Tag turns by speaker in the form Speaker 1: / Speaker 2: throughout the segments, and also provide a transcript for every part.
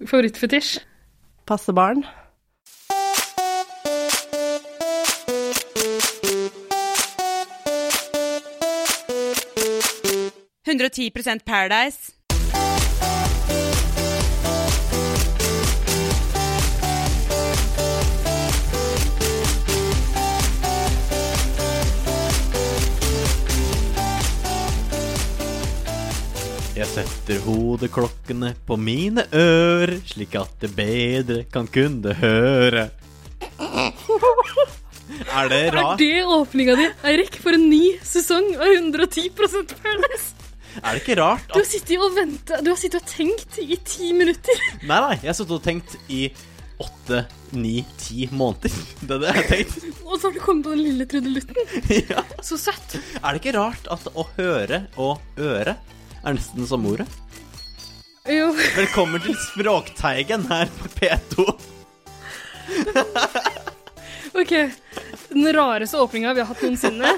Speaker 1: Favorittfetisj?
Speaker 2: Passe barn.
Speaker 3: «110% Paradise».
Speaker 4: Jeg setter hodeklokkene på mine ører, slik at det bedre kan kunne høre. Er det
Speaker 1: Er
Speaker 4: rart?
Speaker 1: det åpninga di, Eirik, for en ny sesong av 110 Paradise?
Speaker 4: Er det ikke rart
Speaker 1: Du har
Speaker 4: at
Speaker 1: sittet og ventet, du har sittet og tenkt i ti minutter.
Speaker 4: Nei, nei, jeg har sittet og tenkt i åtte, ni, ti måneder. Det er det jeg har tenkt.
Speaker 1: Og så har du kommet på den lille trudelutten.
Speaker 4: Ja.
Speaker 1: Så søtt.
Speaker 4: Er det ikke rart at å høre og øre er nesten samme ordet?
Speaker 1: Jo,
Speaker 4: Velkommen til Språkteigen her på P2.
Speaker 1: OK. Den rareste åpninga vi har hatt noensinne.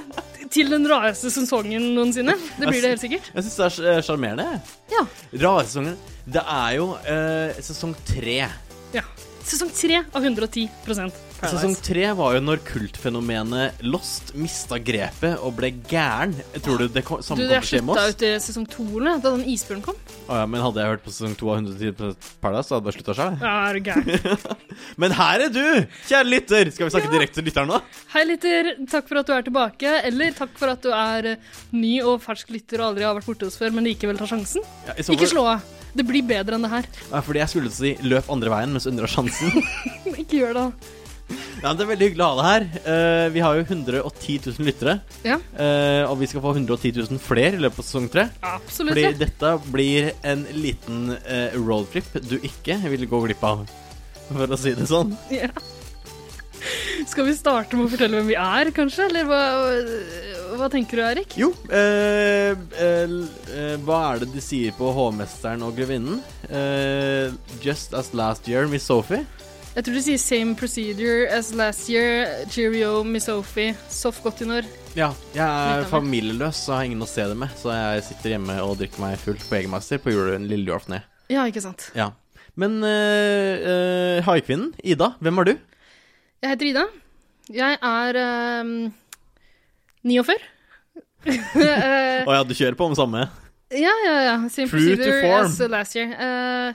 Speaker 1: Til den rareste sesongen noensinne. Det blir det helt sikkert.
Speaker 4: Jeg syns det er sj- eh, sjarmerende. jeg.
Speaker 1: Ja.
Speaker 4: Rare sesongen. Det er jo eh, sesong tre.
Speaker 1: ja. Sesong tre av 110
Speaker 4: Sesong tre var jo når kultfenomenet Lost mista grepet og ble gæren. Tror du det kom,
Speaker 1: Du,
Speaker 4: samme
Speaker 1: jeg
Speaker 4: kommer til å skje med
Speaker 1: slutta
Speaker 4: oss?
Speaker 1: ut i sesong to eller noe, da den isbjørnen kom.
Speaker 4: Å ja, men hadde jeg hørt på sesong to av 110 Paradise, så hadde det bare slutta seg.
Speaker 1: Ja, er du gæren.
Speaker 4: Men her er du, kjære lytter! Skal vi snakke direkte til lytteren nå?
Speaker 1: Hei, lytter. Takk for at du er tilbake. Eller takk for at du er eh, ny og fersk lytter og aldri har vært borte hos før, men likevel tar sjansen.
Speaker 4: Ja, i så
Speaker 1: Ikke
Speaker 4: fall-
Speaker 1: slå av. Det blir bedre enn det her.
Speaker 4: Ja, fordi jeg skulle si 'løp andre veien mens du undrer sjansen'.
Speaker 1: Ikke gjør det. da.
Speaker 4: Ja, men Det er veldig hyggelig å ha deg her. Eh, vi har jo 110 000 lyttere.
Speaker 1: Ja,
Speaker 4: eh, og vi skal få 110 000 flere i løpet av sesong tre.
Speaker 1: absolutt.
Speaker 4: Fordi
Speaker 1: Ja.
Speaker 4: dette blir en liten eh, roadtrip du ikke vil gå glipp av, for å si det sånn.
Speaker 1: Ja. Skal vi starte med å fortelle hvem vi er, kanskje? Eller hva, eh, hva tenker du, Erik?
Speaker 4: Jo, eh, eh, eh, hva er det de sier på Hovmesteren og Grevinnen? Eh, just as last year, Miss Sophie.
Speaker 1: Jeg tror du sier 'same procedure as last year', cheerio, Miss Sophie, soft godt i når.
Speaker 4: Ja, jeg er
Speaker 1: Nettopp.
Speaker 4: familieløs og har ingen å se det med, så jeg sitter hjemme og drikker meg full på Egermeister på jule- lille julaften. jeg.
Speaker 1: Ja, ikke sant.
Speaker 4: Ja. Men eh, eh, haikvinnen, Ida, hvem er du?
Speaker 1: Jeg heter Ida. Jeg er ehm, 49. Eh,
Speaker 4: Å ja, du kjører på med samme.
Speaker 1: ja, ja, ja. Same
Speaker 4: True to
Speaker 1: procedure
Speaker 4: form.
Speaker 1: as last year. Eh,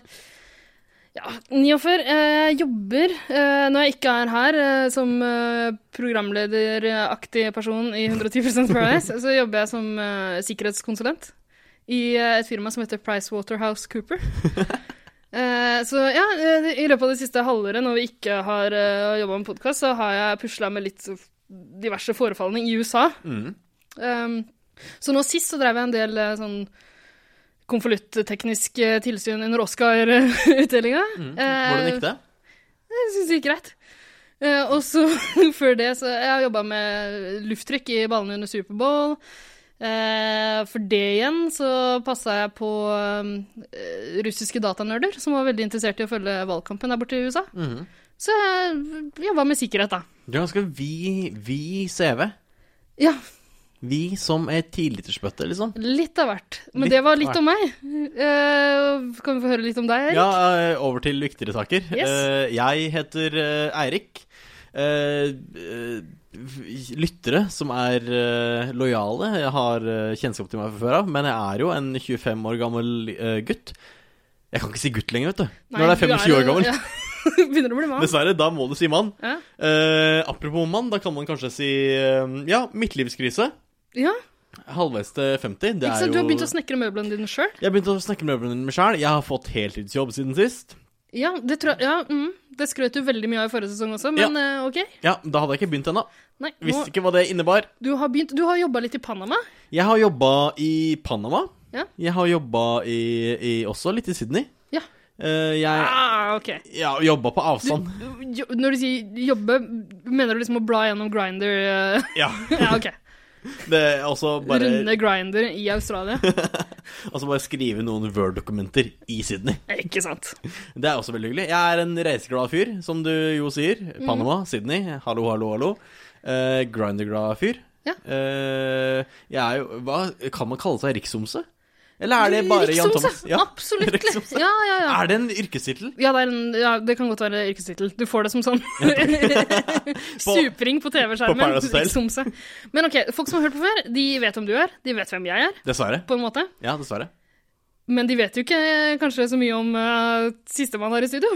Speaker 1: ja, 49. Eh, Jeg jobber eh, når jeg ikke er her, eh, som eh, programlederaktig person i 110 Paradise, så jobber jeg som eh, sikkerhetskonsulent i eh, et firma som heter Pricewaterhouse Cooper. Eh, så ja, eh, i løpet av det siste halvåret når vi ikke har uh, jobba med podkast, så har jeg pusla med litt diverse forefallende i USA.
Speaker 4: Mm.
Speaker 1: Um, så nå sist så drev jeg en del eh, sånn konvoluttteknisk eh, tilsyn under Oscar-utdelinga.
Speaker 4: Mm. Hvordan gikk det?
Speaker 1: Jeg syns det gikk greit. Eh, og så før det så Jeg har jobba med lufttrykk i ballene under Superbowl. Eh, for det igjen så passa jeg på eh, russiske datanerder som var veldig interessert i å følge valgkampen der borte i USA.
Speaker 4: Mhm.
Speaker 1: Så jeg jobba med sikkerhet, da.
Speaker 4: Du har ganske vid vid CV.
Speaker 1: Ja,
Speaker 4: Vi som er tidlitersbøtte, liksom.
Speaker 1: litt av hvert. Men
Speaker 4: Litt
Speaker 1: det var litt
Speaker 4: av
Speaker 1: om meg. Eh, kan vi få høre litt om deg, Erik?
Speaker 4: Ja, eh, over til viktigere saker.
Speaker 1: Yes.
Speaker 4: Eh, Jeg heter eh, Eirik. Eh, eh, Lyttere som er eh, lojale, jeg har eh, kjennskap til meg fra før av, men jeg er jo en 25 år gammel eh, gutt. Jeg kan ikke si gutt lenger, vet du.
Speaker 1: Nei,
Speaker 4: Når det er
Speaker 1: du
Speaker 4: 25 år
Speaker 1: jo-
Speaker 4: gammel.
Speaker 1: ja. Begynner å bli mann.
Speaker 4: Dessverre, da må du si mann.
Speaker 1: Ja.
Speaker 4: Eh, apropos mann, da kan man kanskje si eh, ja, midtlivskrise.
Speaker 1: Ja,
Speaker 4: Halvveis til 50.
Speaker 1: ikke
Speaker 4: Det er
Speaker 1: sant?
Speaker 4: jo
Speaker 1: Du har begynt å snekre møblene dine sjøl?
Speaker 4: Jeg har begynt å snakke med møblene mine sjøl. Jeg har fått heltidsjobb siden sist.
Speaker 1: Ja, det tror jeg ja, mm, Det skrøt du veldig mye av i forrige sesong også, men eh, OK.
Speaker 4: Ja, Da hadde jeg ikke begynt ennå.
Speaker 1: Nei, nå,
Speaker 4: Visste ikke hva det innebar.
Speaker 1: du har, begynt- du har jobba litt i Panama.
Speaker 4: Jeg har jobba i Panama.
Speaker 1: Ja.
Speaker 4: Jeg har jobba i, i også litt i Sydney.
Speaker 1: Ja.
Speaker 4: Eh, jeg
Speaker 1: Ah, OK.
Speaker 4: ja, jobba på
Speaker 1: Du,
Speaker 4: avstand.
Speaker 1: jo, når du sier jobbe, mener du liksom å bla gjennom Grinder eh?
Speaker 4: Ja.
Speaker 1: Ja, OK.
Speaker 4: Det er også bare,
Speaker 1: Runde Grinder i Australia.
Speaker 4: også bare skrive noen Word-dokumenter i Sydney.
Speaker 1: Ikke sant.
Speaker 4: Det er også veldig hyggelig. Jeg er en reiseglad fyr, som du jo sier.
Speaker 1: Mhm.
Speaker 4: Panama, Sydney. Hallo, hallo, hallo. Uh, Grinderglad fyr.
Speaker 1: Ja.
Speaker 4: Eh, jeg er jo Hva kan man kalle seg? Riksomse? Eller er det bare Jan
Speaker 1: Riksoms, ja. Liksom,
Speaker 4: Thomas? Ja. Liksom,
Speaker 1: Absolutt.
Speaker 4: Riksoms,
Speaker 1: Ja, ja, ja.
Speaker 4: Er det en yrkestittel?
Speaker 1: Ja det, er en, ja, det kan godt være yrkestittel. Du får det som sånn supring på
Speaker 4: på
Speaker 1: TV-skjermen.
Speaker 4: Paradise Hotel.
Speaker 1: Somse. Men ok, folk som har hørt på før, de vet hvem du er. De vet hvem jeg er,
Speaker 4: Dessverre.
Speaker 1: på en måte.
Speaker 4: Ja, dessverre.
Speaker 1: Men de vet jo ikke eh, kanskje så mye om uh, sistemann her i studio.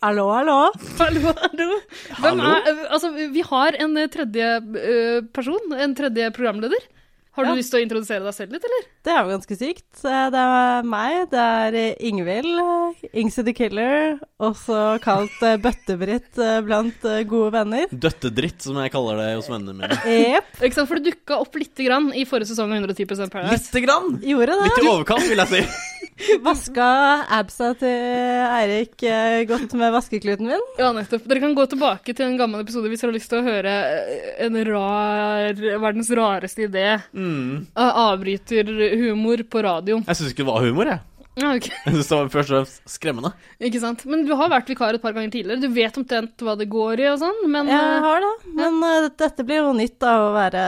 Speaker 3: Hallo, hallo.
Speaker 1: Hallo, hallo. Hvem
Speaker 4: Hallo?
Speaker 1: er, altså, vi har en eh, tredje eh, person, en tredje programleder. Har du
Speaker 2: Ja.
Speaker 1: lyst til å introdusere deg selv litt, eller?
Speaker 2: Det er jo ganske sykt. Eh, Det er meg, det er eh, Ingvild, eh, Ingsy the Killer, også kalt eh, Bøtte-Britt eh, blant eh, gode venner.
Speaker 4: Døttedritt, som jeg kaller det hos vennene mine.
Speaker 2: Jepp,
Speaker 1: Ikke sant? For det dukka opp lite grann i forrige sesong av 110 Paradise.
Speaker 4: Lite grann!
Speaker 2: gjorde det.
Speaker 4: Litt i overkant, vil jeg si.
Speaker 2: Vaska absa til Eirik eh, godt med vaskekluten min.
Speaker 1: Ja, nettopp. Dere kan gå tilbake til en gammel episode hvis dere har lyst til å høre eh, en rar, verdens rareste idé.
Speaker 4: Mm.
Speaker 1: av Avbryterhumor på radio.
Speaker 4: Jeg syns ikke det var humor, jeg.
Speaker 1: Ja, ok.
Speaker 4: Jeg synes det var først og fremst skremmende.
Speaker 1: Ikke sant. Men du har vært vikar et par ganger tidligere. Du vet omtrent hva det går i og sånn, men
Speaker 2: Jeg
Speaker 1: eh,
Speaker 2: har det, men eh, dette blir jo nytt da, å være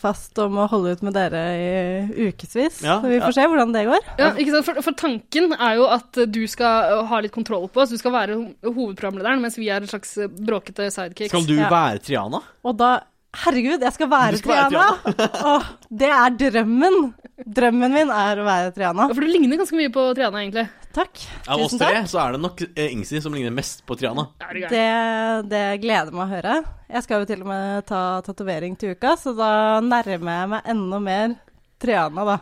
Speaker 2: fast om å holde ut med dere i ukevis.
Speaker 4: Ja,
Speaker 2: så vi
Speaker 4: ja.
Speaker 2: får se hvordan det går.
Speaker 1: ja, ikke sant? For, for tanken er jo at eh, du skal eh, ha litt kontroll på oss. Du skal være ho- hovedprogramlederen, mens vi er en slags eh, bråkete sidekicks.
Speaker 4: Skal du
Speaker 2: Ja.
Speaker 4: være Triana?
Speaker 2: Og da Herregud, jeg skal
Speaker 4: Du
Speaker 2: være
Speaker 4: skal være
Speaker 2: Triana! Åh, det er drømmen. Drømmen min er å være Triana.
Speaker 1: Ja, for du ligner ganske mye på Triana, egentlig.
Speaker 2: Takk.
Speaker 4: Av oss
Speaker 2: Tusen
Speaker 4: tre
Speaker 2: takk.
Speaker 4: så er det nok eh, Ingsi som ligner mest på Triana.
Speaker 1: Er du gæren?
Speaker 2: Det, det gleder meg å høre. Jeg skal jo til og med ta tatovering til uka, så da nærmer jeg meg enda mer Triana, da.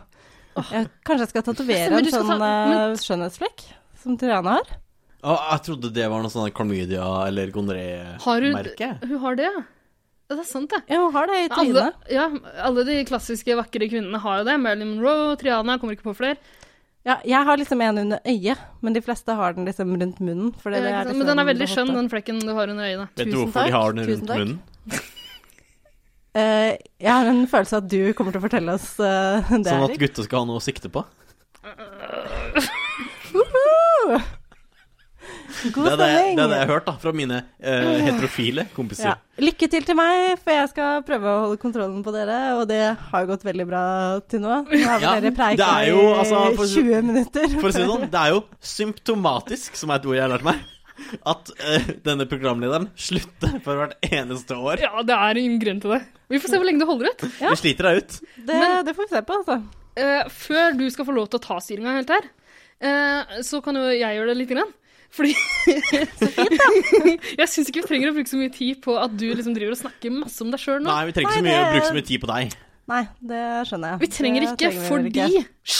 Speaker 2: Jeg, kanskje jeg skal
Speaker 1: Men
Speaker 2: tatovere
Speaker 1: du
Speaker 2: en
Speaker 1: skal
Speaker 2: sånn
Speaker 1: ta-
Speaker 2: eh, skjønnhetsflekk som Triana har.
Speaker 4: Å, Ah, jeg trodde det var noe sånn klamydia eller
Speaker 1: Har hun-
Speaker 4: gonoré-merke.
Speaker 1: Hun har det, ja. Ja, Det er sant, det.
Speaker 2: Ja, hun har det i
Speaker 1: Alle,
Speaker 2: trynet.
Speaker 1: ja, alle de klassiske vakre kvinnene har jo det. Marilyn Monroe, Triana, kommer ikke på flere.
Speaker 2: Ja, jeg har liksom en under øyet, men de fleste har den liksom rundt munnen. For det, er liksom
Speaker 1: Eh, Men den er veldig
Speaker 2: det
Speaker 1: skjønn,
Speaker 2: hotte.
Speaker 1: den flekken du har under øynene.
Speaker 4: Vet du
Speaker 2: Tusen
Speaker 4: hvorfor de
Speaker 2: takk,
Speaker 4: har den
Speaker 2: tusen
Speaker 4: rundt
Speaker 2: takk.
Speaker 4: munnen?
Speaker 2: Eh, jeg har en følelse av at du kommer til å fortelle oss eh, det.
Speaker 4: Sånn at
Speaker 2: Erik.
Speaker 4: gutta skal ha noe å sikte på?
Speaker 2: God
Speaker 4: Det er det,
Speaker 2: stemning!
Speaker 4: det er det jeg har hørt da, fra mine eh, heterofile kompiser.
Speaker 2: Ja. Lykke til til meg, for jeg skal prøve å holde kontrollen på dere, og det har gått veldig bra til nå. Nå har
Speaker 4: Ja,
Speaker 2: vel dere preika
Speaker 4: det er jo, altså, for å
Speaker 2: i
Speaker 4: si-
Speaker 2: 20 minutter.
Speaker 4: For å si det sånn, det er jo symptomatisk, som er et ord jeg har lært meg, at eh, denne programlederen slutter for hvert eneste år.
Speaker 1: Ja, det er ingen grunn til det. Vi får se hvor lenge du holder ut.
Speaker 2: Ja.
Speaker 4: Vi sliter deg ut.
Speaker 2: Det, det får vi se på, altså.
Speaker 1: Eh, før du skal få lov til å ta styringa helt her, eh, så kan jo jeg gjøre det lite grann. Fordi Jeg syns ikke vi trenger å bruke så mye tid på at du liksom driver og snakker masse om deg sjøl nå.
Speaker 4: Nei, vi trenger ikke
Speaker 2: Nei,
Speaker 4: så mye å
Speaker 2: det-
Speaker 4: bruke så mye tid på deg.
Speaker 2: Nei, det skjønner jeg.
Speaker 1: Vi trenger
Speaker 2: Det
Speaker 1: det ikke
Speaker 2: trenger vi vel
Speaker 1: fordi Hysj!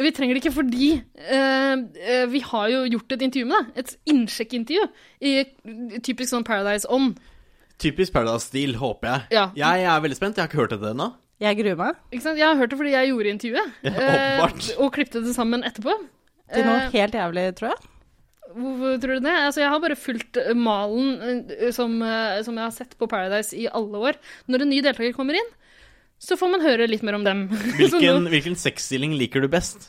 Speaker 1: Vi trenger det ikke fordi eh, eh, vi har jo gjort et intervju med deg. Et innsjekkintervju i typisk sånn Paradise-ånd.
Speaker 4: Typisk Paradise-stil, håper jeg.
Speaker 1: Ja.
Speaker 4: Jeg er veldig spent, jeg har ikke hørt dette ennå.
Speaker 2: Jeg gruer meg
Speaker 1: Ikke sant? Jeg har hørt det fordi jeg gjorde intervjuet.
Speaker 4: Ja,
Speaker 1: eh,
Speaker 4: åpenbart.
Speaker 1: og klippte det sammen etterpå.
Speaker 2: til noe
Speaker 1: Eh,
Speaker 2: helt jævlig, tror jeg.
Speaker 1: Hvorfor tror du det? Altså, jeg har bare fulgt eh, malen eh, som, eh, som jeg har sett på Paradise i alle år. Når en ny deltaker kommer inn, så får man høre litt mer om dem. Så
Speaker 4: Hvilken,
Speaker 1: nå-
Speaker 4: hvilken sexstilling liker du best?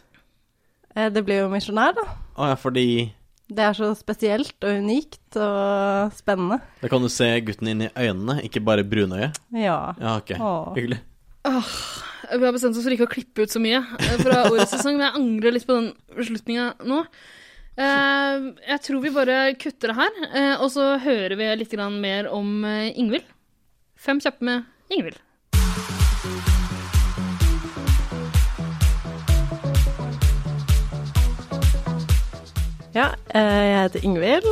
Speaker 2: Eh, Det blir jo misjonær, da.
Speaker 4: Å ja, fordi
Speaker 2: Det er så spesielt og unikt og spennende.
Speaker 4: da kan du se gutten inn i øynene, ikke bare brunøyet.
Speaker 2: Ja.
Speaker 4: Ja, ok.
Speaker 2: Åh.
Speaker 4: Hyggelig.
Speaker 1: Vi har bestemt oss for ikke å klippe ut så mye eh, fra årets sesong, men jeg angrer litt på den beslutninga nå. Eh, jeg tror vi bare kutter det her, eh, og så hører vi litt grann mer om eh, Ingvild. Fem kjappe med Ingvild.
Speaker 2: Ja, eh, jeg heter Ingvild.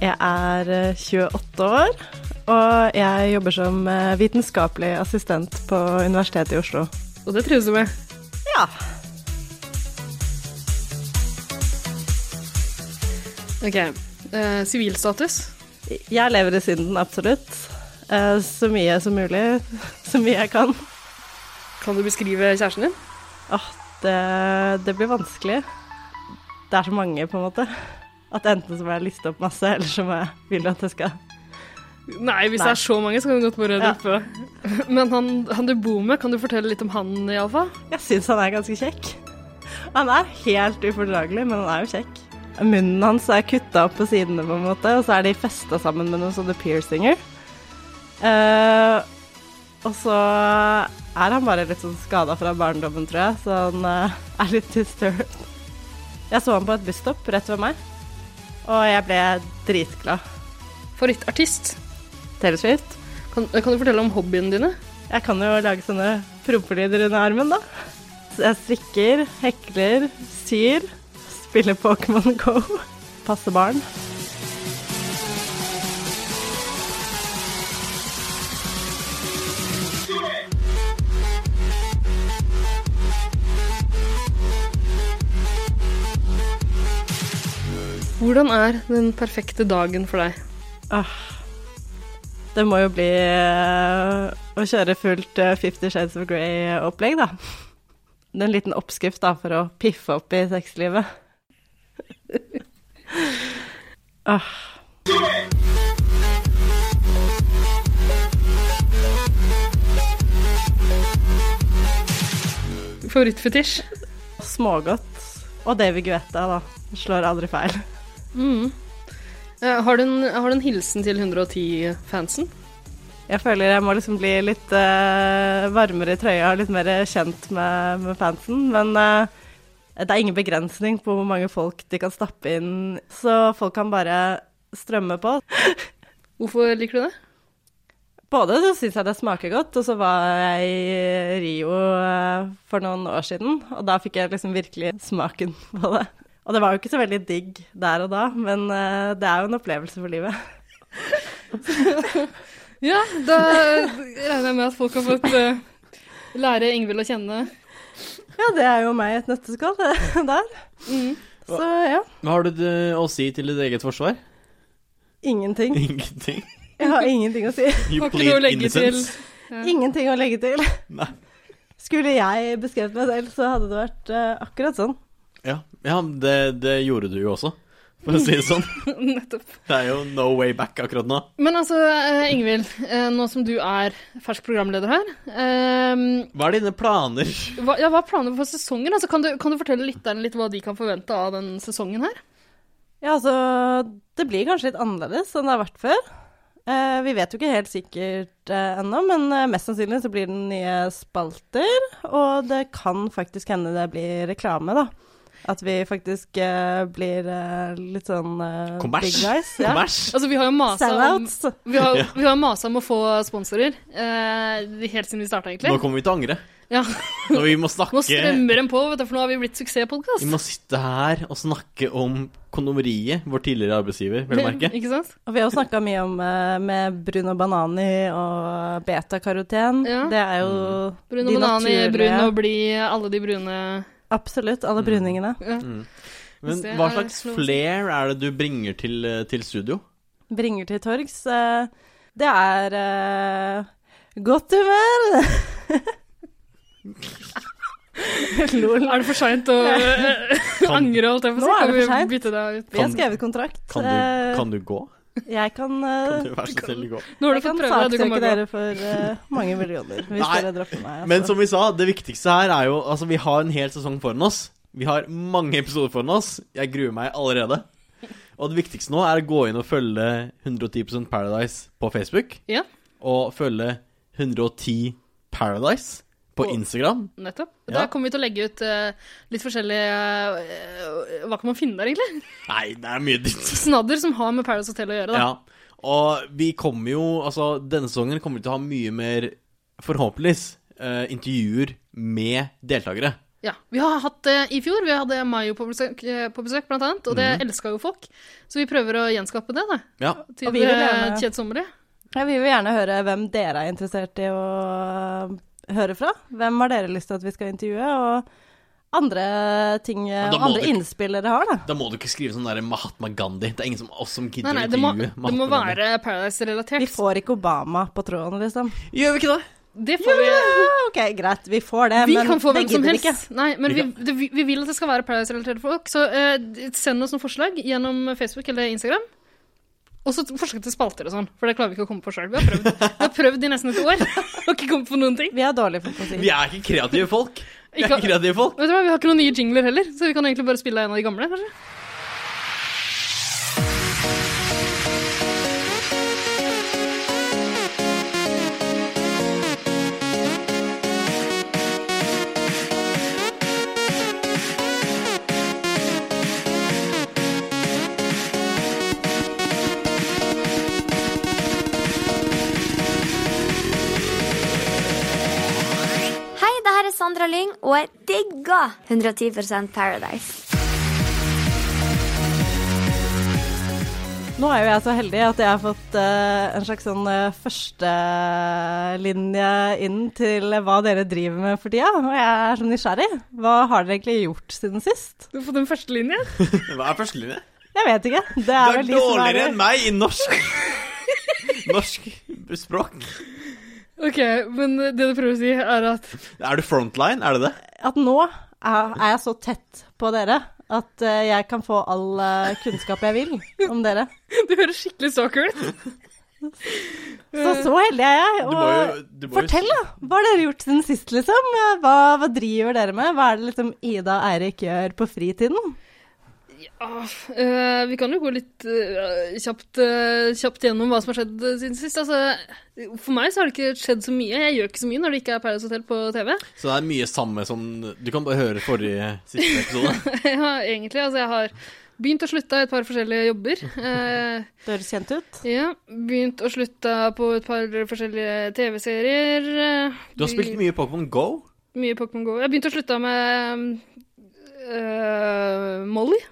Speaker 2: Jeg er eh, 28 år. Og jeg jobber som eh, vitenskapelig assistent på Universitetet i Oslo.
Speaker 1: Og det trives du med?
Speaker 2: Ja.
Speaker 1: Ok. eh, Sivilstatus?
Speaker 2: Jeg lever i Syden, absolutt. Eh, Så mye som mulig. Så mye jeg kan.
Speaker 1: Kan du beskrive kjæresten din?
Speaker 2: Åh, det, det blir vanskelig. Det er så mange, på en måte. At enten så må jeg liste opp masse, eller så må jeg vil at jeg skal
Speaker 1: Nei, hvis det
Speaker 2: Nei.
Speaker 1: er så mange, så kan du godt bare
Speaker 2: Ja.
Speaker 1: droppe. Men han, han du bor med, kan du fortelle litt om han iallfall?
Speaker 2: Jeg syns han er ganske kjekk. Han er helt ufordragelig, men han er jo kjekk. Munnen hans er kutta opp på sidene, på en måte, og så er de festa sammen med noen sånne piercinger. Eh, Og så er han bare litt sånn skada fra barndommen, tror jeg, så han eh, er litt disturbed. Jeg så han på et busstopp rett ved meg, og jeg ble dritglad.
Speaker 1: Favorittartist?
Speaker 2: Taylor Swift.
Speaker 1: Kan, eh, kan du fortelle om hobbyene dine?
Speaker 2: Jeg kan jo lage sånne prompelyder under armen, da. Så jeg strikker, hekler, syr, spiller Pokémon Go, passer barn.
Speaker 1: Hvordan er den perfekte dagen for deg?
Speaker 2: Åh. Ah. Det må jo bli eh, å kjøre fullt eh, Fifty Shades of Grey-opplegg, da. Det er En liten oppskrift da, for å piffe opp i sexlivet. Åh.
Speaker 1: Favorittfetisj?
Speaker 2: Smågodt. Og David Guetta, da. Slår aldri feil.
Speaker 1: Mm. Eh, Har, du en, har du en hilsen til 110-fansen?
Speaker 2: Jeg føler jeg må liksom bli litt eh, varmere i trøya og litt mer kjent med, med fansen. Men eh, det er ingen begrensning på hvor mange folk de kan stappe inn, så folk kan bare strømme på.
Speaker 1: Hvorfor liker du det?
Speaker 2: Både så syns jeg det smaker godt, og så var jeg i Rio eh, for noen år siden, og da fikk jeg liksom virkelig smaken på det. Og det var jo ikke så veldig digg der og da, men eh, det er jo en opplevelse for livet.
Speaker 1: Ja, da regner jeg med at folk har fått eh, lære Ingvild å kjenne.
Speaker 2: Ja, det er jo meg i et nøtteskall, det der.
Speaker 1: Mm.
Speaker 2: Så ja,
Speaker 4: Hva har du det- å si til ditt eget forsvar?
Speaker 2: ingenting.
Speaker 4: Ingenting.
Speaker 2: Jeg har ingenting å si.
Speaker 4: You
Speaker 1: Har ikke noe å legge Ja.
Speaker 2: Ingenting å legge til.
Speaker 4: Nei.
Speaker 2: Skulle jeg beskrevet meg selv, så hadde det vært eh, akkurat sånn.
Speaker 4: Ja, ja men det, det gjorde du jo også, for å si det sånn.
Speaker 1: Nettopp.
Speaker 4: Det er jo no way back akkurat nå.
Speaker 1: Men altså, eh, Ingvild, eh, nå som du er fersk programleder her, eh,
Speaker 4: Hva er dine planer?
Speaker 1: hva, ja, hva er planene for sesongen? Altså, kan, du, kan du fortelle lytterne litt hva de kan forvente av den sesongen her?
Speaker 2: Ja, altså Det blir kanskje litt annerledes enn det har vært før. Eh, vi vet jo ikke helt sikkert eh, ennå, men eh, mest sannsynlig så blir det nye spalter. Og det kan faktisk hende det blir reklame, da. At vi faktisk eh, blir eh, litt sånn eh,
Speaker 4: Kommers.
Speaker 2: big guys. Ja.
Speaker 4: Kommers?
Speaker 1: Altså, vi har jo masa om,
Speaker 2: Sellouts.
Speaker 1: vi har,
Speaker 4: Ja.
Speaker 1: vi har masa om å få sponsorer eh, helt siden vi starta,
Speaker 4: Nå
Speaker 1: egentlig.
Speaker 4: kommer vi til å angre.
Speaker 1: Ja.
Speaker 4: Når vi må
Speaker 1: Nå
Speaker 4: snakke
Speaker 1: strømmer den på, vet du, for nå har vi blitt
Speaker 4: Vi
Speaker 1: suksesspodkast.
Speaker 4: må sitte her og snakke om kondomeriet, vår tidligere arbeidsgiver, vil du merke.
Speaker 1: Ikke sant?
Speaker 2: Og vi har jo snakka mye om eh, med Bruno Banani og betakaroten.
Speaker 1: Ja. Mm.
Speaker 2: Det er jo
Speaker 1: Brun og
Speaker 2: de
Speaker 1: banan i
Speaker 2: naturlige-
Speaker 1: brun og blid, alle de brune
Speaker 2: Absolutt. Alle bruningene.
Speaker 1: ja.
Speaker 4: Mm. Men
Speaker 1: Det
Speaker 4: hva
Speaker 1: er
Speaker 4: slags
Speaker 1: lov å si.
Speaker 4: flair er det du bringer til, eh, til studio?
Speaker 2: Bringer til torgs. eh, Det er eh, godt humør! Lol.
Speaker 1: Er det for seint å eh, angre, holdt jeg på å si?
Speaker 2: Nå er
Speaker 1: Kan
Speaker 2: det for
Speaker 1: vi
Speaker 2: sent.
Speaker 1: bytte deg ut?
Speaker 2: Vi har
Speaker 4: Kan-
Speaker 2: skrevet kontrakt.
Speaker 4: Kan du,
Speaker 2: eh,
Speaker 4: kan du gå?
Speaker 2: Jeg kan, eh,
Speaker 4: Kan du være så snill å gå?
Speaker 1: Nå har
Speaker 2: jeg
Speaker 1: du fått
Speaker 2: kan
Speaker 1: prøve deg, du kan
Speaker 2: saksøke
Speaker 1: bare gå.
Speaker 2: dere for eh, mange millioner hvis
Speaker 4: Nei,
Speaker 2: dere dropper meg.
Speaker 4: Men
Speaker 2: altså.
Speaker 4: som vi sa, det viktigste her er jo Altså, vi har en hel sesong foran oss. Vi har mange episoder foran oss. Jeg gruer meg allerede. Og det viktigste nå er å gå inn og følge 110 Paradise på Facebook.
Speaker 1: Ja.
Speaker 4: Og følge 110 Paradise på
Speaker 1: På-
Speaker 4: Instagram.
Speaker 1: Nettopp.
Speaker 4: Ja.
Speaker 1: Da kommer vi til å legge ut eh, litt forskjellige eh, Hva kan man finne der, egentlig?
Speaker 4: Nei, det er mye dritt.
Speaker 1: Snadder som har med Paradise Hotel å gjøre, da.
Speaker 4: Ja. Og vi kommer jo Altså, denne sesongen kommer vi til å ha mye mer, forhåpentligvis, eh, intervjuer med deltakere.
Speaker 1: Ja. Vi har hatt det i fjor. Vi hadde Mayo på besøk, eh, på besøk blant annet, og det elsket elska jo folk. Så vi prøver å gjenskape det, da.
Speaker 4: Mhm. Ja.
Speaker 1: Til
Speaker 2: Og vi vil
Speaker 1: eh,
Speaker 2: gjerne-
Speaker 1: kjedsommelige.
Speaker 2: Ja, vi vil gjerne høre hvem dere er interessert i å eh, høre fra. Hvem har dere lyst til at vi skal intervjue, og andre ting eh,
Speaker 4: da må
Speaker 2: andre
Speaker 4: du ikke-
Speaker 2: innspill dere har, da.
Speaker 4: Da må du ikke skrive sånn der Mahatma Gandhi. Det er ingen som oss som gidder
Speaker 1: Nei, nei,
Speaker 4: å
Speaker 1: det må,
Speaker 4: intervjue
Speaker 1: det må
Speaker 4: Gandhi.
Speaker 1: være
Speaker 2: Vi
Speaker 1: Paradise-relatert.
Speaker 2: får ikke Obama på tråden, liksom.
Speaker 4: Gjør vi ikke det?
Speaker 1: Det får vi.
Speaker 2: Ja, OK, greit, vi får det,
Speaker 1: Vi
Speaker 2: Eh, men
Speaker 1: kan få
Speaker 2: det
Speaker 1: hvem som
Speaker 2: gidder vi
Speaker 1: helst.
Speaker 2: ikke.
Speaker 1: Nei, men
Speaker 4: Vi
Speaker 1: vi,
Speaker 4: kan-
Speaker 1: det, vi, vi vil at det skal være Paradise-relaterte folk, så eh, d- send oss noen forslag gjennom Facebook eller Instagram. Og så t- forslag til spalter og sånn, for det klarer vi ikke å komme på sjøl. Vi har prøvd Vi har prøvd i nesten et år og ikke kommet på noen ting.
Speaker 2: Vi er dårlige for å si.
Speaker 4: Vi er ikke kreative folk. Vi er
Speaker 1: Ikke-
Speaker 4: ikke kreative folk.
Speaker 1: Vet du hva, Vi har ikke noen nye jingler heller, så vi kan egentlig bare spille en av de gamle. kanskje?
Speaker 5: Sandra Lyng, og jeg digger 110 Paradise.
Speaker 2: Nå er jo jeg så heldig at jeg har fått eh, en slags sånn eh, førstelinje inn til hva dere driver med for tida, og jeg er så nysgjerrig. Hva har dere egentlig gjort siden sist?
Speaker 1: Du har fått en førstelinje.
Speaker 4: Hva er førstelinje?
Speaker 2: Jeg vet ikke. Det
Speaker 4: Du
Speaker 2: er,
Speaker 4: er
Speaker 2: vel de som
Speaker 4: dårligere
Speaker 2: er
Speaker 4: enn meg i norsk! Norsk språk.
Speaker 1: OK, men det du prøver å si, er at
Speaker 4: Er du frontline? Er det det?
Speaker 2: At nå er, er jeg så tett på dere at eh, jeg kan få all eh, kunnskap jeg vil om dere.
Speaker 1: du høres skikkelig stalker ut.
Speaker 2: Så så heldig er jeg.
Speaker 4: Du
Speaker 2: Og
Speaker 4: må jo, du må jo
Speaker 2: fortell, da. Hva har dere gjort siden sist, liksom? Hva, hva driver dere med? Hva er det liksom Ida og Eirik gjør på fritiden?
Speaker 1: Ah, eh, vi kan jo gå litt eh, kjapt, eh, kjapt gjennom hva som har skjedd eh, siden sist. Altså, for meg så har det ikke skjedd så mye. Jeg gjør ikke så mye når det ikke er Paradise Hotel på TV.
Speaker 4: Så det er mye samme som Du kan bare høre forrige siste episode.
Speaker 1: ja, egentlig. Altså, jeg har begynt å slutte i et par forskjellige jobber. Eh,
Speaker 2: Det høres kjent ut.
Speaker 1: ja, begynt å slutte på et par forskjellige TV-serier. eh,
Speaker 4: Du har spilt mye Pokémon Go.
Speaker 1: Mye Pokémon GO. Jeg begynte å slutte med eh, Molly.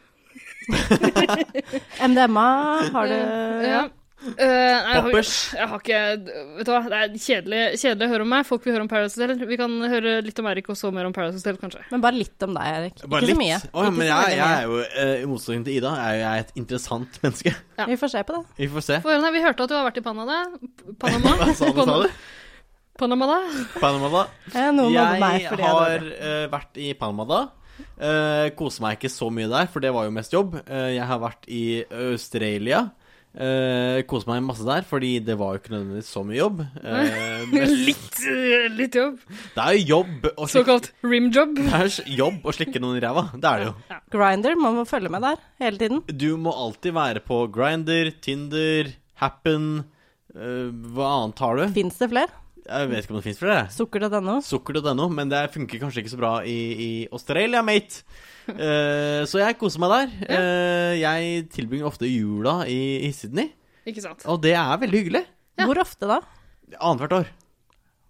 Speaker 2: MDMA har du
Speaker 1: Eh, ja. Eh, nei, jeg har-
Speaker 4: Poppers.
Speaker 1: Jeg har ikke Vet du hva, det er kjedelig, kjedelig å høre om meg. Folk vil høre om Paradise Hotel. Vi kan høre litt om Erik og så mer om Paradise Hotel, kanskje.
Speaker 2: Men bare litt om deg, Erik.
Speaker 4: Bare
Speaker 2: ikke
Speaker 4: litt.
Speaker 2: så mye.
Speaker 4: Å, ja,
Speaker 2: Ikke
Speaker 4: men
Speaker 2: så
Speaker 4: jeg,
Speaker 2: veldig
Speaker 4: jeg
Speaker 2: mye.
Speaker 4: er jo, eh, i motsetning til Ida, er jo jeg et interessant menneske.
Speaker 1: ja.
Speaker 2: Vi får se på det.
Speaker 4: Vi får se.
Speaker 1: Få høre, nei, Vi hørte at du har vært i Panada. Panama.
Speaker 4: Hva sa du, sa du?
Speaker 1: Panama da.
Speaker 4: Panama, da?
Speaker 2: Eh, Noen nådde meg
Speaker 4: Jeg
Speaker 2: fordi jeg
Speaker 4: har
Speaker 2: døde.
Speaker 4: eh, vært i Panama da. Uh, Koser meg ikke så mye der, for det var jo mest jobb. Eh, jeg har vært i Australia. Uh, Koser meg masse der, fordi det var jo ikke nødvendigvis så mye jobb. Eh, men
Speaker 1: Litt, eh, litt jobb.
Speaker 4: det er jo jobb å slikke,
Speaker 1: Såkalt rimjob.
Speaker 4: det er jo jobb å slikke noen i ræva. Det er det jo.
Speaker 2: Grinder, man må følge med der hele tiden.
Speaker 4: Du må alltid være på Grinder, Tinder, Happen eh, Hva annet har du?
Speaker 2: Fins det flere?
Speaker 4: Jeg vet ikke om det fins flere. jeg.
Speaker 2: Sukker.no.
Speaker 4: Sukker.no, men det funker kanskje ikke så bra i, i Australia, mate. Eh, så jeg koser meg der. Eh, jeg tilbringer ofte jula i, i Sydney,
Speaker 1: Ikke sant.
Speaker 4: og det er veldig hyggelig.
Speaker 1: Ja.
Speaker 2: Hvor ofte da?
Speaker 4: Annethvert år.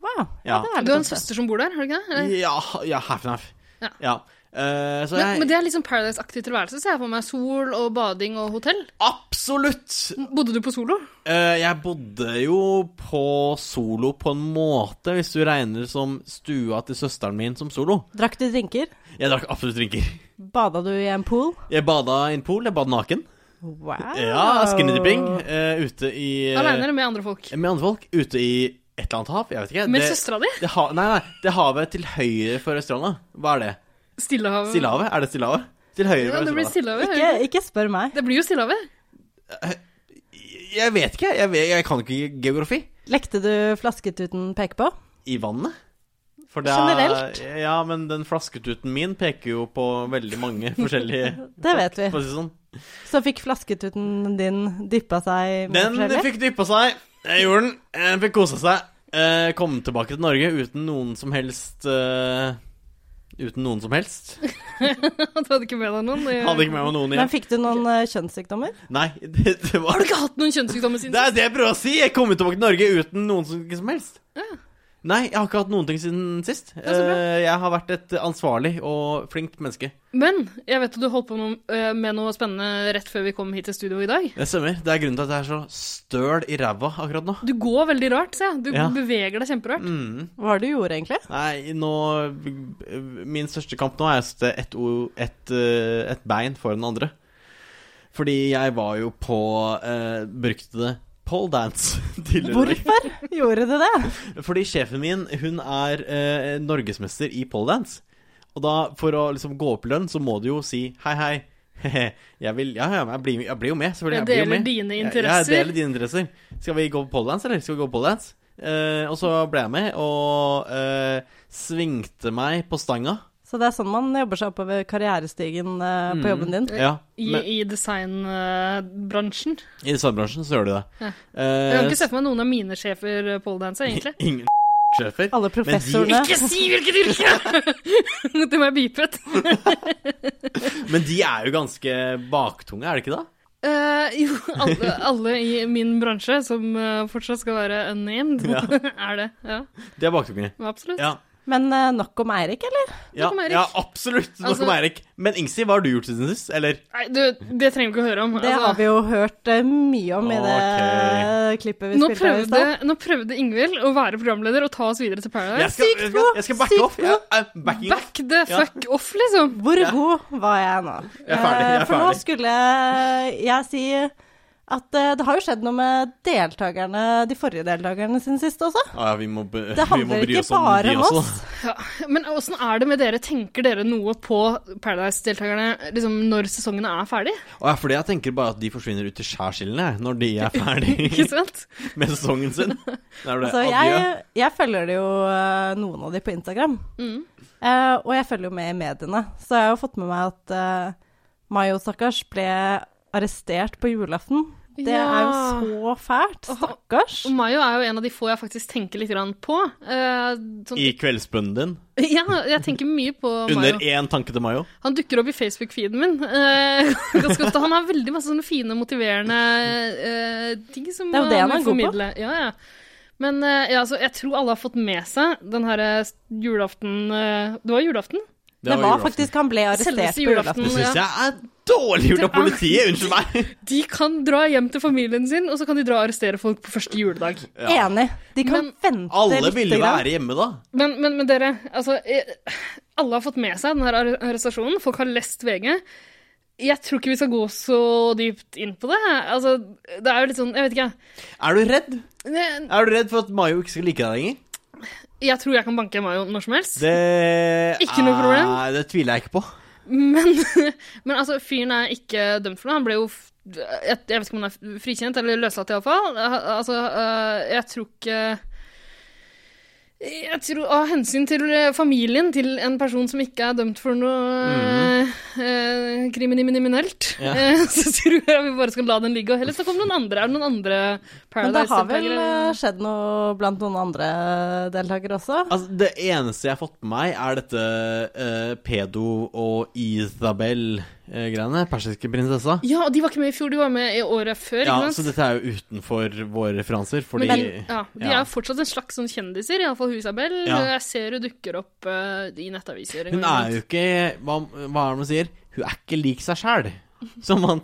Speaker 2: Wow.
Speaker 4: Ja.
Speaker 2: det er
Speaker 1: Du har en
Speaker 2: litt ofte.
Speaker 1: søster som bor der, har du ikke det? Eller?
Speaker 4: Ja, ja half and half.
Speaker 1: Ja.
Speaker 4: Eh, så jeg
Speaker 1: Men, men det er liksom Paradise-aktig tilværelse, ser jeg for meg. Sol og bading og hotell.
Speaker 4: Absolutt!
Speaker 1: Bodde du på Solo?
Speaker 4: Eh, jeg bodde jo på solo på en måte, hvis du regner som stua til søsteren min som solo.
Speaker 2: Drakk du drinker?
Speaker 4: Jeg drakk absolutt drinker.
Speaker 2: Bada du i en pool?
Speaker 4: Jeg bada i en pool, jeg bad naken.
Speaker 2: Wow.
Speaker 4: Ja, skinny dipping eh, ute i eh,
Speaker 1: Aleine eller med andre folk?
Speaker 4: Med andre folk ute i et eller annet hav. Jeg vet ikke.
Speaker 1: Med
Speaker 4: det,
Speaker 1: søstera di?
Speaker 4: det ha, nei, nei, det havet til høyre for Østlandet. Hva er det?
Speaker 1: Stillehavet.
Speaker 4: Stillehavet? Er det Stillehavet? Til høyre
Speaker 1: Ja,
Speaker 4: for
Speaker 1: det blir
Speaker 4: Østlandet.
Speaker 1: Stillehavet.
Speaker 2: Ikke, ikke spør meg.
Speaker 1: Det blir jo Stillehavet.
Speaker 4: Jeg vet ikke. Jeg, vet, jeg kan ikke geografi.
Speaker 2: Lekte du flasketuten peke på?
Speaker 4: I vannet? For
Speaker 2: Generelt?
Speaker 4: Ja, men den flasketuten min peker jo på veldig mange forskjellige
Speaker 2: Det vet vi.
Speaker 4: For å si det sånn.
Speaker 2: Så fikk flasketuten din dyppa seg i mye
Speaker 4: Den
Speaker 2: forskjellig?
Speaker 4: fikk dyppa seg. Jeg gjorde den. Jeg fikk kosa seg. Eh, Kom tilbake til Norge uten noen som helst eh, Uten noen som helst.
Speaker 1: Du hadde ikke med deg noen? Det-
Speaker 4: Hadde ikke med meg noen
Speaker 2: Men
Speaker 4: igjen.
Speaker 2: fikk du noen eh, kjønnssykdommer?
Speaker 4: Nei, det, det var
Speaker 1: Har du ikke hatt noen kjønnssykdommer siden
Speaker 4: Det er det jeg prøver å si! Jeg kom jo tilbake til Norge uten noen som, ikke som helst. Nei, jeg har ikke hatt noen ting siden sist.
Speaker 1: så bra.
Speaker 4: Eh, jeg har vært et ansvarlig og flinkt menneske.
Speaker 1: Men jeg vet at du holdt på noe, eh, med noe spennende rett før vi kom hit til studio i dag.
Speaker 4: Det stemmer. Det er grunnen til at jeg er så støl i ræva akkurat nå.
Speaker 1: Du går veldig rart, ser jeg. Du
Speaker 4: Ja.
Speaker 1: beveger deg kjemperart.
Speaker 4: Mm.
Speaker 2: Hva var det du gjorde, egentlig?
Speaker 4: Nei, nå Min største kamp nå er å sette ett o- ett, eh, ett bein foran den andre. Fordi jeg var jo på eh, Brukte det pole dance tidligere. i dag.
Speaker 2: Hvorfor gjorde du det?
Speaker 4: Fordi sjefen min, hun er eh, norgesmester i poledance. Og da, for å liksom gå opp i lønn, så må du jo si hei, hei. hehe, Jeg vil Ja, ja, men jeg blir, jeg blir jo med, selvfølgelig.
Speaker 1: Jeg
Speaker 4: blir jo
Speaker 1: deler
Speaker 4: med.
Speaker 1: dine
Speaker 4: Jeg-
Speaker 1: interesser.
Speaker 4: Jeg, deler dine interesser. Skal vi gå på poledance, eller? Skal vi gå på poledance? Eh, og så ble jeg med, og eh, svingte meg på stanga.
Speaker 2: Så det er sånn man jobber seg oppover karrierestigen eh, på jobben din.
Speaker 4: Mm. Ja,
Speaker 1: I,
Speaker 4: men,
Speaker 1: i designbransjen.
Speaker 4: I designbransjen så gjør du det.
Speaker 1: Ja.
Speaker 4: Eh,
Speaker 1: Jeg kan ikke se for meg noen av mine sjefer eh, poledancer, egentlig.
Speaker 4: Ingen sjefer.
Speaker 2: Alle professorene.
Speaker 1: Ikke si hvilket yrke! det må jeg beepe ut.
Speaker 4: Men de er jo ganske baktunge, er det ikke det?
Speaker 1: Eh, jo, alle, alle i min bransje, som eh, fortsatt skal være unnamed,
Speaker 4: Ja.
Speaker 1: er det. Ja,
Speaker 4: De er baktunge.
Speaker 1: absolutt.
Speaker 4: Ja.
Speaker 2: Men eh, nok om Eirik, eller?
Speaker 4: Ja,
Speaker 1: om Eirik.
Speaker 4: ja absolutt. Nok
Speaker 1: Altså-
Speaker 4: om Eirik. Men Ingsi, hva har du gjort siden sist? Eller
Speaker 1: Nei, du, det trenger vi ikke å høre om.
Speaker 2: Det
Speaker 1: altså.
Speaker 2: har vi jo hørt eh, mye om i det eh, klippet vi
Speaker 1: nå
Speaker 2: spilte her i
Speaker 1: prøvde,
Speaker 2: stad.
Speaker 1: nå prøvde Ingvild å være programleder og ta oss videre til
Speaker 4: jeg
Speaker 1: Paradise.
Speaker 4: skal,
Speaker 2: sykt
Speaker 4: jeg
Speaker 2: god,
Speaker 4: skal, jeg skal
Speaker 2: sykt
Speaker 4: backe off. Jeg er backing off.
Speaker 1: Back the
Speaker 4: Ja.
Speaker 1: fuck off, liksom.
Speaker 2: Hvor god var jeg nå?
Speaker 4: Jeg er ferdig, jeg er
Speaker 2: Eh, For nå
Speaker 4: ferdig.
Speaker 2: skulle jeg si at eh, det har jo skjedd noe med deltakerne, de forrige deltakerne sin sist også.
Speaker 4: Ah, ja, vi må, be-
Speaker 2: Det
Speaker 4: vi må
Speaker 2: handler
Speaker 4: bry
Speaker 2: ikke
Speaker 4: oss om
Speaker 2: bare
Speaker 4: de
Speaker 2: om
Speaker 4: også.
Speaker 2: oss.
Speaker 1: Men åssen er det med dere? Tenker dere noe på Paradise-deltakerne liksom, når sesongene er ferdig?
Speaker 4: Og jeg, fordi jeg tenker bare at de forsvinner ut til skjærsilden jeg, når de er
Speaker 1: Ikke
Speaker 4: ferdig
Speaker 1: sant?
Speaker 4: med sesongen sin. Da er det
Speaker 2: Altså,
Speaker 4: adjø.
Speaker 2: jeg, jeg følger jo eh, noen av de på Instagram,
Speaker 1: Mm.
Speaker 2: Eh, og jeg følger jo med i mediene. Så jeg har jo fått med meg at eh, Mayo Stakkars ble arrestert på julaften. Det er
Speaker 1: Ja.
Speaker 2: jo så fælt. Stakkars.
Speaker 1: Og Mayo er jo en av de få jeg faktisk tenker litt grann på. Eh, sånn,
Speaker 4: I kveldsbønnen din.
Speaker 1: ja, jeg tenker mye på
Speaker 4: Under
Speaker 1: Mayo.
Speaker 4: én tanke til Mayo.
Speaker 1: Han dukker opp i Facebook-feeden min eh, ganske ofte. Han har veldig masse sånne fine, motiverende eh, ting som
Speaker 2: Det er jo det han er god
Speaker 1: vil
Speaker 2: på.
Speaker 1: formidle. Ja, ja. Men eh, ja, altså, jeg tror alle har fått med seg den her eh, julaften eh, Det var julaften?
Speaker 2: Det var faktisk Han ble arrestert
Speaker 1: Selveste
Speaker 2: på
Speaker 1: julaften.
Speaker 2: julaften.
Speaker 4: Det syns jeg er dårlig gjort av politiet. Unnskyld meg.
Speaker 1: De kan dra hjem til familien sin, og så kan de dra og arrestere folk på første juledag.
Speaker 4: Ja.
Speaker 2: Enig. De kan
Speaker 1: Men
Speaker 2: vente
Speaker 4: Alle
Speaker 2: lite
Speaker 4: ville
Speaker 2: grann.
Speaker 4: være hjemme da.
Speaker 1: Men, men, men dere, altså eh, Alle har fått med seg den her arre- arrestasjonen. Folk har lest VG. Jeg tror ikke vi skal gå så dypt inn på det. Altså, det er jo litt sånn Jeg vet ikke,
Speaker 4: Er du redd?
Speaker 1: jeg.
Speaker 4: Er du redd for at Mayo ikke skal like deg lenger?
Speaker 1: Jeg tror jeg kan banke Mayo når som helst.
Speaker 4: Det
Speaker 1: Ikke noe problem.
Speaker 4: Nei, det tviler jeg ikke på.
Speaker 1: Men, men altså, fyren er ikke dømt for noe. Han ble jo f- Jeg, jeg vet ikke om han er f- frikjent eller løslatt, iallfall. Altså, øh, jeg tror ikke jeg tror Av hensyn til øh, familien til en person som ikke er dømt for noe øh, øh, kriminelt,
Speaker 4: Mhm. Ja.
Speaker 1: øh, så tror jeg vi bare skal la den ligge og heller snakke om noen andre. Er det noen andre
Speaker 2: Men det har vel eh,
Speaker 1: Paradise-deltakere?
Speaker 2: skjedd noe blant noen andre deltakere også?
Speaker 4: Altså, Det eneste jeg har fått med meg, er dette eh, pedo og Isabel-greiene. persiske prinsessa.
Speaker 1: Ja, og de var ikke med i fjor, de var med i året før.
Speaker 4: Ja,
Speaker 1: ikke sant?
Speaker 4: så dette er jo utenfor våre referanser, fordi
Speaker 1: Men, ja, de
Speaker 4: ja.
Speaker 1: er jo fortsatt en slags sånn kjendiser, iallfall hun Isabel.
Speaker 4: Ja.
Speaker 1: Jeg ser hun dukker opp eh, i nettaviser.
Speaker 4: Hun er jo ikke Hva, hva er det man sier? Hun er ikke lik seg sjæl. Som man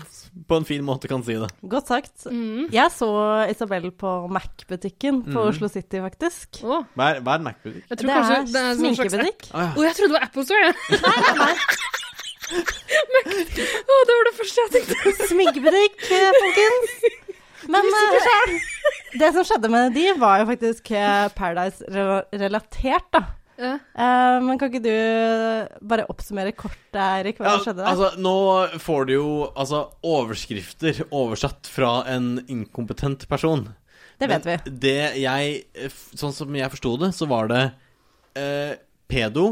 Speaker 4: på en fin måte kan si det.
Speaker 2: Godt sagt.
Speaker 1: Mm.
Speaker 2: Jeg så Isabel på Mac-butikken på
Speaker 4: Mm.
Speaker 2: Oslo City, faktisk.
Speaker 1: Å,
Speaker 4: Hva er, hva er en Mac-butikk?
Speaker 1: jeg tror
Speaker 2: Det
Speaker 1: kanskje
Speaker 2: er,
Speaker 1: det er en sånn slags app.
Speaker 2: sminkebutikk.
Speaker 4: Å
Speaker 1: Å, jeg trodde det var Apple Store, jeg. Men- Å, det var det første jeg tenkte.
Speaker 2: Sminkebutikk, eh, folkens! Men eh, det som skjedde med de, var jo faktisk eh, Paradise-relatert, da.
Speaker 1: Ja.
Speaker 2: Eh, men kan ikke du bare oppsummere kort, Eirik, hva
Speaker 4: Ja,
Speaker 2: som skjedde der?
Speaker 4: altså, nå får du jo altså, overskrifter oversatt fra en inkompetent person.
Speaker 2: det vet vi.
Speaker 4: Men Det jeg, sånn som jeg forsto det, så var det eh, Pedo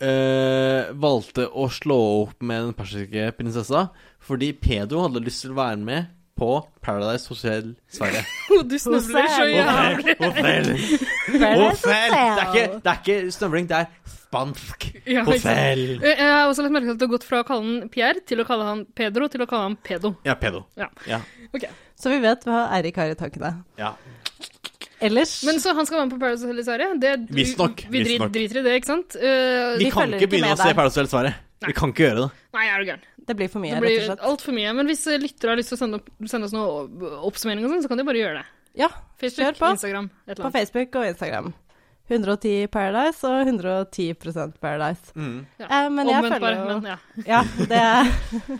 Speaker 4: eh, valgte å slå opp med den persiske prinsessa fordi Pedo hadde lyst til å være med på Paradise Hotel Sverige.
Speaker 1: Å, Du snøvler så
Speaker 2: Hotell.
Speaker 1: jævlig.
Speaker 4: Hotel, hotel,
Speaker 2: Paradise
Speaker 4: hotel. Det, er
Speaker 2: Hotel.
Speaker 4: ikke, det er ikke snøvling, det er spansk.
Speaker 1: Ja, ikke sant. Eh,
Speaker 4: Hotel.
Speaker 1: Jeg jeg har også lagt merke til at det har gått fra å kalle han Pierre til å kalle han Pedro til å kalle han Pedo.
Speaker 4: Ja, pedo.
Speaker 1: Ja.
Speaker 4: Ja.
Speaker 1: Ok.
Speaker 2: Så vi vet hva Eirik har i tankene.
Speaker 4: ja.
Speaker 2: Ellers
Speaker 1: Men så han skal være med på Paradise Hotel i Sverige? Det-
Speaker 4: Visstnok,
Speaker 1: Vi drit,
Speaker 4: visstnok.
Speaker 1: driter i det, ikke sant? Eh,
Speaker 4: Vi
Speaker 2: Vi
Speaker 4: kan
Speaker 2: følger
Speaker 4: ikke
Speaker 2: ikke
Speaker 4: begynne
Speaker 2: med
Speaker 4: å se
Speaker 2: der.
Speaker 4: Paradise Hotel Sverige. Vi kan ikke gjøre det.
Speaker 1: Nei, er du gæren.
Speaker 2: Det blir for mye,
Speaker 1: Det
Speaker 2: rett og
Speaker 1: blir
Speaker 2: slett.
Speaker 1: altfor mye. Men hvis eh, lyttere har lyst til å sende, opp, sende oss noe oppsummering og sånn, så kan de bare gjøre det.
Speaker 2: Ja,
Speaker 1: Facebook,
Speaker 2: Kjør på.
Speaker 1: Instagram, et eller
Speaker 2: på
Speaker 1: annet.
Speaker 2: Facebook og Instagram. 110 Paradise og 110 Paradise.
Speaker 4: Mm.
Speaker 1: Ja.
Speaker 2: Eh, men jeg
Speaker 1: Omvendt
Speaker 2: følger
Speaker 1: bare,
Speaker 2: jo
Speaker 1: men ja.
Speaker 2: Ja, det er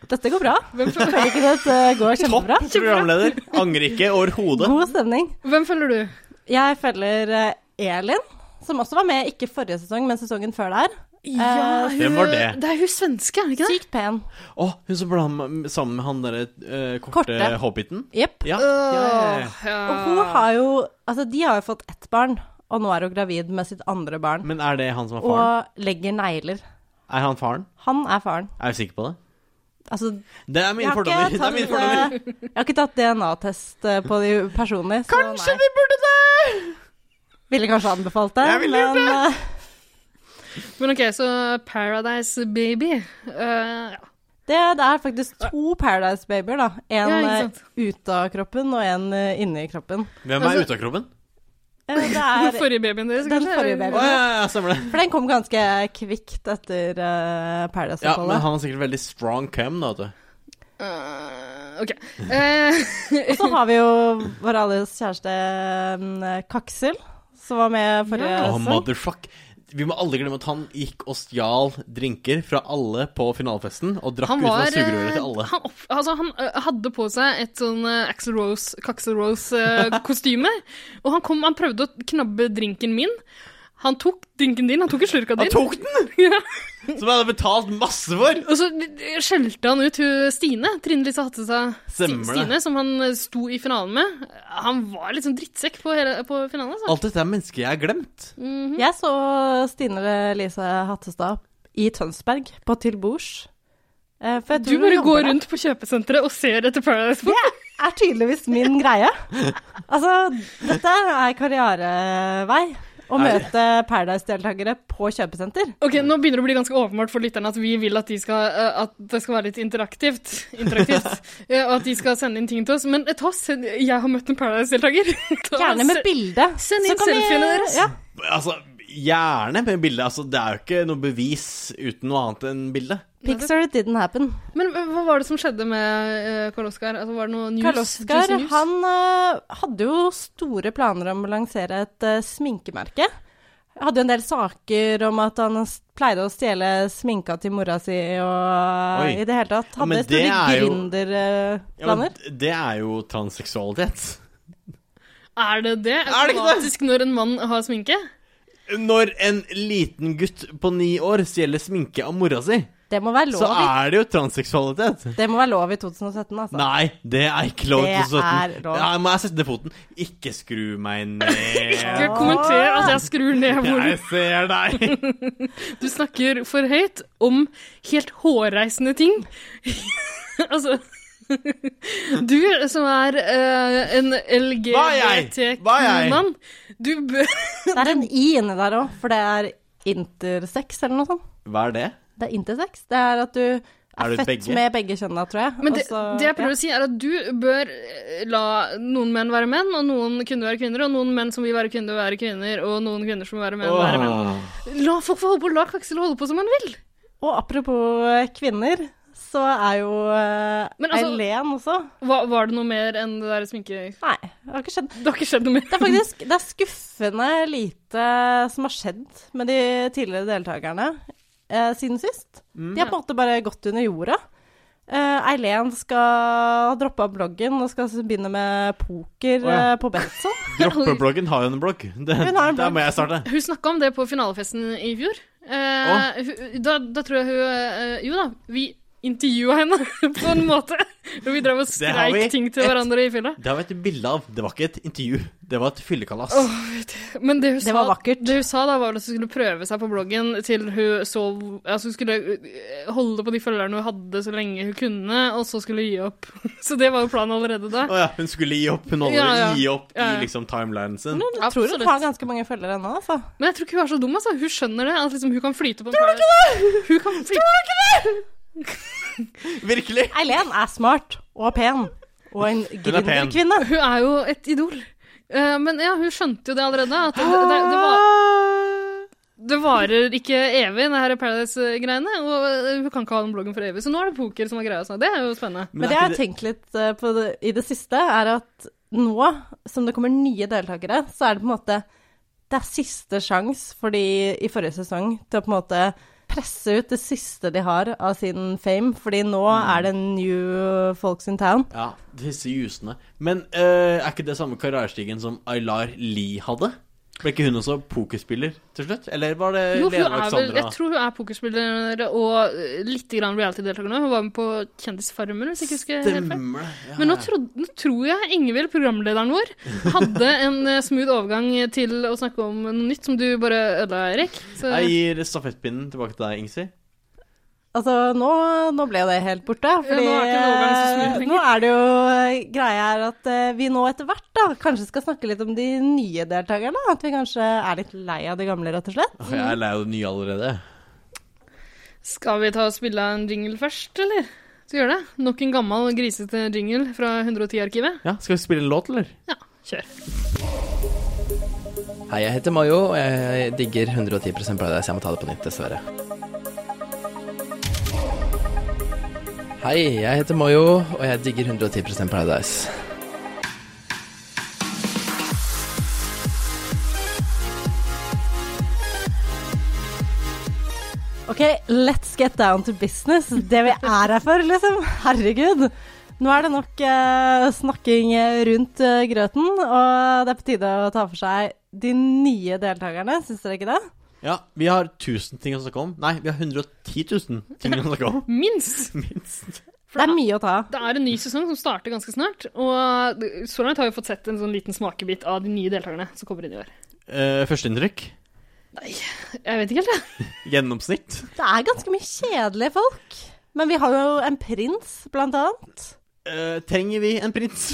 Speaker 2: Dette går bra.
Speaker 1: Hvem følger,
Speaker 2: Føler ikke dette går kjempebra?
Speaker 4: Topp programleder. Angrer ikke overhodet.
Speaker 2: God stemning.
Speaker 1: hvem følger du?
Speaker 2: Jeg følger eh, Elin, som også var med ikke forrige sesong, men sesongen før der. Eh,
Speaker 1: hun-
Speaker 4: Hvem var det?
Speaker 1: Det er hun svenske, er det ikke det?
Speaker 2: Sykt pen.
Speaker 4: Å, hun som ble ham- sammen med han derre eh, korte,
Speaker 2: Korte.
Speaker 4: hobbiten?
Speaker 2: Jepp.
Speaker 4: Ja.
Speaker 1: ja.
Speaker 2: Og hun har jo Altså, de har jo fått ett barn, og nå er hun gravid med sitt andre barn.
Speaker 4: Men er det han som er faren?
Speaker 2: Og legger negler.
Speaker 4: Er han faren?
Speaker 2: Han er faren.
Speaker 4: Er du sikker på det?
Speaker 2: Altså,
Speaker 4: Det er mine
Speaker 2: jeg har ikke
Speaker 4: fordommer. Det er
Speaker 2: tatt,
Speaker 4: mine fordommer.
Speaker 2: eh, Jeg har ikke tatt DNA-test eh, på de personlig. så nei.
Speaker 4: vi burde det!
Speaker 2: Ville kanskje anbefalt det.
Speaker 4: Jeg ville gjort
Speaker 2: men, eh,
Speaker 1: Men ok, så Paradise Baby. Eh, ja.
Speaker 2: Det, det er faktisk to Paradise Babyer, da. En
Speaker 1: Ja, ikke
Speaker 2: eh,
Speaker 1: sant.
Speaker 2: ute av kroppen og en eh, inni kroppen.
Speaker 4: Hvem er
Speaker 1: Altså-
Speaker 4: ute av kroppen?
Speaker 2: Eh, Det
Speaker 1: Den
Speaker 2: er,
Speaker 1: forrige babyen deres,
Speaker 2: Den
Speaker 1: kanskje?
Speaker 2: forrige
Speaker 1: eller?
Speaker 4: Å ja, ja, ja, stemmer det.
Speaker 2: for den kom ganske kvikt etter eh,
Speaker 4: Ja, men
Speaker 2: Paradise-oppholdet.
Speaker 4: han var sikkert veldig strong cam, da, vet du.
Speaker 1: Øh, OK. Eh,
Speaker 2: Og så har vi jo vår alles kjæreste mm, Kaksel, som var med forrige
Speaker 1: Ja.
Speaker 4: Å,
Speaker 2: sesong.
Speaker 4: motherfuck. Vi må aldri glemme at han gikk og stjal drinker fra alle på finalefesten, og drakk
Speaker 1: han
Speaker 4: ut fra
Speaker 1: var
Speaker 4: sugerøret
Speaker 1: eh,
Speaker 4: til alle.
Speaker 1: han, opp, altså, han eh, hadde på seg et sånn eh, Axl Rose, Caxel Rose-kostyme. og han kom Han prøvde å knabbe drinken min. Han tok drinken din, han tok en slurk av
Speaker 4: Han
Speaker 1: din.
Speaker 4: tok den!
Speaker 1: Ja.
Speaker 4: Som jeg hadde betalt masse for!
Speaker 1: Og så skjelte han ut hun Stine, Trine Lise Hattestad.
Speaker 4: Stemmer det.
Speaker 1: Stine, som han eh, sto i finalen med. Han var litt sånn drittsekk på, hele, på finalen. Altså.
Speaker 4: Alt dette er mennesker jeg har glemt.
Speaker 1: Mhm.
Speaker 2: Jeg så Stine Lise Hattestad i Tønsberg, på Til bords. Eh, for jeg
Speaker 1: Du
Speaker 2: tror hun
Speaker 1: bare
Speaker 2: jobber
Speaker 1: går
Speaker 2: der.
Speaker 1: rundt på kjøpesenteret og ser etter Paradise Hotel.
Speaker 2: er tydeligvis min greie. Altså, dette er karrierevei. Å
Speaker 4: Er det?
Speaker 2: møte Paradise-deltakere på kjøpesenter.
Speaker 1: Ok, Nå begynner det å bli ganske åpenbart for lytterne at vi vil at, de skal, eh, at det skal være litt interaktivt. interaktivt eh, og at de skal sende inn ting til oss. Men eh, ta oss, jeg har møtt en Paradise-deltaker. Ta og
Speaker 2: Gjerne med
Speaker 1: se-
Speaker 2: bilde.
Speaker 1: send
Speaker 2: Så
Speaker 1: inn
Speaker 2: kan vi-
Speaker 1: selfiene deres.
Speaker 2: Ja.
Speaker 4: Altså, gjerne med bilde. Altså, det er jo ikke noe bevis uten noe annet enn bilde.
Speaker 2: Pixar it didn't happen.
Speaker 1: Men eh, hva var det som skjedde med eh, Karl Oskar? Altså, var det noe news?
Speaker 2: Karl
Speaker 1: Juicy
Speaker 2: Oskar
Speaker 1: news?
Speaker 2: han eh, hadde jo store planer om å lansere et eh, sminkemerke. Hadde jo en del saker om at han s- pleide å stjele sminka til mora si og eh,
Speaker 4: Oi.
Speaker 2: i det hele tatt.
Speaker 4: Ja,
Speaker 2: Hadde
Speaker 4: men det
Speaker 2: store
Speaker 4: er jo- Ja, men
Speaker 2: gründerplaner.
Speaker 4: d- det er jo transseksualitet.
Speaker 1: Er det det?
Speaker 4: Er det ikke det?
Speaker 1: Automatisk når en mann har sminke?
Speaker 4: Når en liten gutt på ni år stjeler sminke av mora si,
Speaker 2: Det må være
Speaker 4: så
Speaker 2: lov i,
Speaker 4: er det jo transseksualitet.
Speaker 2: det må være lov i 2017, altså.
Speaker 4: Nei, det er ikke lov i
Speaker 2: Det
Speaker 4: 2017.
Speaker 2: er lov.
Speaker 4: Nei, må jeg sette ned foten? Ikke skru meg ned.
Speaker 1: Ikke kommenter at jeg skrur ned hvor
Speaker 4: Jeg ser deg.
Speaker 1: du snakker for høyt om helt hårreisende ting. altså Du som er eh, en
Speaker 4: Hva er jeg? Hva er jeg?
Speaker 1: LGBTQ-mann, du bør
Speaker 2: Det er en i inni der òg, for det er intersex eller noe sånt.
Speaker 4: Hva er det?
Speaker 2: Det er intersex. Det er at du er,
Speaker 4: Er du
Speaker 2: født
Speaker 4: begge?
Speaker 2: med begge kjønna, tror jeg.
Speaker 1: Men
Speaker 2: Og
Speaker 1: det,
Speaker 4: Altså,
Speaker 2: så-
Speaker 1: det jeg prøver å si, er at du bør eh, la noen menn være menn, og noen kvinner være kvinner, og noen menn som vil være kvinner, være kvinner, og noen kvinner som vil være menn, være menn.
Speaker 4: Åh.
Speaker 1: La folk få holde på, la Aksel holde på som han vil.
Speaker 2: ja. Og apropos eh, kvinner, så er jo eh,
Speaker 1: Men altså-
Speaker 2: Eileen også
Speaker 1: Hva, var det noe mer enn det der sminke...
Speaker 2: Nei, det har ikke skjedd.
Speaker 1: Det har ikke skjedd noe mer.
Speaker 2: Det er faktisk det er skuffende lite som har skjedd med de tidligere deltakerne eh, siden sist.
Speaker 4: Mm.
Speaker 2: De har på en måte bare gått under jorda. Eh, Eileen skal droppe av bloggen og skal begynne med poker
Speaker 4: Å, ja.
Speaker 2: eh, på Benson.
Speaker 4: Droppebloggen har jo en blogg. Det,
Speaker 2: Hun har en
Speaker 4: Der
Speaker 2: blogg.
Speaker 4: må jeg starte.
Speaker 1: Hun snakka om det på finalefesten i fjor. Eh, hun, da, da tror jeg hun eh, Jo da, vi intervjua henne på en måte. Og vi drev og
Speaker 4: Det har vi.
Speaker 1: skreik ting til
Speaker 4: Et-
Speaker 1: hverandre i fylla.
Speaker 4: Det har vi et bilde av. Det var ikke et intervju. Det var et fyllekalas.
Speaker 1: Men det hun,
Speaker 2: Det
Speaker 1: sa,
Speaker 2: var vakkert.
Speaker 1: det hun sa da, var at hun skulle prøve seg på bloggen til hun så Altså hun skulle eh, holde på de følgerne hun hadde så lenge hun kunne, og så skulle hun gi opp. Så det var jo planen allerede da.
Speaker 4: Å ja, hun skulle gi opp. Hun holder
Speaker 1: Ja, ja.
Speaker 4: gi opp
Speaker 1: Ja, ja.
Speaker 4: i liksom timelinen sin.
Speaker 2: Jeg tror hun
Speaker 1: Absolutt.
Speaker 2: har ganske mange følgere nå, altså.
Speaker 1: Men jeg tror ikke hun er så dum, altså. Hun skjønner det. At liksom hun kan flyte på Tror du ikke det?! Hun kan flyte.
Speaker 4: Virkelig!
Speaker 2: Eileen er smart og pen. Og en
Speaker 4: pen.
Speaker 2: gründerkvinne.
Speaker 1: Hun er jo et idol. Eh, men ja, hun skjønte jo det allerede. At det, det, det, var, det varer ikke evig, det her Paradise-greiene. Og eh, hun kan ikke ha den bloggen for evig. Så nå er det poker som er greia. Sånn. Det er jo spennende.
Speaker 2: Men det jeg har tenkt litt eh, på det, i det siste, er at nå som det kommer nye deltakere, så er det på en måte Det er siste sjanse for de i forrige sesong til å på en måte presse ut det siste de har av sin fame, fordi nå
Speaker 1: Mm.
Speaker 2: er det new folks in town.
Speaker 4: Ja, disse jusene. Men eh, er ikke det samme karrierestigen som Aylar Lie hadde? Ble ikke hun også pokerspiller til slutt? Eller var det
Speaker 1: Jo, hun
Speaker 4: Lene
Speaker 1: er vel,
Speaker 4: Eh, Alexandra?
Speaker 1: jeg tror hun er pokerspiller og eh, litt grann reality-deltaker nå. Hun var med på Kjendisfarmen, hvis jeg ikke husker helt feil.
Speaker 4: Stemmer det. Ja,
Speaker 1: Men nå,
Speaker 4: ja.
Speaker 1: trodde, nå tror jeg Ingvild, programlederen vår, hadde en eh, smooth overgang til å snakke om noe nytt som du bare ødela, Erik. Så
Speaker 4: Jeg gir stafettpinnen tilbake til deg, Ingsi.
Speaker 2: Altså, nå, nå ble jo det helt borte. Fordi
Speaker 1: nå er ikke overgangen så smooth
Speaker 2: eh,
Speaker 1: lenger.
Speaker 2: nå er det jo eh, greia her at eh, vi nå etter hvert da, kanskje skal snakke litt om de nye deltakerne. At vi kanskje er litt lei av de gamle, rett og slett.
Speaker 4: Åh, Jeg er lei av det nye allerede.
Speaker 1: Skal vi ta og spille en jingle først, eller? Så gjør det. Nok en gammel, grisete jingle fra 110-arkivet.
Speaker 4: Ja, Skal vi spille en låt, eller?
Speaker 1: Ja, kjør.
Speaker 6: Hei, jeg heter Mayo, og jeg digger 110 Paradise. Jeg må ta det på nytt, dessverre. Hei, jeg heter Mayo, og jeg digger 110 Paradise.
Speaker 2: Ok, let's get down to business. Det vi er her for, liksom. Herregud. Nå er det nok eh, snakking rundt eh, grøten, og det er på tide å ta for seg de nye deltakerne, syns dere ikke det?
Speaker 4: Ja, vi har 1000 ting å snakke om. Nei, vi har 110 000 ting å snakke om.
Speaker 1: Minst!
Speaker 4: Minst.
Speaker 2: Det er mye å ta.
Speaker 1: Det er en ny sesong som starter ganske snart, og så langt har vi fått sett en sånn liten smakebit av de nye deltakerne som kommer inn i år.
Speaker 4: Uh, Førsteinntrykk?
Speaker 1: Jeg vet ikke helt, jeg.
Speaker 4: Gjennomsnitt?
Speaker 2: Det er ganske mye kjedelige folk. Men vi har jo en prins, blant annet.
Speaker 4: Eh, trenger vi en prins?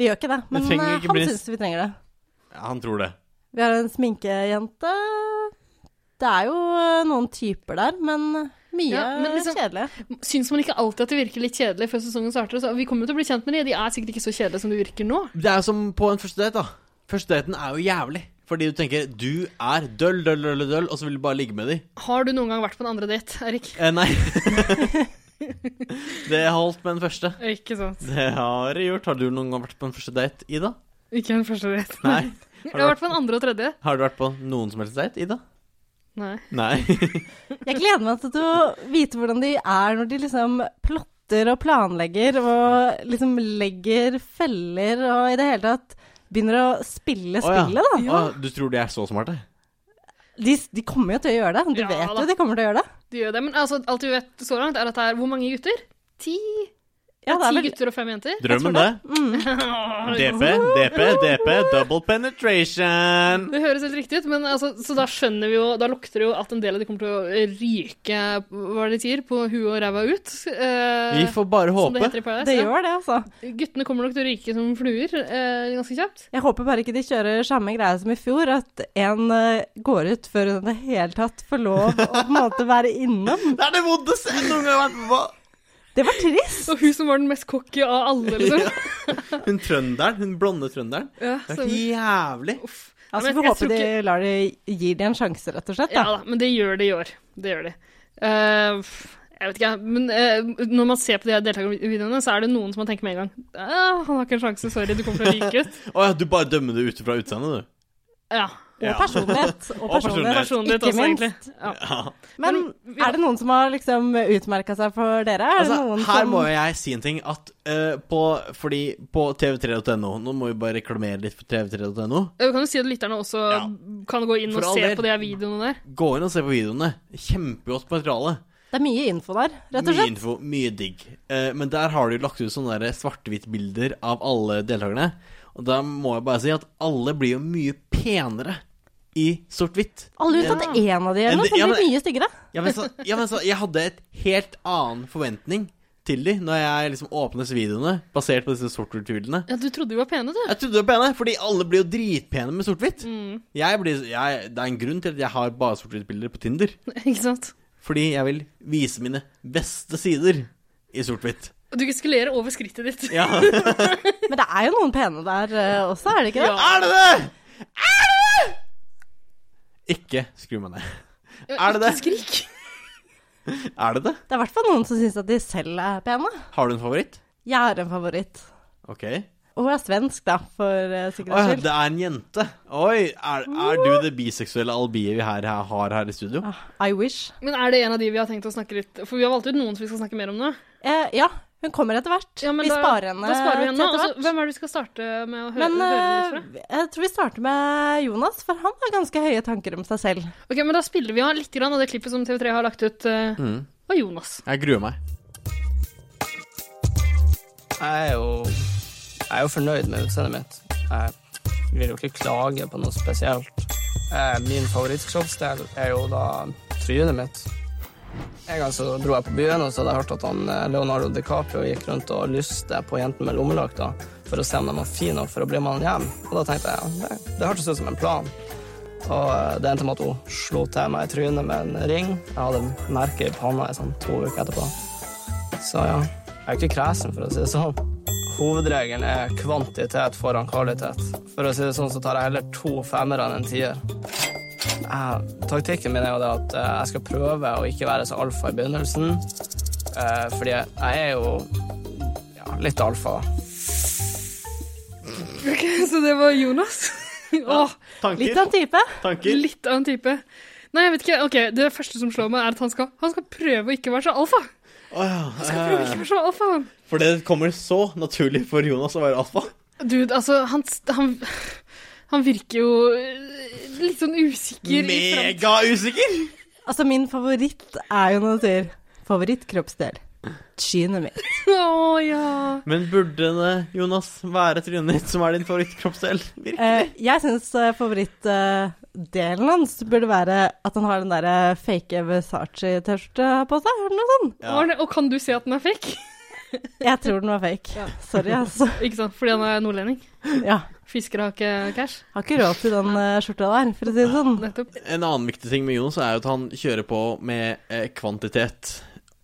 Speaker 2: Vi gjør ikke det, men
Speaker 4: trenger
Speaker 2: eh,
Speaker 4: ikke
Speaker 2: han
Speaker 4: prins.
Speaker 2: syns vi trenger det.
Speaker 4: Ja, han tror det.
Speaker 2: Vi har en sminkejente. Det er jo eh, noen typer der, men eh, mye
Speaker 1: Ja, men liksom-
Speaker 2: kjedelig.
Speaker 1: Syns man ikke alltid at det virker litt kjedelig før sesongen starter? Så vi kommer jo til å bli kjent med de, de er sikkert ikke så kjedelige som de virker nå.
Speaker 4: Det er jo som på en første date, da. Første daten er jo jævlig. Fordi du tenker du er døll, døll, døll, døll, og så vil du bare ligge med de.
Speaker 1: Har du noen gang vært på en andre date, Erik?
Speaker 4: Eh, nei. det holdt med den første.
Speaker 1: Ikke sant.
Speaker 4: Det har jeg gjort. Har du noen gang vært på en første date, Ida?
Speaker 1: Ikke en første date.
Speaker 4: Nei.
Speaker 1: Jeg har vært på en andre og tredje.
Speaker 4: Har du vært på noen som helst date, Ida?
Speaker 1: Nei.
Speaker 4: Nei.
Speaker 2: Jeg gleder meg til å vite hvordan de er når de liksom plotter og planlegger og liksom legger feller og i det hele tatt begynner å spille
Speaker 4: Å, ja.
Speaker 2: spillet, da.
Speaker 4: Å, du tror de er så smarte?
Speaker 2: De, de kommer jo til å gjøre det. Du
Speaker 1: Ja,
Speaker 2: vet
Speaker 1: da.
Speaker 2: jo de kommer til å gjøre det.
Speaker 1: De gjør det. Men altså, alt vi vet så langt, er at det er hvor mange gutter? Ti?
Speaker 2: Ja, det er
Speaker 1: Ti
Speaker 2: vel
Speaker 1: gutter og fem jenter?
Speaker 4: Drømmen, det.
Speaker 2: Mm.
Speaker 4: DP, DP, DP, double penetration.
Speaker 1: Det høres helt riktig ut, men altså, så da skjønner vi jo Da lukter det jo at en del av de kommer til å ryke, hva er det de sier, på huet og ræva ut. Eh,
Speaker 4: Vi får bare
Speaker 1: som det
Speaker 4: håpe.
Speaker 1: heter i Paradise.
Speaker 2: Det
Speaker 1: ja.
Speaker 2: gjør det, altså.
Speaker 1: Guttene kommer nok til å ryke som fluer eh, ganske kjapt.
Speaker 2: Jeg håper bare ikke de kjører samme greie som i fjor, at en eh, går ut før hun i det hele tatt får lov å på en måte være innom.
Speaker 4: Det er det vondeste jeg noen gang har vært med på!
Speaker 2: Det var trist.
Speaker 1: Og hun som var den mest cocky av alle, liksom.
Speaker 4: Hun trønderen, hun blonde trønderen.
Speaker 1: Ja,
Speaker 4: Det
Speaker 1: så-
Speaker 4: er jævlig.
Speaker 1: Uff.
Speaker 2: Altså,
Speaker 1: men
Speaker 2: vi får
Speaker 1: jeg
Speaker 2: håpe
Speaker 1: tror
Speaker 2: de lar de gir de en sjanse, rett og slett.
Speaker 1: Ja
Speaker 2: Da.
Speaker 1: da, men det gjør det i år. Det gjør de. Eh, pff, jeg vet ikke, jeg. men eh, når man ser på de her deltakervideoene, så er det noen som man tenker med en gang «Ah, Han har ikke en sjanse, sorry, du kommer til å ryke ut.
Speaker 4: Å ja, du bare dømmer det ut fra utseendet, du.
Speaker 1: Ja.
Speaker 4: Ja.
Speaker 2: Og personlighet. Og
Speaker 4: Og
Speaker 2: personlighet.
Speaker 1: Personen ditt
Speaker 2: Ikke
Speaker 1: også,
Speaker 2: minst.
Speaker 1: egentlig. Ja.
Speaker 4: Ja.
Speaker 2: Men
Speaker 1: Men vi-
Speaker 2: er det noen som har liksom utmerka seg for dere? Er det
Speaker 4: Altså,
Speaker 2: noen
Speaker 4: her
Speaker 2: som
Speaker 4: må jeg si en ting. At eh, på, fordi på tv3.no Nå må vi bare reklamere litt for tv3.no.
Speaker 1: Eh, Kan du si at lytterne også
Speaker 4: Ja.
Speaker 1: kan gå inn
Speaker 4: For
Speaker 1: og
Speaker 4: all
Speaker 1: se
Speaker 4: del.
Speaker 1: på de her videoene der?
Speaker 4: Gå inn og se på videoene. Kjempegodt materiale.
Speaker 2: Det er mye info der, rett og
Speaker 4: Mye
Speaker 2: slett.
Speaker 4: info, mye digg. Eh, men der har de jo lagt ut sånne der svart-hvitt-bilder av alle deltakerne. Og da må jeg bare si at alle blir jo mye penere i sort-hvitt. Eh,
Speaker 2: Alle unntatt én av de eller
Speaker 4: Men
Speaker 2: noe,
Speaker 4: det-
Speaker 2: som
Speaker 4: ja,
Speaker 2: blir
Speaker 4: men-
Speaker 2: mye styggere.
Speaker 4: Ja, men så, ja, men så Jeg hadde et helt annen forventning til de når jeg liksom åpnet disse videoene, basert på disse sort-hvitt-bildene.
Speaker 1: Ja, du trodde de var pene, du.
Speaker 4: Jeg trodde det var pene, fordi alle blir jo dritpene med sort-hvitt.
Speaker 1: Mm.
Speaker 4: Jeg blir- jeg- Det er en grunn til at jeg har bare sort-hvitt-bilder på Tinder.
Speaker 1: Ikke sant?
Speaker 4: Fordi jeg vil vise mine beste sider i sort-hvitt.
Speaker 1: Og Du gestikulerer over skrittet ditt.
Speaker 4: Ja.
Speaker 2: Men det er jo noen pene der eh, også, er det ikke det?
Speaker 4: Er det det?! Er det det?! Ikke skru meg ned. Er det det?
Speaker 1: Skrik.
Speaker 4: Er det det?
Speaker 2: Det er i hvert fall noen som syns at de selv er pene.
Speaker 4: Har du en favoritt?
Speaker 2: Jeg er en favoritt.
Speaker 4: Ok.
Speaker 2: Og hun er svensk, da, for uh,
Speaker 4: Å ja,
Speaker 2: sikkerhets skyld.
Speaker 4: det er en jente. Oi, er, er du det biseksuelle albiet vi her, her har her i studio?
Speaker 1: Ah,
Speaker 2: I wish.
Speaker 1: Men er det en av de vi har tenkt å snakke litt For vi har valgt ut noen som vi skal snakke mer om nå.
Speaker 2: Eh, ja, hun kommer etter hvert.
Speaker 1: Ja, men
Speaker 2: vi
Speaker 1: da-
Speaker 2: sparer henne
Speaker 1: Da sparer vi henne.
Speaker 2: til
Speaker 1: Altså,
Speaker 2: etter hvert.
Speaker 1: hvem er det vi skal starte med å høre,
Speaker 2: Men
Speaker 1: høre litt fra?
Speaker 2: eh, jeg tror vi starter med Jonas, for han har ganske høye tanker om seg selv.
Speaker 1: Ok, men Da spiller vi av litt grann av det klippet som TV3 har lagt ut eh,
Speaker 4: Mm.
Speaker 1: av Jonas.
Speaker 4: Jeg gruer meg.
Speaker 7: Jeg er jo, jeg er jo fornøyd med utseendet mitt. Jeg vil jo ikke klage på noe spesielt. Eh, Min favorittkroppsdel er jo da trynet mitt. En gang så dro jeg på byen og så hadde jeg hørt at han eh, Leonardo DiCaprio gikk rundt og lyste på jentene med lommelykk da, for å se om de var fine nok for å bli med han hjem. Og da tenkte jeg ja, det, det hørtes ut som en plan. Og eh, det endte med at hun slo til meg i trynet med en ring. Jeg hadde merke i panna i sånn to uker etterpå. Så ja, jeg er ikke kresen, for å si det sånn. Hovedregelen er kvantitet foran kvalitet. For å si det sånn, så tar jeg heller to femmere enn en tier. Jeg- Taktikken min er jo det at eh, jeg skal prøve å ikke være så alfa i begynnelsen. eh, Fordi jeg jeg er jo ja, litt alfa.
Speaker 1: Ok, så det var Jonas. Åh,
Speaker 2: Litt av
Speaker 4: Tanker?
Speaker 2: en type.
Speaker 4: Tanker?
Speaker 1: litt av en type. Nei, jeg vet ikke. Ok, Det første som slår meg, er at han skal, han skal prøve å ikke være så alfa.
Speaker 4: Å ja,
Speaker 1: Han skal prøve å
Speaker 4: eh,
Speaker 1: ikke
Speaker 2: sånn?
Speaker 1: være så alfa. han.
Speaker 4: For det kommer så naturlig for Jonas å være alfa.
Speaker 1: Dude, altså, han, han, han virker jo eh, litt sånn usikker i fremtiden.
Speaker 4: Mega usikker!
Speaker 2: Altså, min favoritt er jo når du sier favorittkroppsdel. Trynet mitt.
Speaker 1: Å ja.
Speaker 4: Men burde det, Jonas, være trynet ditt som er din favorittkroppsdel? Virkelig.
Speaker 2: Eh, jeg syns favorittdelen hans burde være at han har den der eh, fake Versace-T-skjorta på seg, eller noe sånt.
Speaker 4: Ja.
Speaker 1: Arne, og kan du se at den er fake?
Speaker 2: Jeg tror den var fake. Sorry, altså.
Speaker 1: Ikke sant, fordi han er nordlending.
Speaker 2: Ja.
Speaker 1: Fiskere har ikke cash.
Speaker 2: Har ikke råd til den eh, skjorta der, for å si det sånn.
Speaker 1: Nettopp.
Speaker 4: En annen viktig ting med Jonas er jo at han kjører på med eh, kvantitet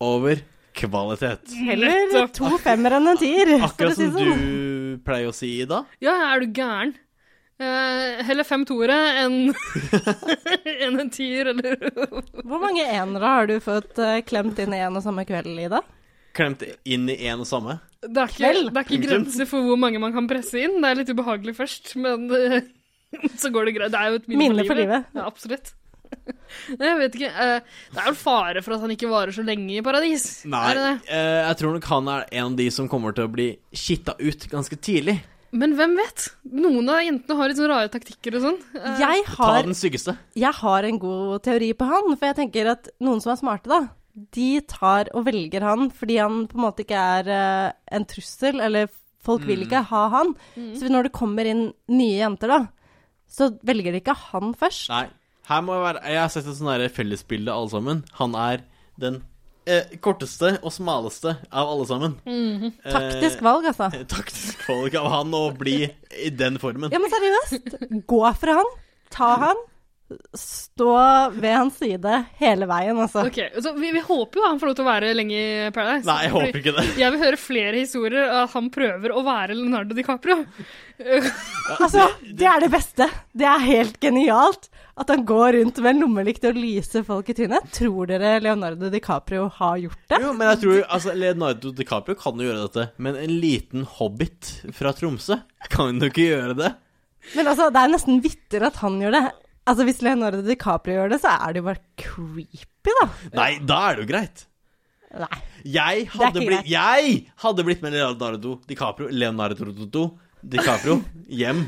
Speaker 4: over kvalitet.
Speaker 2: Heller to femmer enn en tier, for
Speaker 4: Akkurat
Speaker 2: å si
Speaker 4: som
Speaker 2: det sånn.
Speaker 4: du pleier å si, Ida.
Speaker 1: Ja, er du gæren? Eh, heller fem toere enn enn en tier, eller
Speaker 2: Hvor mange enere har du fått eh, klemt inn i en og samme kveld, Ida?
Speaker 4: Klemt inn i én og samme.
Speaker 1: Det er ikke,
Speaker 2: Vel.
Speaker 1: det er ikke grenser for hvor mange man kan presse inn. Det er litt ubehagelig først, men eh, så går det greit. Det er jo et minne,
Speaker 2: Minne for livet.
Speaker 1: Ja, absolutt. Nei, jeg vet ikke. eh, det er jo fare for at han ikke varer så lenge i paradis.
Speaker 4: Nei,
Speaker 1: Er det det?
Speaker 4: eh, jeg tror nok han er en av de som kommer til å bli skitta ut ganske tidlig.
Speaker 1: Men hvem vet? Noen av jentene har litt sånn rare taktikker og sånn. Eh,
Speaker 2: Jeg
Speaker 4: Ta
Speaker 2: har
Speaker 4: den styggeste.
Speaker 2: jeg har en god teori på han, for jeg tenker at noen som er smarte, da, de tar og velger han fordi han på en måte ikke er eh, en trussel, eller folk vil
Speaker 4: Mm.
Speaker 2: ikke ha han.
Speaker 1: Mm.
Speaker 2: Så når det kommer inn nye jenter, da, så velger de ikke han først.
Speaker 4: Nei. Her må jeg være Jeg har sett et sånn her fellesbilde, alle sammen. Han er den eh, korteste og smaleste av alle sammen.
Speaker 1: Mm.
Speaker 4: Eh,
Speaker 2: Taktisk valg, altså.
Speaker 4: Taktisk valg av han å bli i den formen.
Speaker 2: Ja, men seriøst. Gå for han. Ta han. Stå ved hans side hele veien, altså.
Speaker 1: Ok, så vi, vi håper jo han får lov til å være lenge i Paradise.
Speaker 4: Nei, jeg håper ikke det.
Speaker 1: Jeg vil høre flere historier av at han prøver å være Leonardo DiCaprio.
Speaker 2: Altså, det er det beste. Det er helt genialt at han går rundt med en lommelykt og lyser folk i trynet. Tror dere Leonardo DiCaprio har gjort det?
Speaker 4: Jo, men jeg tror altså, Leonardo DiCaprio kan jo gjøre dette, men en liten hobbit fra Tromsø kan jo ikke gjøre det.
Speaker 2: Men altså, det er nesten vittigere at han gjør det. Altså, hvis Leonardo DiCaprio gjør det, så er det jo bare creepy, da.
Speaker 4: Nei, da er det jo greit.
Speaker 2: Nei.
Speaker 4: Jeg hadde
Speaker 2: ikke
Speaker 4: blitt
Speaker 2: greit.
Speaker 4: Jeg hadde blitt med Leonardo DiCaprio Leonardo DiCaprio hjem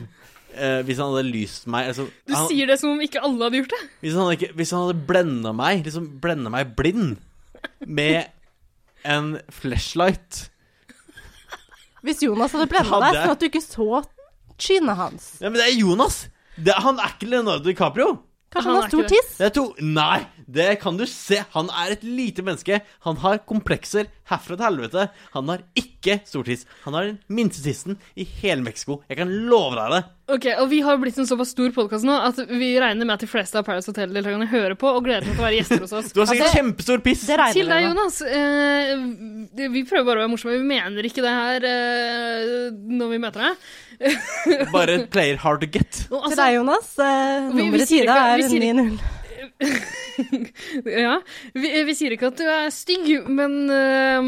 Speaker 4: eh, hvis han hadde lyst meg altså,
Speaker 1: Du
Speaker 4: han,
Speaker 1: sier det som om ikke alle hadde gjort det.
Speaker 4: hvis, han hadde ikke, hvis han hadde blenda meg, liksom blenda meg blind med en flashlight
Speaker 2: Hvis Jonas hadde blenda
Speaker 4: Hadde
Speaker 2: deg
Speaker 4: jeg-
Speaker 2: sånn at du ikke så trynet hans.
Speaker 4: Ja, men det er Jonas! Det, han er ikke Leonardo DiCaprio.
Speaker 2: Kanskje
Speaker 1: Han
Speaker 2: han
Speaker 1: er
Speaker 2: har stor
Speaker 1: ikke det.
Speaker 2: tiss?
Speaker 4: Det er to Nei, det kan du se. Han er et lite menneske. Han har komplekser herfra til helvete. Han har ikke stor tiss. Han har den minste tissen i hele Mexico. Jeg kan love deg det.
Speaker 1: Ok, Og vi har blitt en såpass stor podkast nå at vi regner med at de fleste av Paradise Hotel-deltakerne hører på og gleder seg til å være gjester hos oss.
Speaker 4: Du har sikkert
Speaker 2: Altså,
Speaker 4: kjempestor piss.
Speaker 2: Det regner
Speaker 1: Til deg,
Speaker 2: med.
Speaker 1: Jonas. Eh, vi prøver bare å være morsomme. Vi mener ikke det her eh, når vi møter deg.
Speaker 4: Bare player hard to get.
Speaker 1: Og
Speaker 2: Til
Speaker 1: altså,
Speaker 2: deg, Jonas. Eh,
Speaker 1: vi
Speaker 2: nummeret
Speaker 1: sier
Speaker 2: Sida er
Speaker 1: ikke- vi sier ikke-
Speaker 2: 90.
Speaker 1: Ja. Vi, vi sier ikke at du er stygg, men eh,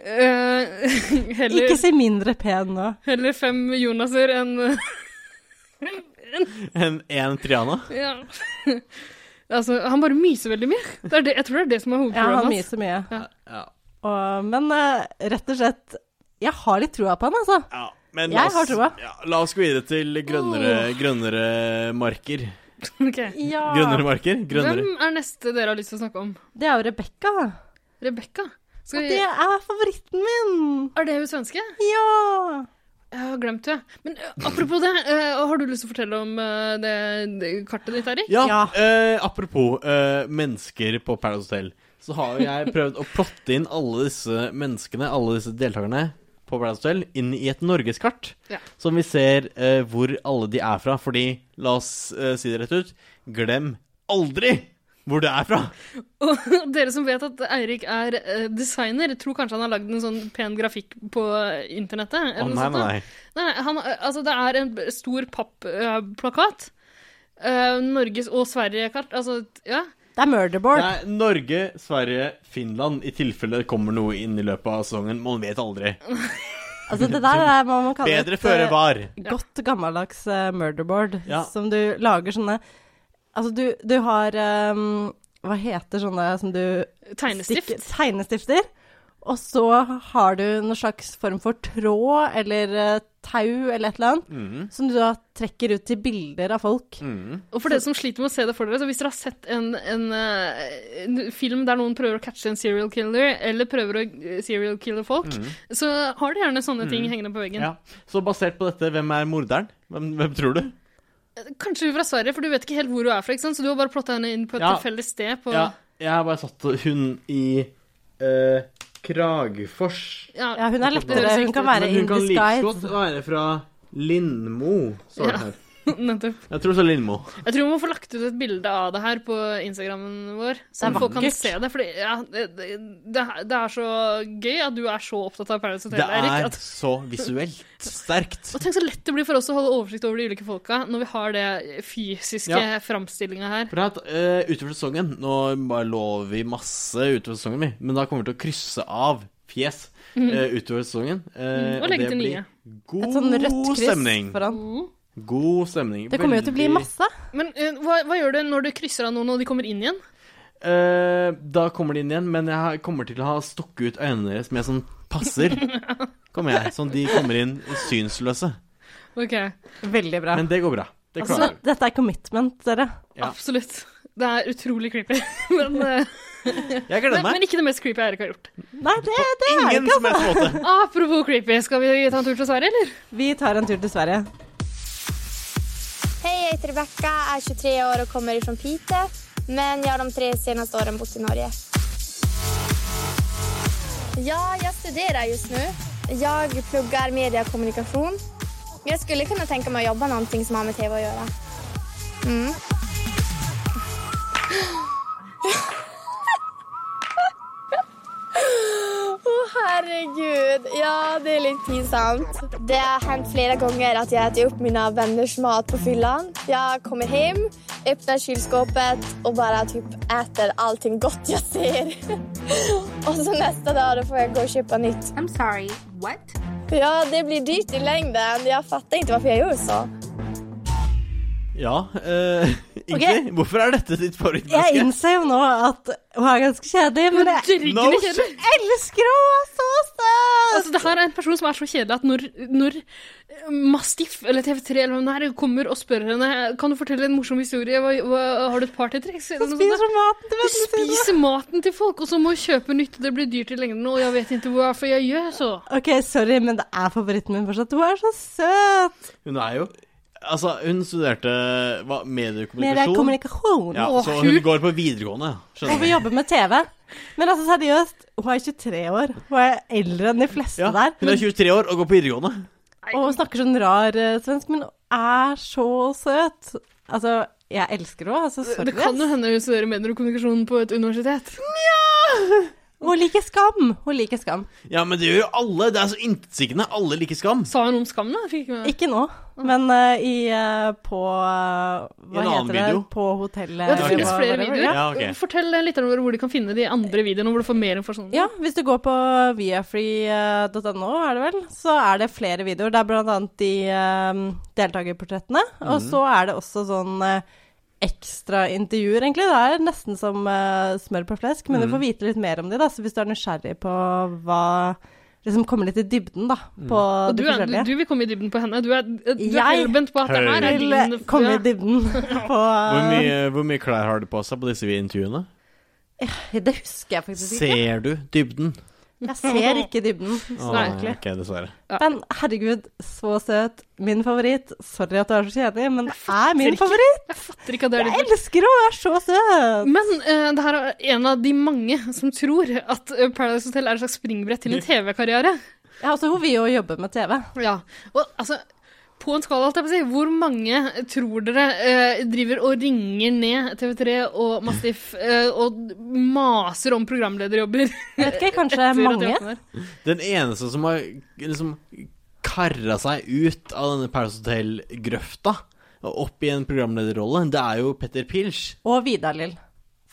Speaker 1: eh, heller,
Speaker 2: Ikke si mindre pen nå.
Speaker 1: heller fem Jonaser enn
Speaker 4: En, en Triana.
Speaker 1: ja. Altså, han bare myser veldig mye. Det er det, jeg tror det er det som er
Speaker 2: Ja, han
Speaker 1: hovedproblemet hans.
Speaker 2: myser mye.
Speaker 4: Ja.
Speaker 2: Og, men eh, rett og slett Jeg har litt trua på han, altså.
Speaker 4: ja. Men
Speaker 2: Jeg har troa.
Speaker 4: ja, la oss gå videre til grønnere, grønnere marker.
Speaker 1: Ok.
Speaker 2: Ja.
Speaker 4: Grønnere marker? Grønnere.
Speaker 1: Hvem er neste dere har lyst til å snakke om?
Speaker 2: Det er jo Rebekka.
Speaker 1: Rebekka? Skal
Speaker 2: Og
Speaker 1: vi-
Speaker 2: det er favoritten min.
Speaker 1: Er det hun svenske?
Speaker 2: Ja.
Speaker 1: Jeg har glemt henne. Men eh, apropos det, eh, har du lyst til å fortelle om eh, det, det kartet ditt, Erik?
Speaker 4: Ja,
Speaker 2: Ja.
Speaker 4: eh, apropos eh, mennesker på Paradise Hotel. Så har jo jeg prøvd å plotte inn alle disse menneskene, alle disse deltakerne på Paradise Hotel, inn i et norgeskart.
Speaker 1: Ja.
Speaker 4: Som vi ser eh, hvor alle de er fra. Fordi, la oss eh, si det rett ut, glem aldri hvor det er fra.
Speaker 1: Og dere som vet at Eirik er eh, designer, tror kanskje han har lagd en sånn pen grafikk på internettet. eller
Speaker 4: Å
Speaker 1: noe
Speaker 4: nei,
Speaker 1: sånt da.
Speaker 4: nei, nei.
Speaker 1: Nei, nei, han, altså det er en b- stor pappplakat. Norges og Sverige-kart. Altså, ja.
Speaker 2: Det er murderboard.
Speaker 4: Det er Norge, Sverige, Finland. I tilfelle det kommer noe inn i løpet av sesongen. Man vet aldri.
Speaker 2: Altså, det der er hva man kaller
Speaker 4: Bedre
Speaker 2: et,
Speaker 4: føre
Speaker 2: eh,
Speaker 4: var.
Speaker 2: godt gammeldags eh, murderboard,
Speaker 4: Ja.
Speaker 2: som du lager sånne Altså, du, du har ehm, Hva heter sånne som du
Speaker 1: Tegnestift.
Speaker 2: stikker- Tegnestifter. Og så har du noen slags form for tråd eller eh, tau eller et eller annet,
Speaker 4: Mhm.
Speaker 2: som du da trekker ut til bilder av folk.
Speaker 4: Mhm.
Speaker 1: Og for dere som sliter med å se det for dere, så hvis dere har sett en, en, eh, en film der noen prøver å catche en serial killer, eller prøver å eh, serial kille folk, så har de gjerne sånne ting hengende på veggen.
Speaker 4: Mm. Ja. Så basert på dette, hvem er morderen? Hvem, hvem tror du?
Speaker 1: Kanskje fra Sverige, for du vet ikke helt hvor du er fra, ikke sant? så du har bare plotta henne inn på et
Speaker 4: Ja.
Speaker 1: tilfeldig sted. På,
Speaker 4: Ja, jeg har bare satt hun i eh, Kragfors.
Speaker 1: Ja.
Speaker 2: Ja, hun er
Speaker 1: Det
Speaker 2: lettere.
Speaker 1: høres
Speaker 2: Hun
Speaker 1: riktig
Speaker 2: kan være
Speaker 4: Men hun
Speaker 2: in
Speaker 4: kan like godt
Speaker 2: disguise.
Speaker 4: være fra Lindmo, står det
Speaker 1: Ja.
Speaker 4: her.
Speaker 1: Nettopp.
Speaker 4: Jeg tror så Lindmo.
Speaker 1: Jeg tror vi må få lagt ut et bilde av det her på Instagrammen vår. Så
Speaker 2: Det er
Speaker 1: folk kan
Speaker 2: vakkert.
Speaker 1: se det. Fordi, ja, det, det, det er- det er så gøy at du er så opptatt av Paradise Hotel.
Speaker 4: Det
Speaker 1: Erik,
Speaker 4: er
Speaker 1: at,
Speaker 4: så visuelt sterkt.
Speaker 1: og tenk så lett det blir for oss å holde oversikt over de ulike folka når vi har det fysiske
Speaker 4: Ja.
Speaker 1: framstillinga her.
Speaker 4: For at, eh, utover sesongen Nå bare lover vi masse utover sesongen, vi, men da kommer vi til å krysse av fjes
Speaker 2: Mm.
Speaker 4: eh, utover sesongen. eh,
Speaker 1: Mm, og legge
Speaker 4: det
Speaker 1: til
Speaker 4: blir
Speaker 1: nye. Mm.
Speaker 4: God
Speaker 2: Et sånn rødt kryss
Speaker 4: stemning.
Speaker 2: foran.
Speaker 4: God stemning.
Speaker 2: Det kommer jo til å bli
Speaker 4: Veldig-
Speaker 2: masse.
Speaker 1: Men eh, hva, hva gjør du når du krysser av noen og de kommer inn igjen?
Speaker 4: Eh, da kommer de inn igjen, men jeg har- kommer til å ha stukket ut øynene deres med sånn passer. Kommer jeg, Sånn de kommer inn synsløse.
Speaker 1: Ok,
Speaker 2: Veldig bra.
Speaker 4: Men det går bra. Det
Speaker 2: Så
Speaker 1: Altså-
Speaker 4: klarer vi.
Speaker 2: dette er commitment, dere.
Speaker 4: Ja.
Speaker 1: Absolutt. Det er utrolig creepy. men, eh,
Speaker 4: Jeg
Speaker 1: men
Speaker 4: gleder meg.
Speaker 1: ikke det mest creepy Eirik har gjort.
Speaker 2: Nei, det, det er det
Speaker 4: Ingen
Speaker 2: ikke,
Speaker 4: som helst
Speaker 2: altså.
Speaker 4: måte.
Speaker 1: Apropos creepy, skal vi ta en tur til Sverige, eller?
Speaker 2: Vi tar en tur til Sverige.
Speaker 8: Hej, jag heter Rebecka, är 23 år och kommer ifrån Piteå. Men jag har de tre senaste åren bott i Norge. Ja, jag studerar just nu. Jag pluggar media och kommunikation. Jag skulle kunna tänka mig att jobba någonting som har med tv att göra. Mm. Åh herregud, ja det är lite pinsamt. Det har hänt flera gånger att jag äter upp mina vänners mat på fyllan. Jag kommer hem, öppnar kylskåpet och bara typ äter allting gott jag ser. och så nästa dag då får jag gå och köpa nytt.
Speaker 9: I'm sorry, what?
Speaker 8: Ja, det blir dyrt i längden. Jag fattar inte varför jag gör så.
Speaker 4: Ja, eh, Ingrid, hvorfor er dette ditt
Speaker 2: Jeg
Speaker 4: favorittmenneske?
Speaker 2: innser jo nå at hun er ganske kjedelig, men jeg
Speaker 1: Drikker
Speaker 4: No
Speaker 1: det ikke, eller?
Speaker 4: shit.
Speaker 2: elsker henne så søt!
Speaker 1: Altså, det her er en person som er så kjedelig at når, når eh, Mastiff eller TV3 eller hvem det er, kommer og spør henne Kan du fortelle en morsom historie, hva, hva, har du et partytriks? eller
Speaker 2: Hun
Speaker 1: noe sånt
Speaker 2: spiser maten til
Speaker 1: da? Hun
Speaker 2: vennene sine.
Speaker 1: spiser maten til folk, og så må hun kjøpe nytt, og det blir dyrt i lengden, og jeg vet ikke hvorfor jeg gjør så.
Speaker 2: Ok, sorry, men det er favoritten min fortsatt. Hun er så søt!
Speaker 4: Hun er jo Altså, hun studerte hva,
Speaker 2: Mer er
Speaker 4: mediekommunikasjon.
Speaker 2: kommunikasjon.
Speaker 4: Ja,
Speaker 1: Å,
Speaker 4: så
Speaker 1: kult.
Speaker 4: hun går på videregående.
Speaker 2: Og vi
Speaker 4: Skjønner du?
Speaker 2: jobber med TV. Men altså, seriøst, hun er 23 år. Hun er eldre enn de fleste
Speaker 4: Ja,
Speaker 2: der.
Speaker 4: hun er 23 år og går på videregående.
Speaker 2: Og hun snakker sånn rar eh, svensk, men hun er så søt. Altså, jeg elsker henne. Altså, sorry.
Speaker 1: Det kan jo hende hun studerer medier og kommunikasjon på et universitet.
Speaker 2: Hun liker skam. Hun liker skam.
Speaker 4: Ja, men det gjør jo alle. Det er så intetsigende. Alle liker skam.
Speaker 1: Sa hun om skam, da? Jeg Fikk ikke med meg.
Speaker 2: Ikke nå, men eh, i, eh, på eh,
Speaker 4: I en
Speaker 2: Hva
Speaker 4: annen
Speaker 2: heter det?
Speaker 4: video.
Speaker 2: På hotellet.
Speaker 1: Ja, det
Speaker 4: finnes
Speaker 2: eller hva-
Speaker 1: flere
Speaker 2: whatever.
Speaker 1: videoer. Eh,
Speaker 2: Ja.
Speaker 4: Ja, ok.
Speaker 1: Fortell lytterne våre hvor de kan finne de andre videoene hvor du får mer informasjon.
Speaker 2: ja, hvis du går på eh, viafree.no, er det vel, så er det flere videoer. Det er blant annet de eh, deltakerportrettene, og
Speaker 4: Mhm.
Speaker 2: så er det også sånn eh, ekstra intervjuer, egentlig. Det er nesten som eh, smør på flesk,
Speaker 4: Mhm.
Speaker 2: men du får vite litt mer om de, da, så hvis du er nysgjerrig på hva Liksom komme litt i dybden, da,
Speaker 4: Mm.
Speaker 2: på
Speaker 1: Og
Speaker 2: de
Speaker 1: du, er,
Speaker 2: forskjellige.
Speaker 1: du vil komme i dybden på henne. Du er, du er
Speaker 2: Jeg
Speaker 1: hellbent på at det her er
Speaker 2: vil
Speaker 1: din
Speaker 2: eh, komme
Speaker 1: Ja.
Speaker 2: i dybden på
Speaker 4: Hvor mye, hvor mye klær har du på seg på disse intervjuene?
Speaker 2: eh, Det husker jeg faktisk ikke.
Speaker 4: Ser du dybden?
Speaker 2: Jeg ser ikke dybden.
Speaker 4: Å,
Speaker 1: Nei.
Speaker 4: ok, dessverre.
Speaker 2: Men herregud, så søt. Min favoritt. Sorry at du er så kjedelig, men det er min
Speaker 1: ikke.
Speaker 2: favoritt.
Speaker 1: Jeg fatter ikke at det er
Speaker 2: Jeg
Speaker 1: din
Speaker 2: elsker henne, hun er så søt.
Speaker 1: Men eh, det her er en av de mange som tror at eh, Paradise Hotel er et slags springbrett til en TV-karriere.
Speaker 2: Ja, altså, hun vil jo jobbe med TV.
Speaker 1: Ja, og altså på en skala, holdt jeg på å si, hvor mange tror dere eh, driver og ringer ned TV3 og Mastiff eh, og maser om programlederjobber?
Speaker 2: Vet ikke, kanskje
Speaker 1: etter at de
Speaker 2: mange?
Speaker 1: åpner?
Speaker 4: Den eneste som har liksom karra seg ut av denne Paris Hotel-grøfta og opp i en programlederrolle, det er jo Petter Pilsch.
Speaker 2: Og Vidar-Lill,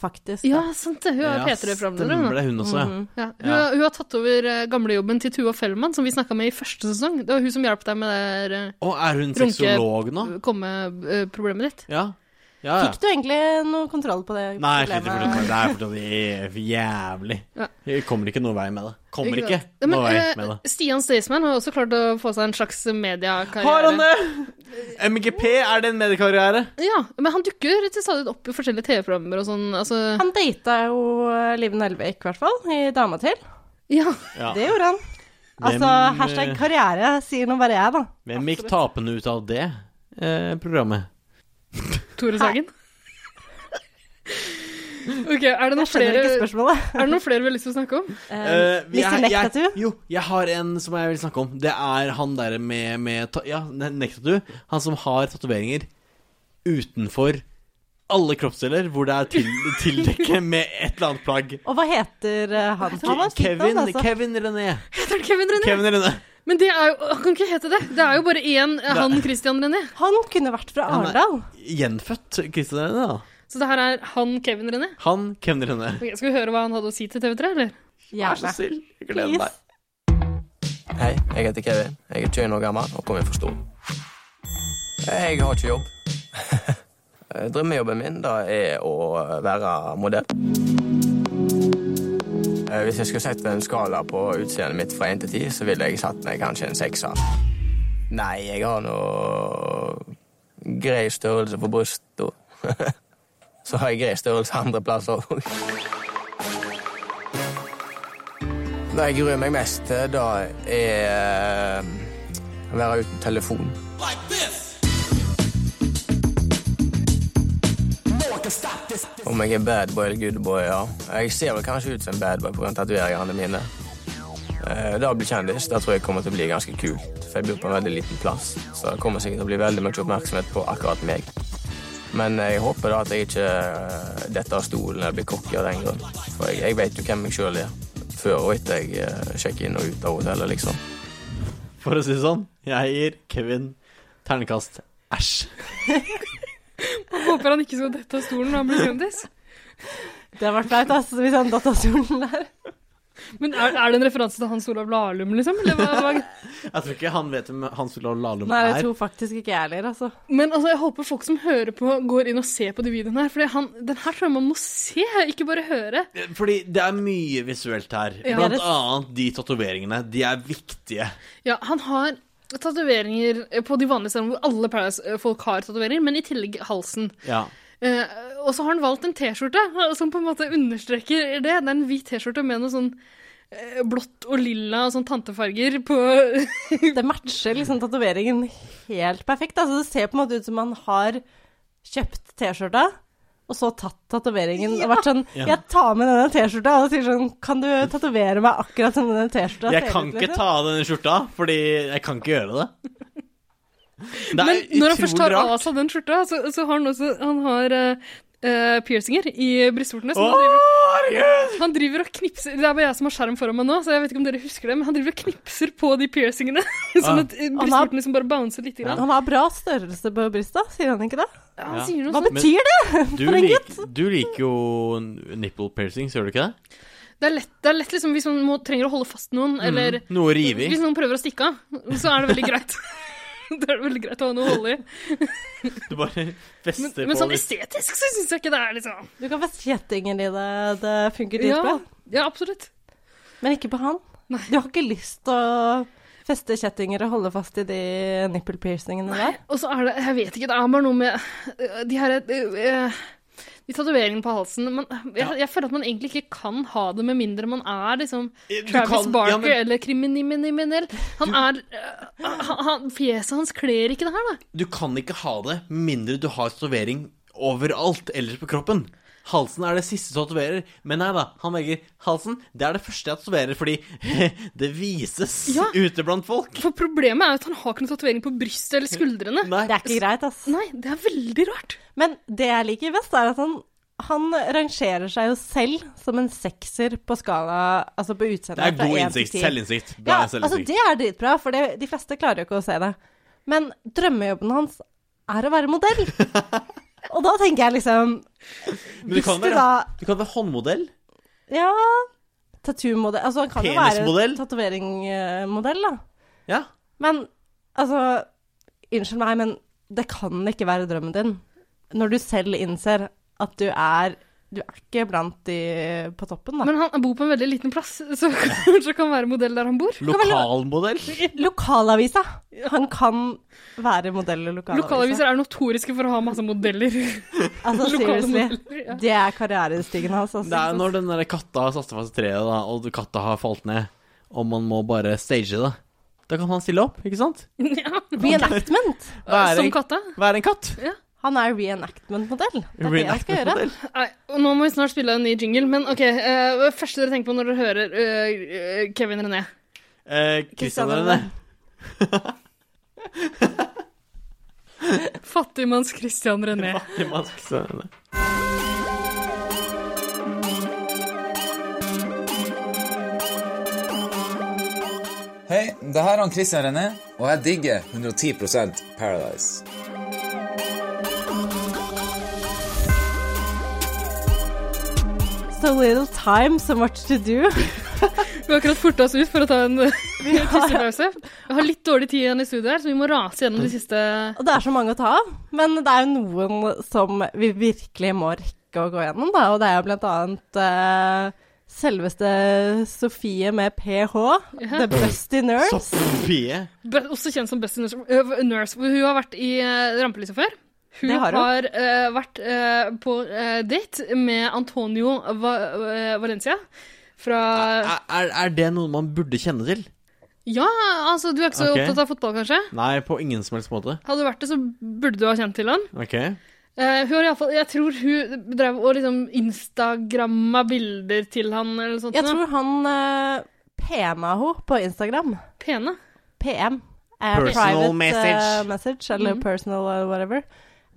Speaker 2: faktisk.
Speaker 1: Ja, sant det. Hun er
Speaker 4: Ja,
Speaker 1: P3-programleder.
Speaker 4: Stemmer
Speaker 1: hun da. Mm,
Speaker 4: det, hun også, ja.
Speaker 1: Ja, hun,
Speaker 4: Ja.
Speaker 1: har- hun har tatt over eh, gamlejobben til Tuva Fellmann, som vi snakka med i første sesong. Det var hun som hjalp deg med det der, eh,
Speaker 4: Og er hun
Speaker 1: Runke-
Speaker 4: sexolog nå?
Speaker 1: komme-problemet ditt.
Speaker 4: Ja. Ja, ja.
Speaker 2: Fikk du egentlig noe kontroll på det
Speaker 4: Nei, jeg sliter fortsatt med det. Det er fortsatt ev- jævlig.
Speaker 1: Ja.
Speaker 4: Jeg kommer ikke noe vei med det. Kommer
Speaker 1: Ikke
Speaker 4: ikke
Speaker 1: sant? Ja, men,
Speaker 4: noe vei
Speaker 1: eh,
Speaker 4: med det.
Speaker 1: Stian Staysman har også klart å få seg en slags mediekarriere.
Speaker 4: Har han det?! MGP, er det en mediekarriere?
Speaker 1: Ja, men han dukker til stadig opp i forskjellige TV-programmer og sånn. Altså,
Speaker 2: Han data jo eh, Live Nelvik, i hvert fall, i Dama til.
Speaker 1: ja.
Speaker 4: Ja.
Speaker 2: Det gjorde han. Altså,
Speaker 4: Hvem,
Speaker 2: hashtag
Speaker 4: eh,
Speaker 2: karriere sier nå bare jeg, da.
Speaker 4: Hvem gikk tapende ut av det eh, programmet?
Speaker 1: Tore Sagen. Ok, er det, noen
Speaker 2: Jeg skjønner
Speaker 1: flere,
Speaker 2: ikke spørsmålet.
Speaker 1: er det noen flere vi har lyst til å snakke om?
Speaker 4: Eh,
Speaker 2: Mr.
Speaker 4: jeg-
Speaker 2: Neck
Speaker 4: jeg-
Speaker 2: Tattoo?
Speaker 4: Jo, jeg har en som jeg vil snakke om. Det er han derre med, med ta- Ja, ne- Neck Tattoo. Han som har tatoveringer utenfor alle kroppsdeler hvor det er til, tildekket med et eller annet plagg.
Speaker 2: Og hva heter eh, han? Han var fint
Speaker 4: Kevin,
Speaker 2: navn, altså.
Speaker 4: Kevin René.
Speaker 1: Heter han Kevin René?
Speaker 4: Kevin René.
Speaker 1: Men det er jo, han kan ikke hete det. Det er jo bare én eh, han Christian René.
Speaker 2: Han kunne vært fra
Speaker 4: Han er-
Speaker 2: Arendal.
Speaker 4: Gjenfødt Christian René, da.
Speaker 1: Så det her er han Kevin René.
Speaker 4: Han Kevin René.
Speaker 1: Ok, skal vi høre hva han hadde å si til TV3, eller?
Speaker 4: Vær så
Speaker 2: Gjerne.
Speaker 4: snill. Jeg gleder meg.
Speaker 2: Please.
Speaker 7: Hei, jeg heter Kevin. Jeg er 21 år gammel og kommer fra Stord. Jeg har ikke jobb. Drømmejobben min da er å være modell. Eh, Hvis jeg skulle sette en skala på utseendet mitt fra 1 til 10, så ville jeg satt meg kanskje en sekser. Nei, jeg har noe grei størrelse på brystet. Så har jeg grei størrelse andre plasser òg. Det jeg gruer meg mest til, da er eh, å være uten telefon. Om jeg er bad boy eller good boy, ja. Jeg ser vel kanskje ut som en bad boy pga. tatoveringene mine. Eh, Det å bli kjendis det tror jeg kommer til å bli ganske kult, for jeg bor på en veldig liten plass. Så det kommer sikkert til å bli veldig mye oppmerksomhet på akkurat meg. Men jeg håper da at jeg ikke eh, detter av stolen eller blir cocky av den grunn. For jeg, jeg vet jo hvem jeg sjøl er, før og etter jeg eh, sjekker inn og ut av hotellet, liksom.
Speaker 4: For å si det sånn, jeg gir Kevin ternekast æsj.
Speaker 1: Jeg håper han ikke skal dette av stolen når han blir kjendis.
Speaker 2: Det hadde vært flaut altså, hvis han datt av stolen der.
Speaker 1: Men er, er det en referanse til Hans Olav Lahlum, liksom? Eller hva, hva?
Speaker 4: Jeg tror ikke han vet hvem Hans Olav Lahlum
Speaker 2: Nei, jeg
Speaker 4: er.
Speaker 2: tror faktisk ikke jeg heller, altså.
Speaker 1: Men altså, jeg håper folk som hører på, går inn og ser på de videoene her. For han, den her tror jeg man må se, ikke bare høre.
Speaker 4: Fordi det er mye visuelt her.
Speaker 1: Ja.
Speaker 4: Blant annet de tatoveringene. De er viktige.
Speaker 1: Ja, han har tatoveringer på de vanlige stedene hvor alle Paradise-folk har tatoveringer, men i tillegg halsen.
Speaker 4: Ja.
Speaker 1: Eh, og så har han valgt en T-skjorte eh, som på en måte understreker det. Det er en hvit T-skjorte med noe sånn eh, blått og lilla og sånn tantefarger på
Speaker 2: Det matcher liksom tatoveringen helt perfekt. Altså, det ser på en måte ut som man har kjøpt T-skjorta, og så tatt tatoveringen og vært sånn
Speaker 4: Ja.
Speaker 2: Jeg tar med denne T-skjorta, og sier sånn Kan du tatovere meg akkurat som denne T-skjorta
Speaker 4: Jeg
Speaker 2: ser
Speaker 4: kan
Speaker 2: ut,
Speaker 4: ikke
Speaker 2: liksom?»
Speaker 4: ta av denne skjorta, fordi jeg kan ikke gjøre det. Det
Speaker 1: Men når han først tar av
Speaker 4: rart.
Speaker 1: seg den skjorta, så, så har han også han har, eh, eh, piercinger i brystvortene.
Speaker 4: Å,
Speaker 1: som han driver-
Speaker 4: herregud!
Speaker 1: Han driver og knipser Det er bare jeg som har skjerm foran meg nå, så jeg vet ikke om dere husker det, men han driver og knipser på de piercingene.
Speaker 4: Ah.
Speaker 1: sånn at eh, brystvorten liksom bare bouncer litt. Grann.
Speaker 2: Han har bra størrelse på brystet, sier han ikke det?
Speaker 1: Ja, han
Speaker 4: Ja.
Speaker 1: sier noe
Speaker 2: Hva
Speaker 1: sånt.
Speaker 4: Men-
Speaker 2: betyr det?
Speaker 4: Du,
Speaker 2: For en
Speaker 4: lik, du liker jo nipple piercings, gjør du ikke det?
Speaker 1: Det er lett, det er lett liksom, hvis man må, trenger å holde fast noen, eller
Speaker 4: Mm, Noe å rive i.
Speaker 1: hvis noen prøver å stikke av, så er det veldig greit. Da er det veldig greit å ha noe å holde i.
Speaker 4: Du bare fester
Speaker 1: Men, men
Speaker 4: på
Speaker 1: sånn
Speaker 4: litt.
Speaker 1: estetisk så syns jeg ikke det er liksom
Speaker 2: Du kan feste kjettinger i det, det funker
Speaker 1: Ja,
Speaker 2: dritbra.
Speaker 1: ja absolutt.
Speaker 2: Men ikke på han. Du har ikke lyst til å feste kjettinger og holde fast i de nipple piercingene der.
Speaker 1: Og så er det Jeg vet ikke, det er bare noe med øh, de her øh, øh, De tatoveringene på halsen man, jeg, jeg føler at man egentlig ikke kan ha det med mindre man er liksom
Speaker 4: Eh, Du
Speaker 1: Travis
Speaker 4: kan-
Speaker 1: Barker
Speaker 4: ja, men-
Speaker 1: eller kriminell. Han er øh, han, han, Fjeset hans kler ikke det her, da.
Speaker 4: Du kan ikke ha det mindre du har tatovering overalt ellers på kroppen. Halsen er det siste som tatoverer. Men nei da, han velger halsen. Det er det første jeg tatoverer, fordi det vises
Speaker 1: Ja.
Speaker 4: ute blant folk.
Speaker 1: For problemet er jo at han har ikke noen tatovering på brystet eller skuldrene.
Speaker 4: Nei.
Speaker 2: Det er ikke greit, ass.
Speaker 1: Nei, det er veldig rart.
Speaker 2: Men det jeg liker best, er at han, han rangerer seg jo selv som en sekser på skala Altså på
Speaker 4: Det
Speaker 2: utseendet.
Speaker 4: er god innsikt. Selvinnsikt. Det
Speaker 2: Ja,
Speaker 4: er
Speaker 2: altså
Speaker 4: selvinnsikt.
Speaker 2: det er dritbra, for det, de fleste klarer jo ikke å se det. Men drømmejobben hans er å være modell. Og da tenker jeg liksom
Speaker 4: Men du
Speaker 2: Hvis
Speaker 4: kan
Speaker 2: du
Speaker 4: være,
Speaker 2: da
Speaker 4: du kan være håndmodell.
Speaker 2: Ja, tattoo-modell Altså, han kan jo
Speaker 4: Penismodell?
Speaker 2: være tatovering-modell, da.
Speaker 4: Ja.
Speaker 2: Men altså Unnskyld meg, men det kan ikke være drømmen din. Når du selv innser at du er Du er ikke blant de på toppen, da.
Speaker 1: Men han bor på en veldig liten plass, så kanskje kan være modell der han bor.
Speaker 4: Lokalmodell.
Speaker 2: lokalavisa! Han kan være modell i lokalavisa.
Speaker 1: Lokalaviser er notoriske for å ha masse modeller.
Speaker 2: Altså,
Speaker 1: Lokale
Speaker 2: seriously.
Speaker 1: modeller, ja.
Speaker 2: Det er karrierestigen hans. Altså.
Speaker 4: Det er når den der katta har satt seg fast i treet, da, og katta har falt ned, og man må bare stage det. Da kan han stille opp, ikke sant?
Speaker 1: Ja.
Speaker 2: Reenactment!
Speaker 4: Være,
Speaker 1: Som katta.
Speaker 4: være en katt.
Speaker 2: Han er reenactment-modell. Det er det han skal gjøre.
Speaker 4: Reenactment-modell.
Speaker 1: Nei, og nå må vi snart spille en ny jingle, men OK. eh, det første dere tenker på når dere hører eh, eh, Kevin René.
Speaker 4: Eh, Christian
Speaker 2: Christian
Speaker 4: René.
Speaker 1: Fattigmanns Christian René.
Speaker 4: Fattigmanns Christian René.
Speaker 9: Hei, det her er han Christian René, og jeg digger 110 Paradise.
Speaker 2: So little time, so much to do.
Speaker 1: Vi har akkurat forta oss ut for å ta en eh, tissepause. Vi har litt dårlig tid igjen i studio her, så vi må rase gjennom de siste
Speaker 2: Og det er så mange å ta av, men det er jo noen som vi virkelig må rekke å gå gjennom, da. Og det er jo blant annet eh, selveste Sofie med ph, The Busty Nurse.
Speaker 4: Soppie.
Speaker 1: Be- Også kjent som Best Nurse. øh, nurse. Hun har vært i eh, rampelyset før. Hun
Speaker 2: Det
Speaker 1: har,
Speaker 2: har hun.
Speaker 1: eh, vært eh, på eh, date med Antonio Va eh, Valencia fra
Speaker 4: Er, er, er det noe man burde kjenne til?
Speaker 1: Ja, altså, du er ikke så
Speaker 4: Ok.
Speaker 1: opptatt av fotball, kanskje?
Speaker 4: Nei, på ingen som helst måte.
Speaker 1: Hadde du vært det, så burde du ha kjent til han.
Speaker 4: Ok.
Speaker 1: Eh, hun har i alle fall, jeg tror hun drev og liksom instagramma bilder til han eller noe sånt.
Speaker 2: Jeg
Speaker 1: nå.
Speaker 2: tror han eh, PM-a henne på Instagram.
Speaker 1: Pene.
Speaker 2: PM. eh,
Speaker 4: Personal
Speaker 2: private, eh,
Speaker 4: message.
Speaker 2: message. Eller personal eh, whatever.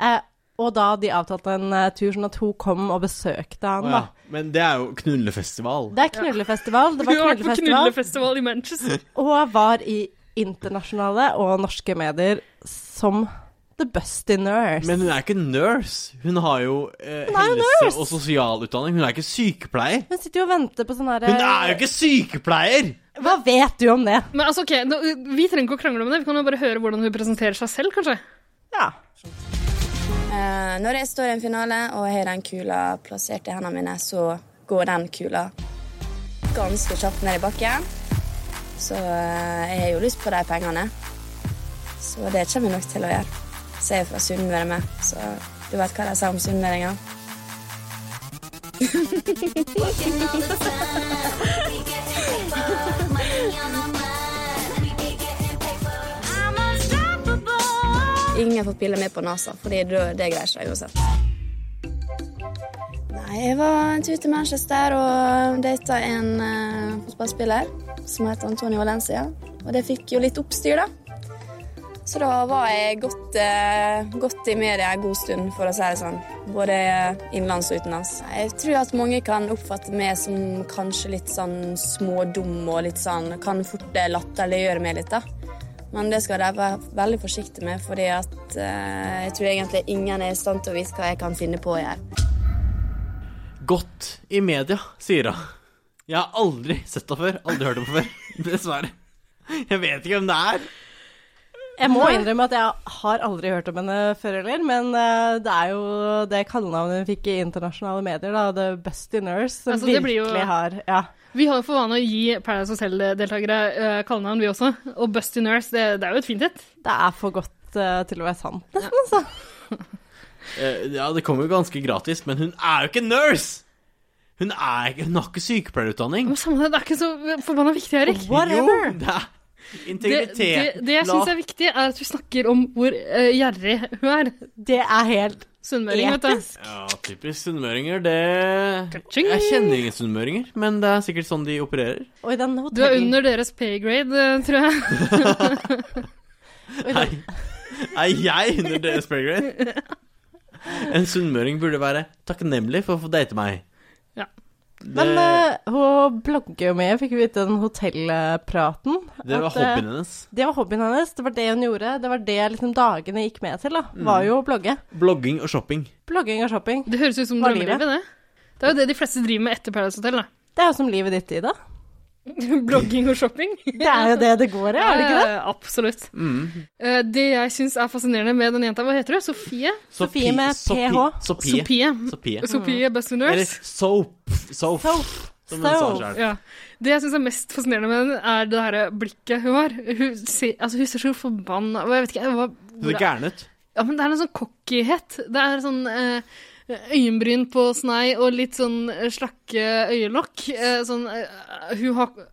Speaker 2: Eh, og da de avtalte en eh, tur sånn at hun kom og besøkte han,
Speaker 4: Å ja. Men det er jo knullefestival.
Speaker 2: da. Det er knullefestival. Det
Speaker 1: Hun
Speaker 2: var
Speaker 1: har vært på
Speaker 2: knullefestival.
Speaker 1: knullefestival i Manchester.
Speaker 2: Og var i internasjonale og norske medier som The Busty Nurse.
Speaker 4: Men hun er ikke nurse. Hun har jo eh,
Speaker 2: Hun er jo
Speaker 4: helse-
Speaker 2: nurse.
Speaker 4: og sosialutdanning. Hun er ikke sykepleier.
Speaker 2: hun sitter jo og venter på sånn herre
Speaker 4: Hun er jo ikke sykepleier!
Speaker 2: Hva vet du om det?
Speaker 1: Men altså, ok, nå, Vi trenger ikke å krangle om det, vi kan jo bare høre hvordan hun presenterer seg selv, kanskje.
Speaker 2: Ja.
Speaker 10: Eh, når jeg står i en finale og har den kula plassert i hendene mine, så går den kula ganske kjapt ned i bakken. Så eh, jeg har jo lyst på de pengene. Så det kommer jeg nok til å gjøre. Så jeg er fra Sunnmøre med, så du vet hva de sier om sunnmøringer. Ingen får pille med på nesa, for det, det greier seg uansett. Nei, jeg var en tur til Manchester og data en eh, fotballspiller som het Antonio Valencia. Og det fikk jo litt oppstyr, da. Så da var jeg godt, eh, godt i media en god stund, for å si det sånn. Både innenlands og utenlands. Jeg tror at mange kan oppfatte meg som kanskje litt sånn smådum og litt sånn Kan fort eh, latterliggjøre meg litt, da. Men det skal jeg være veldig forsiktig med, fordi at eh, jeg tror egentlig ingen er i stand til å vite hva jeg kan finne på å gjøre.
Speaker 4: Godt i media, sier hun. Jeg har aldri sett henne før. Aldri hørt henne før. Dessverre. Jeg vet ikke hvem det er.
Speaker 2: Jeg må innrømme at jeg har aldri hørt om henne før heller, men eh, det er jo det kallenavnet hun fikk i internasjonale medier, da. The Busty Nurse, som
Speaker 1: Altså, det blir
Speaker 2: virkelig
Speaker 1: jo-
Speaker 2: har Ja.
Speaker 1: Vi har jo for vane å gi Paradise Hotel-deltakere eh, kallenavn, vi også. Og Busty Nurse, det, det er jo et fint et.
Speaker 2: Det er for godt eh, til å være sant, nesten, altså.
Speaker 4: Eh, ja, det kommer jo ganske gratis, men hun er jo ikke nurse! Hun, er ikke, hun har ikke sykepleierutdanning.
Speaker 1: Men samme det, det er ikke så forbanna viktig, Erik.
Speaker 2: Whatever.
Speaker 4: Jo, det er
Speaker 1: Det,
Speaker 4: integritet.
Speaker 1: det, det jeg syns er viktig, er at vi snakker om hvor eh, gjerrig hun er.
Speaker 2: Det er helt
Speaker 1: Sunnmøring, vet du.
Speaker 4: Ja, typisk sunnmøringer. Det Jeg kjenner ingen sunnmøringer, men det er sikkert sånn de opererer.
Speaker 2: Oi, den
Speaker 1: Du er under deres paygrade, eh, tror jeg.
Speaker 4: Nei. Er jeg under deres playgrade? En sunnmøring burde være takknemlig for å få date meg.
Speaker 1: Ja.
Speaker 4: Det,
Speaker 2: Men eh, hun blogger jo med, fikk vi vite den hotellpraten.
Speaker 4: det var
Speaker 2: at, eh,
Speaker 4: hobbyen hennes.
Speaker 2: Det var hobbyen hennes, det var det hun gjorde. Det var det liksom dagene gikk med til, da.
Speaker 4: Mm.
Speaker 2: Var jo å blogge.
Speaker 4: Blogging og shopping.
Speaker 2: Blogging og shopping.
Speaker 1: Det høres ut som
Speaker 2: Var
Speaker 1: drømmelivet, det. Det er jo det de fleste driver med etter Paradise Hotel, da.
Speaker 2: Det er jo som livet ditt, Ida.
Speaker 1: Blogging og shopping.
Speaker 2: Det er jo det det går i, er det ikke det?
Speaker 1: Eh, Absolutt.
Speaker 4: Mm.
Speaker 1: Eh, Det jeg syns er fascinerende med den jenta, hva heter hun? Sofie?
Speaker 2: Sofie med
Speaker 4: Sopi-
Speaker 2: PH.
Speaker 4: Sopie.
Speaker 1: Sofie.
Speaker 4: Sopie.
Speaker 1: Sofie Best in
Speaker 4: Eller
Speaker 1: Nurse.
Speaker 4: soap. Soap. Som hun sa
Speaker 2: Soap.
Speaker 4: selv.
Speaker 1: Ja. Det jeg syns er mest fascinerende med henne, er det her blikket hun har. Hun ser, altså, hun ser så forbanna og Jeg vet ikke hva
Speaker 4: Hun ser
Speaker 1: hvor-
Speaker 4: gæren ut.
Speaker 1: Ja, men det er en sånn cockyhet. Det er sånn eh, øyenbryn på snei og litt sånn eh, slakke øyelokk. Eh, sånn eh, Hun har eh,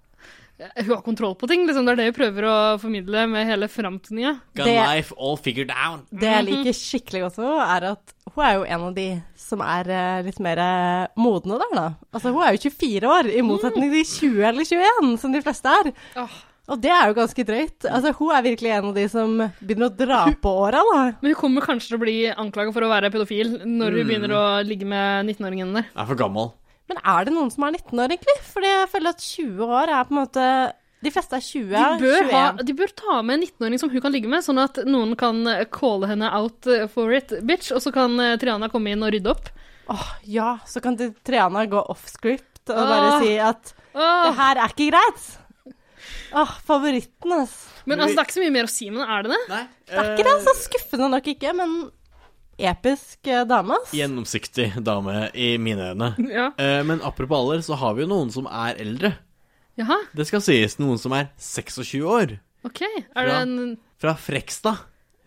Speaker 1: hun har kontroll på ting, liksom. Det er det hun prøver å formidle med hele framtida.
Speaker 4: Got
Speaker 2: Det-
Speaker 4: life all figured down.
Speaker 2: Det jeg liker skikkelig godt med henne, er at hun er jo en av de som er eh, litt mer eh, modne der, da. Altså, hun er jo 24 år, i motsetning til 20 eller 21, som de fleste er. Og det er jo ganske drøyt. Altså, hun er virkelig en av de som begynner å dra på åra, da.
Speaker 1: Men hun kommer kanskje til å bli anklaga for å være pedofil når hun
Speaker 4: Mm.
Speaker 1: begynner å ligge med 19-åringen der.
Speaker 4: Er for gammel.
Speaker 2: Men er det noen som er 19 år, egentlig? Fordi jeg føler at 20 år er på en måte De fleste er 20,
Speaker 1: De bør,
Speaker 2: 21.
Speaker 1: ha, de bør ta med en 19-åring som hun kan ligge med, sånn at noen kan eh, calle henne out eh, for it, bitch, og så kan eh, Triana komme inn og rydde opp.
Speaker 2: Ja, så kan de- Triana gå off-script og
Speaker 1: Åh.
Speaker 2: bare si at det
Speaker 1: Åh,
Speaker 2: her er ikke greit. Åh, favoritten, altså.
Speaker 1: men altså, det er ikke så mye mer å si med henne, er det det?
Speaker 4: Nei.
Speaker 2: Det er ikke det, så skuffende nok ikke, men episk eh, dame, ass.
Speaker 4: Gjennomsiktig dame i mine øyne.
Speaker 1: Ja.
Speaker 4: Eh, Men apropos alder, så har vi jo noen som er eldre.
Speaker 1: Jaha,
Speaker 4: Det skal sies noen som er 26 år.
Speaker 1: ok. Er det
Speaker 4: Ja.
Speaker 1: en
Speaker 4: Fra Frekstad.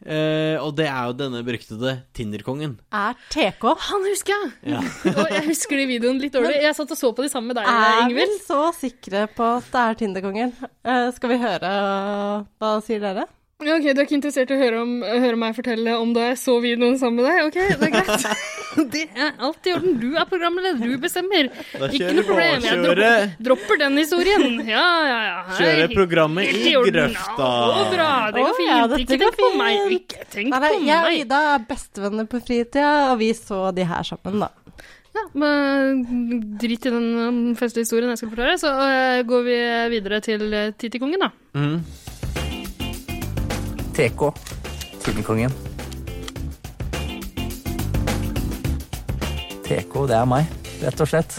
Speaker 4: Eh, og det er jo denne beryktede Tinderkongen.
Speaker 2: Er TK
Speaker 1: Han husker jeg!
Speaker 4: Ja.
Speaker 1: Og jeg husker de videoen litt dårlig. Jeg satt og så på de sammen med deg,
Speaker 2: Er vi
Speaker 1: Ingvild.
Speaker 2: så sikre på at det er Tinderkongen? Eh, skal vi høre eh, Hva sier dere?
Speaker 1: Ja, ok, Du er ikke interessert i å høre, om, høre meg fortelle om da jeg så videoen sammen med deg? Ok, det er greit. Det er alt i orden. Du er programleder, du bestemmer.
Speaker 4: Da
Speaker 1: Ikke
Speaker 4: kjører
Speaker 1: noe problem. Jeg dropper,
Speaker 4: Kjøre,
Speaker 1: dropper den historien. Ja, ja, ja.
Speaker 4: kjøre programmet
Speaker 1: Helt
Speaker 4: i
Speaker 1: orden.
Speaker 4: grøfta.
Speaker 1: Å, bra. Det går
Speaker 2: Å, ja,
Speaker 1: fint.
Speaker 2: dette
Speaker 1: Ikke
Speaker 2: går
Speaker 1: tenk på
Speaker 2: fint.
Speaker 1: meg. Ikke tenk
Speaker 2: Nei, nei,
Speaker 1: på
Speaker 2: jeg og
Speaker 1: meg.
Speaker 2: Ida er bestevenner på fritida, og vi så de her sammen, da.
Speaker 1: Ja, men Drit i den um, festlige historien jeg skulle fortelle, så øh, går vi videre til øh, Titikongen, da.
Speaker 4: Mm.
Speaker 11: TK. Tidligkongen. TK, det er meg, rett og slett.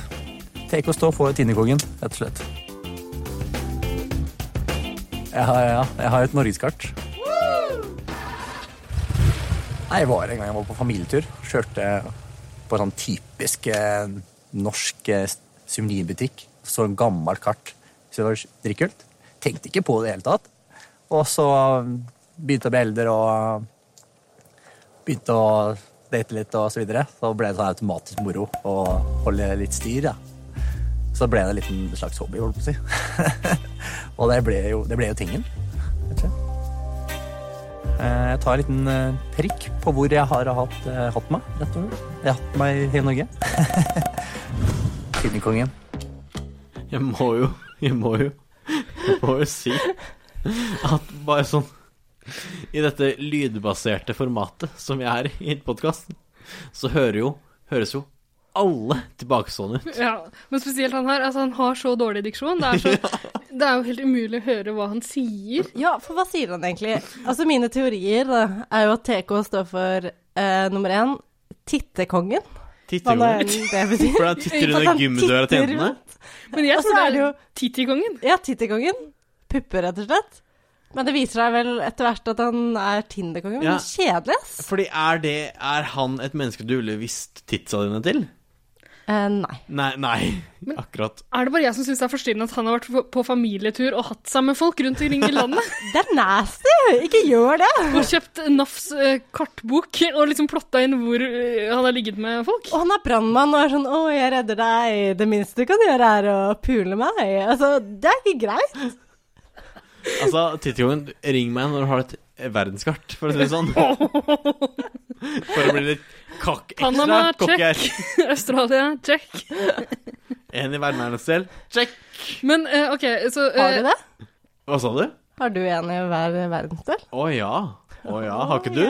Speaker 11: TK står for Tidligkongen, rett og slett. Jeg har, ja, jeg har et norgeskart. Nei, Jeg var en gang jeg var på familietur. Kjørte på sånn typisk eh, norsk eh, suvenirbutikk. Så gammelt kart. Så det var dritkult. Tenkte ikke på det i det hele tatt. Og så um, begynte jeg å bli eldre og um, begynte å date litt og så videre. Så ble det sånn automatisk moro å holde litt styr, da. Så ble det en liten slags hobby, holdt på å si. og det ble jo, det ble jo tingen. rett og slett. Eh, Jeg tar en liten eh, prikk på hvor jeg har hatt, eh, hatt meg. rett og slett. Jeg har hatt meg i hele Norge. Tidekongen.
Speaker 4: Jeg må jo Jeg må jo Jeg må jo si at bare sånn I dette lydbaserte formatet som jeg er i podkasten, så hører jo Høres jo alle tilbakestående ut.
Speaker 1: Ja, Men spesielt han her. altså Han har så dårlig diksjon. Det er, så, det er jo helt umulig å høre hva han sier.
Speaker 2: Ja, for hva sier han egentlig? Altså, mine teorier da, er jo at TK står for eh, nummer én tittekongen. Hva
Speaker 4: Titter jo
Speaker 2: da enn det betyr.
Speaker 4: For han titter
Speaker 2: At
Speaker 4: under
Speaker 2: han
Speaker 4: gymmedøra til
Speaker 2: titter
Speaker 4: jentene.
Speaker 2: rundt.
Speaker 1: Men jeg
Speaker 2: Og så
Speaker 1: tror det
Speaker 2: er Altså, det
Speaker 1: er
Speaker 2: jo-
Speaker 1: Titikongen.
Speaker 2: Ja, Tittekongen. Pupper, rett og slett. Men det viser seg vel etter hvert at han er Tinderkongen.
Speaker 4: Ja.
Speaker 2: Men kjedelig, ass.
Speaker 4: Fordi er det Er han et menneske du ville visst titsa dine til?
Speaker 2: Eh, nei.
Speaker 4: Nei, nei.
Speaker 1: Men-
Speaker 4: Akkurat.
Speaker 1: Er det bare jeg som syns det er forstyrrende at han har vært på- på familietur og hatt seg med folk rundt omkring i landet?
Speaker 2: Det er nasty! Ikke gjør det!
Speaker 1: Og kjøpt NAFs eh, kartbok og liksom plotta inn hvor eh, han har ligget med folk?
Speaker 2: Og han er brannmann og er sånn 'Å, jeg redder deg. Det minste du kan gjøre, er å pule meg.' Altså, det er ikke greit.
Speaker 4: Altså, Tittjongen, ring meg når du har et verdenskart, for å si det sånn. For å bli litt Kakk ekstra.
Speaker 1: Panama,
Speaker 4: Kokker.
Speaker 1: check. Australia, check.
Speaker 4: En i hver verdensdel. Check.
Speaker 1: Men eh, OK, så eh,
Speaker 2: Har du det?
Speaker 4: Hva sa du?
Speaker 2: Har du en i hver verdensdel?
Speaker 4: Å ja. Å ja. Har ikke du?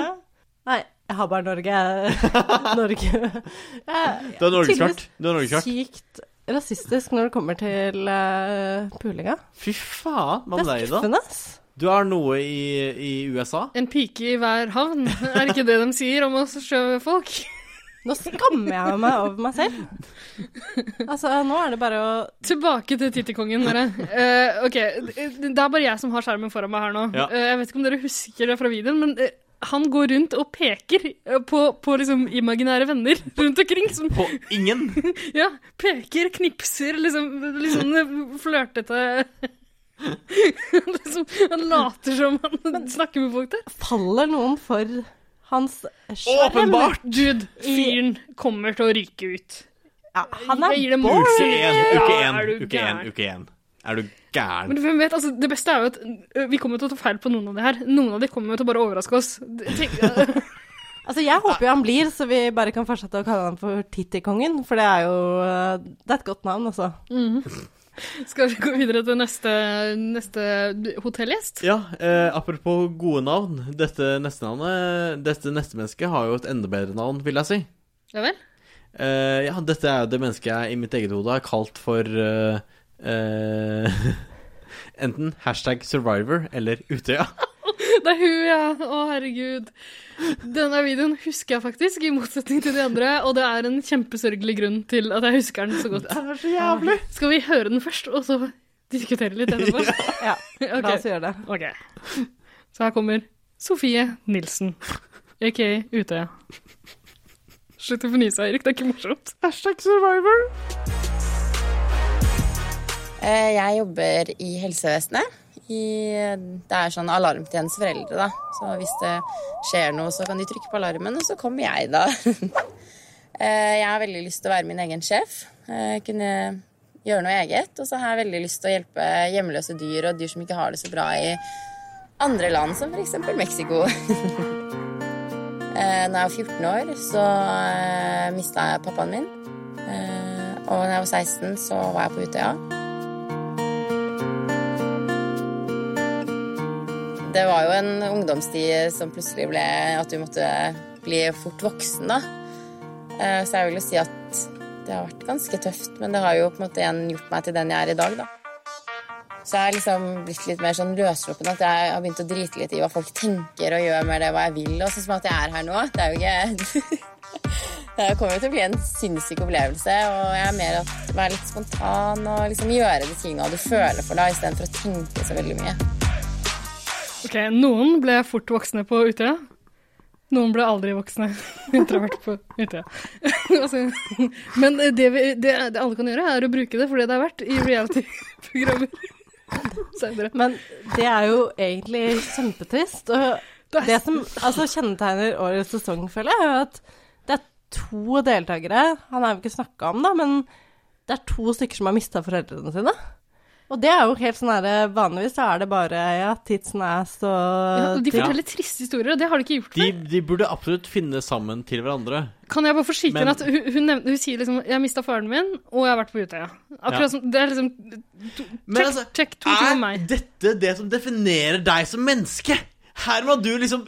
Speaker 2: Nei, jeg har bare Norge. Norge. Jeg-
Speaker 4: Du har norgeskart.
Speaker 2: tydeligvis
Speaker 4: Du har norgeskart.
Speaker 2: Sykt rasistisk når det kommer til eh, pulinga.
Speaker 4: Fy faen, hva
Speaker 2: Det
Speaker 4: med
Speaker 2: er
Speaker 4: deg,
Speaker 2: skuffende,
Speaker 4: da?
Speaker 2: ass.
Speaker 4: Du har noe i, i USA?
Speaker 1: En pike i hver havn. Er ikke det de sier om oss sjøfolk?
Speaker 2: Nå skammer jeg meg over meg selv. Altså, nå er det bare å
Speaker 1: Tilbake til Tittekongen, dere. Eh, OK, det det er bare jeg som har skjermen foran meg her nå.
Speaker 2: Ja.
Speaker 1: Eh, jeg vet ikke om dere husker det fra videoen, men eh, han går rundt og peker eh, på, på liksom imaginære venner rundt omkring. Som,
Speaker 4: på ingen?
Speaker 1: ja. Peker, knipser, liksom, liksom flørtete liksom, Han later som han snakker med folk der.
Speaker 2: Faller noen for hans skjerm?
Speaker 1: Åpenbart! Dude, fyren kommer til å ryke ut.
Speaker 2: han er
Speaker 1: Jeg gir dem
Speaker 2: born.
Speaker 1: mulighet.
Speaker 4: Uke én, uke
Speaker 1: Ja,
Speaker 4: én,
Speaker 1: er du
Speaker 4: uke én.
Speaker 1: gæren?
Speaker 4: Uke én. Er du
Speaker 1: Men
Speaker 4: gæren?
Speaker 1: hvem vet, altså, det beste er jo at ø, vi kommer til å ta feil på noen av de her. Noen av de kommer jo til å bare overraske oss. Det- Tenk,
Speaker 2: Altså, jeg håper jo han blir, så vi bare kan fortsette å kalle han for Tittikongen, for det er jo eh, Det er et godt navn, altså.
Speaker 1: Mhm. skal vi gå videre til neste, neste hotellgjest?
Speaker 4: Ja, eh, apropos gode navn. Dette nestenavnet Dette nestemennesket har jo et enda bedre navn, vil jeg si.
Speaker 1: Ja vel?
Speaker 4: Eh, ja, dette er jo det mennesket jeg i mitt eget hode har kalt for eh, eh, Enten hashtag survivor eller Utøya.
Speaker 1: Det er hun, ja. Å, herregud. Denne videoen husker jeg faktisk, i motsetning til de andre, og det er en kjempesørgelig grunn til at jeg husker den så godt. Det
Speaker 4: er så jævlig.
Speaker 1: Skal vi høre den først, og så diskutere litt etterpå?
Speaker 2: Ja,
Speaker 1: Ok.
Speaker 2: la oss gjøre det.
Speaker 1: Ok. Så her kommer Sofie Nilsen, aka Utøya. Slutt å fnise, Eirik. Det er ikke morsomt.
Speaker 4: Hashtag survivor.
Speaker 12: Eh, Jeg jobber i helsevesenet. I, det er sånn alarmtjeneste for eldre, da. Så hvis det skjer noe, så kan de trykke på alarmen, og så kommer jeg, da. Eh, jeg har veldig lyst til å være min egen sjef. Eh, kunne gjøre noe eget. Og så har jeg veldig lyst til å hjelpe hjemløse dyr og dyr som ikke har det så bra i andre land, som f.eks. Mexico. Eh, Når jeg var 14 år, så mista jeg pappaen min. Eh, Og når jeg var 16, så var jeg på Utøya. Det var jo en ungdomstid som plutselig ble at du måtte bli fort voksen, da. Eh, Så jeg vil jo si at det har vært ganske tøft, men det har jo på en måte igjen gjort meg til den jeg er i dag, da. Så jeg har liksom blitt litt mer sånn løssluppen, at jeg har begynt å drite litt i hva folk tenker, og gjør mer det hva jeg vil, og sånn som at jeg er her nå. Det er jo ikke Det kommer jo til å bli en sinnssyk opplevelse, og jeg er mer at være litt spontan og liksom gjøre de tinga du føler for deg, istedenfor å tenke så veldig mye.
Speaker 1: Ok, Noen ble fort voksne på Utøya. Noen ble aldri voksne introvert på Utøya. altså, men det, vi, det, det alle kan gjøre, er å bruke det for det det er verdt i reality-programmer senere.
Speaker 2: Men det er jo egentlig kjempetrist. Og det som altså, kjennetegner årets sesong, føler jeg, er jo at det er to deltakere Han er jo ikke snakka om, da, men det er to stykker som har mista foreldrene sine. Og det er jo helt sånn her Vanligvis så er det bare ja, tits and ass og
Speaker 1: Ja, og de
Speaker 2: ting.
Speaker 1: forteller triste historier, og det har de ikke gjort.
Speaker 4: De, de burde absolutt finne sammen til hverandre.
Speaker 1: Kan jeg bare forsikre
Speaker 4: Men-
Speaker 1: henne at hun, hun, nevnte, hun sier liksom 'jeg mista faren min, og jeg har vært på Utøya'. Akkurat
Speaker 4: Ja.
Speaker 1: som, Det er liksom to,
Speaker 4: Men
Speaker 1: check,
Speaker 4: altså,
Speaker 1: check to ting om meg.
Speaker 4: dette det som definerer deg som menneske? Her må du liksom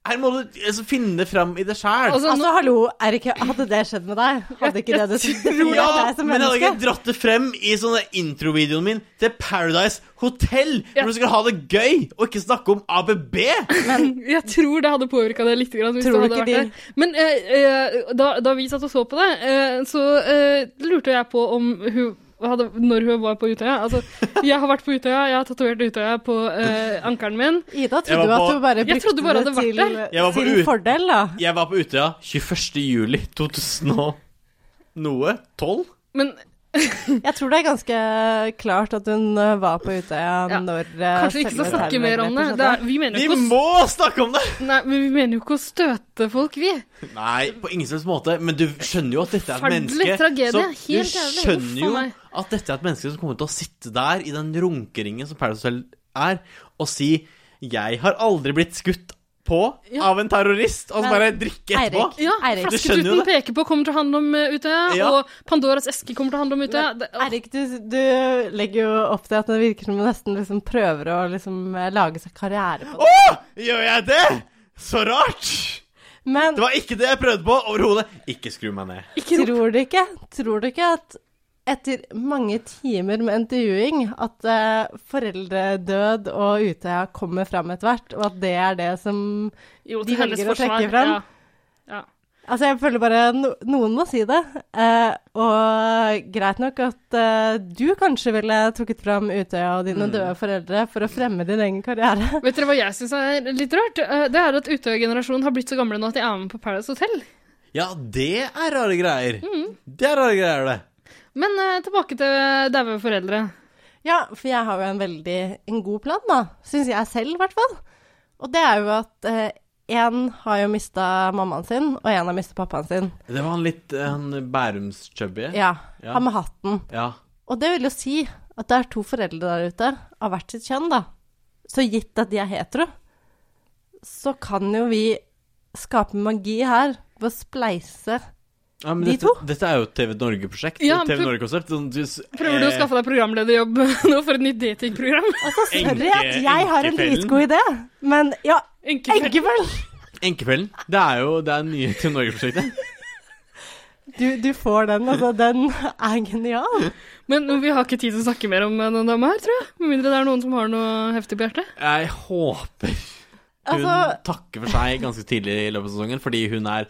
Speaker 4: Her må du altså, finne fram i det sjæl.
Speaker 2: Altså, hallo, Erik, hadde det skjedd med deg? Hadde ikke det det
Speaker 4: ja,
Speaker 2: definert deg som
Speaker 4: men jeg hadde
Speaker 2: menneske?
Speaker 4: ikke dratt det frem i sånne introvideoen min til Paradise Hotel, hvor du skal ha det gøy, og ikke snakke om ABB.
Speaker 1: jeg tror det hadde påvirka det litt. Grann, hvis
Speaker 4: Tror
Speaker 1: det hadde
Speaker 4: du ikke
Speaker 1: vært
Speaker 4: det?
Speaker 1: der. Men eh, eh, da, da vi satt og så på det, eh, så eh, lurte jeg på om hun hadde, når hun var på Utøya. Altså, jeg har vært på Utøya, jeg har tatovert Utøya på eh, ankelen min.
Speaker 2: Ida
Speaker 4: Jeg var at på- du bare
Speaker 1: Jeg trodde bare at det var der.
Speaker 4: Jeg var på ut-
Speaker 2: fordel, da.
Speaker 4: Jeg var på Utøya 21. juli 2000 og noe. 12?
Speaker 1: Men
Speaker 2: Jeg tror det er ganske klart at hun ø, var på Utøya når ø,
Speaker 1: Kanskje vi ikke skal
Speaker 2: selve
Speaker 1: snakke
Speaker 2: terroren
Speaker 1: mer om
Speaker 2: ble
Speaker 1: det. det
Speaker 2: forstått.
Speaker 1: er, vi mener
Speaker 4: Vi
Speaker 1: jo ikke å-
Speaker 4: må snakke om det! Altså,
Speaker 1: Nei, men vi mener jo ikke å støte folk, vi.
Speaker 4: Nei, på ingen slags måte. Men du skjønner jo at dette er et
Speaker 1: Forferdelig
Speaker 4: menneske
Speaker 1: tragedie,
Speaker 4: som-
Speaker 1: helt
Speaker 4: Du
Speaker 1: jævlig.
Speaker 4: skjønner
Speaker 1: Uff a
Speaker 4: jo
Speaker 1: meg.
Speaker 4: at dette er et menneske som kommer til å sitte der i den runkeringen som Paradise Hotel er, og si 'Jeg har aldri blitt skutt på av en terrorist, og så bare drikke etterpå.
Speaker 1: Ja,
Speaker 4: Du skjønner jo
Speaker 1: Flasketuten
Speaker 4: det.
Speaker 1: peker på kommer til å handle om eh, Utøya,
Speaker 2: Ja.
Speaker 1: og Pandoras eske kommer til å handle om Utøya. Det- åh.
Speaker 2: Eirik, du, du legger jo opp til at det virker som du nesten liksom prøver å liksom eh, lage seg karriere på det.
Speaker 4: Gjør jeg det?! Så rart! det var ikke det jeg prøvde på overhodet. Ikke skru meg ned.
Speaker 2: Tror du ikke, tror du ikke at etter mange timer med intervjuing at eh, foreldredød og Utøya kommer fram etter hvert, og at det er det som
Speaker 1: Jo,
Speaker 2: de
Speaker 1: til hennes
Speaker 2: velger å
Speaker 1: forsvar,
Speaker 2: trekke fram?
Speaker 1: ja. Ja.
Speaker 2: Altså, jeg føler bare no Noen må si det. Eh, og greit nok at eh, du kanskje ville trukket fram Utøya og
Speaker 1: Mm.
Speaker 2: dine døde foreldre for å fremme din egen karriere.
Speaker 1: Vet dere hva jeg syns er litt rart? Eh, Det er at Utøya-generasjonen har blitt så gamle nå at de er med på Paradise Hotel.
Speaker 4: Ja, det er rare greier.
Speaker 1: Mm.
Speaker 4: Det er rare greier, det.
Speaker 1: Men eh, tilbake til daue foreldre.
Speaker 2: Ja, for jeg har jo en veldig en god plan, da. Syns jeg selv, i hvert fall. Og det er jo at én har jo mista mammaen sin, og én har mista pappaen sin.
Speaker 4: Det var han litt eh, han Bærums-chubby.
Speaker 2: Ja, han med hatten.
Speaker 4: Ja.
Speaker 2: Og det vil jo si at det er to foreldre der ute av hvert sitt kjønn, da. Så gitt at de er hetero, så kan jo vi skape magi her ved å spleise
Speaker 4: Ja, men
Speaker 2: De
Speaker 4: dette, Dette er jo et TV Norge-prosjekt.
Speaker 1: Ja,
Speaker 4: TV
Speaker 1: prøv-
Speaker 4: Norge-konsept. Sånn, du s-
Speaker 1: Prøver du å
Speaker 4: eh,
Speaker 1: skaffe deg programlederjobb nå for et nytt datingprogram?
Speaker 2: Altså, sorry at jeg har en dritgod idé, men ja, enkefellen!
Speaker 4: Enkefellen. Det er jo det er nye TV Norge-prosjektet.
Speaker 2: Du, du får den, altså. Den er genial.
Speaker 1: Men vi har ikke tid til å snakke mer om eh, den dama her, tror jeg. Med mindre det er noen som har noe heftig på hjertet.
Speaker 4: Jeg håper hun
Speaker 1: Altså-
Speaker 4: takker for seg ganske tidlig i løpet av sesongen, fordi hun er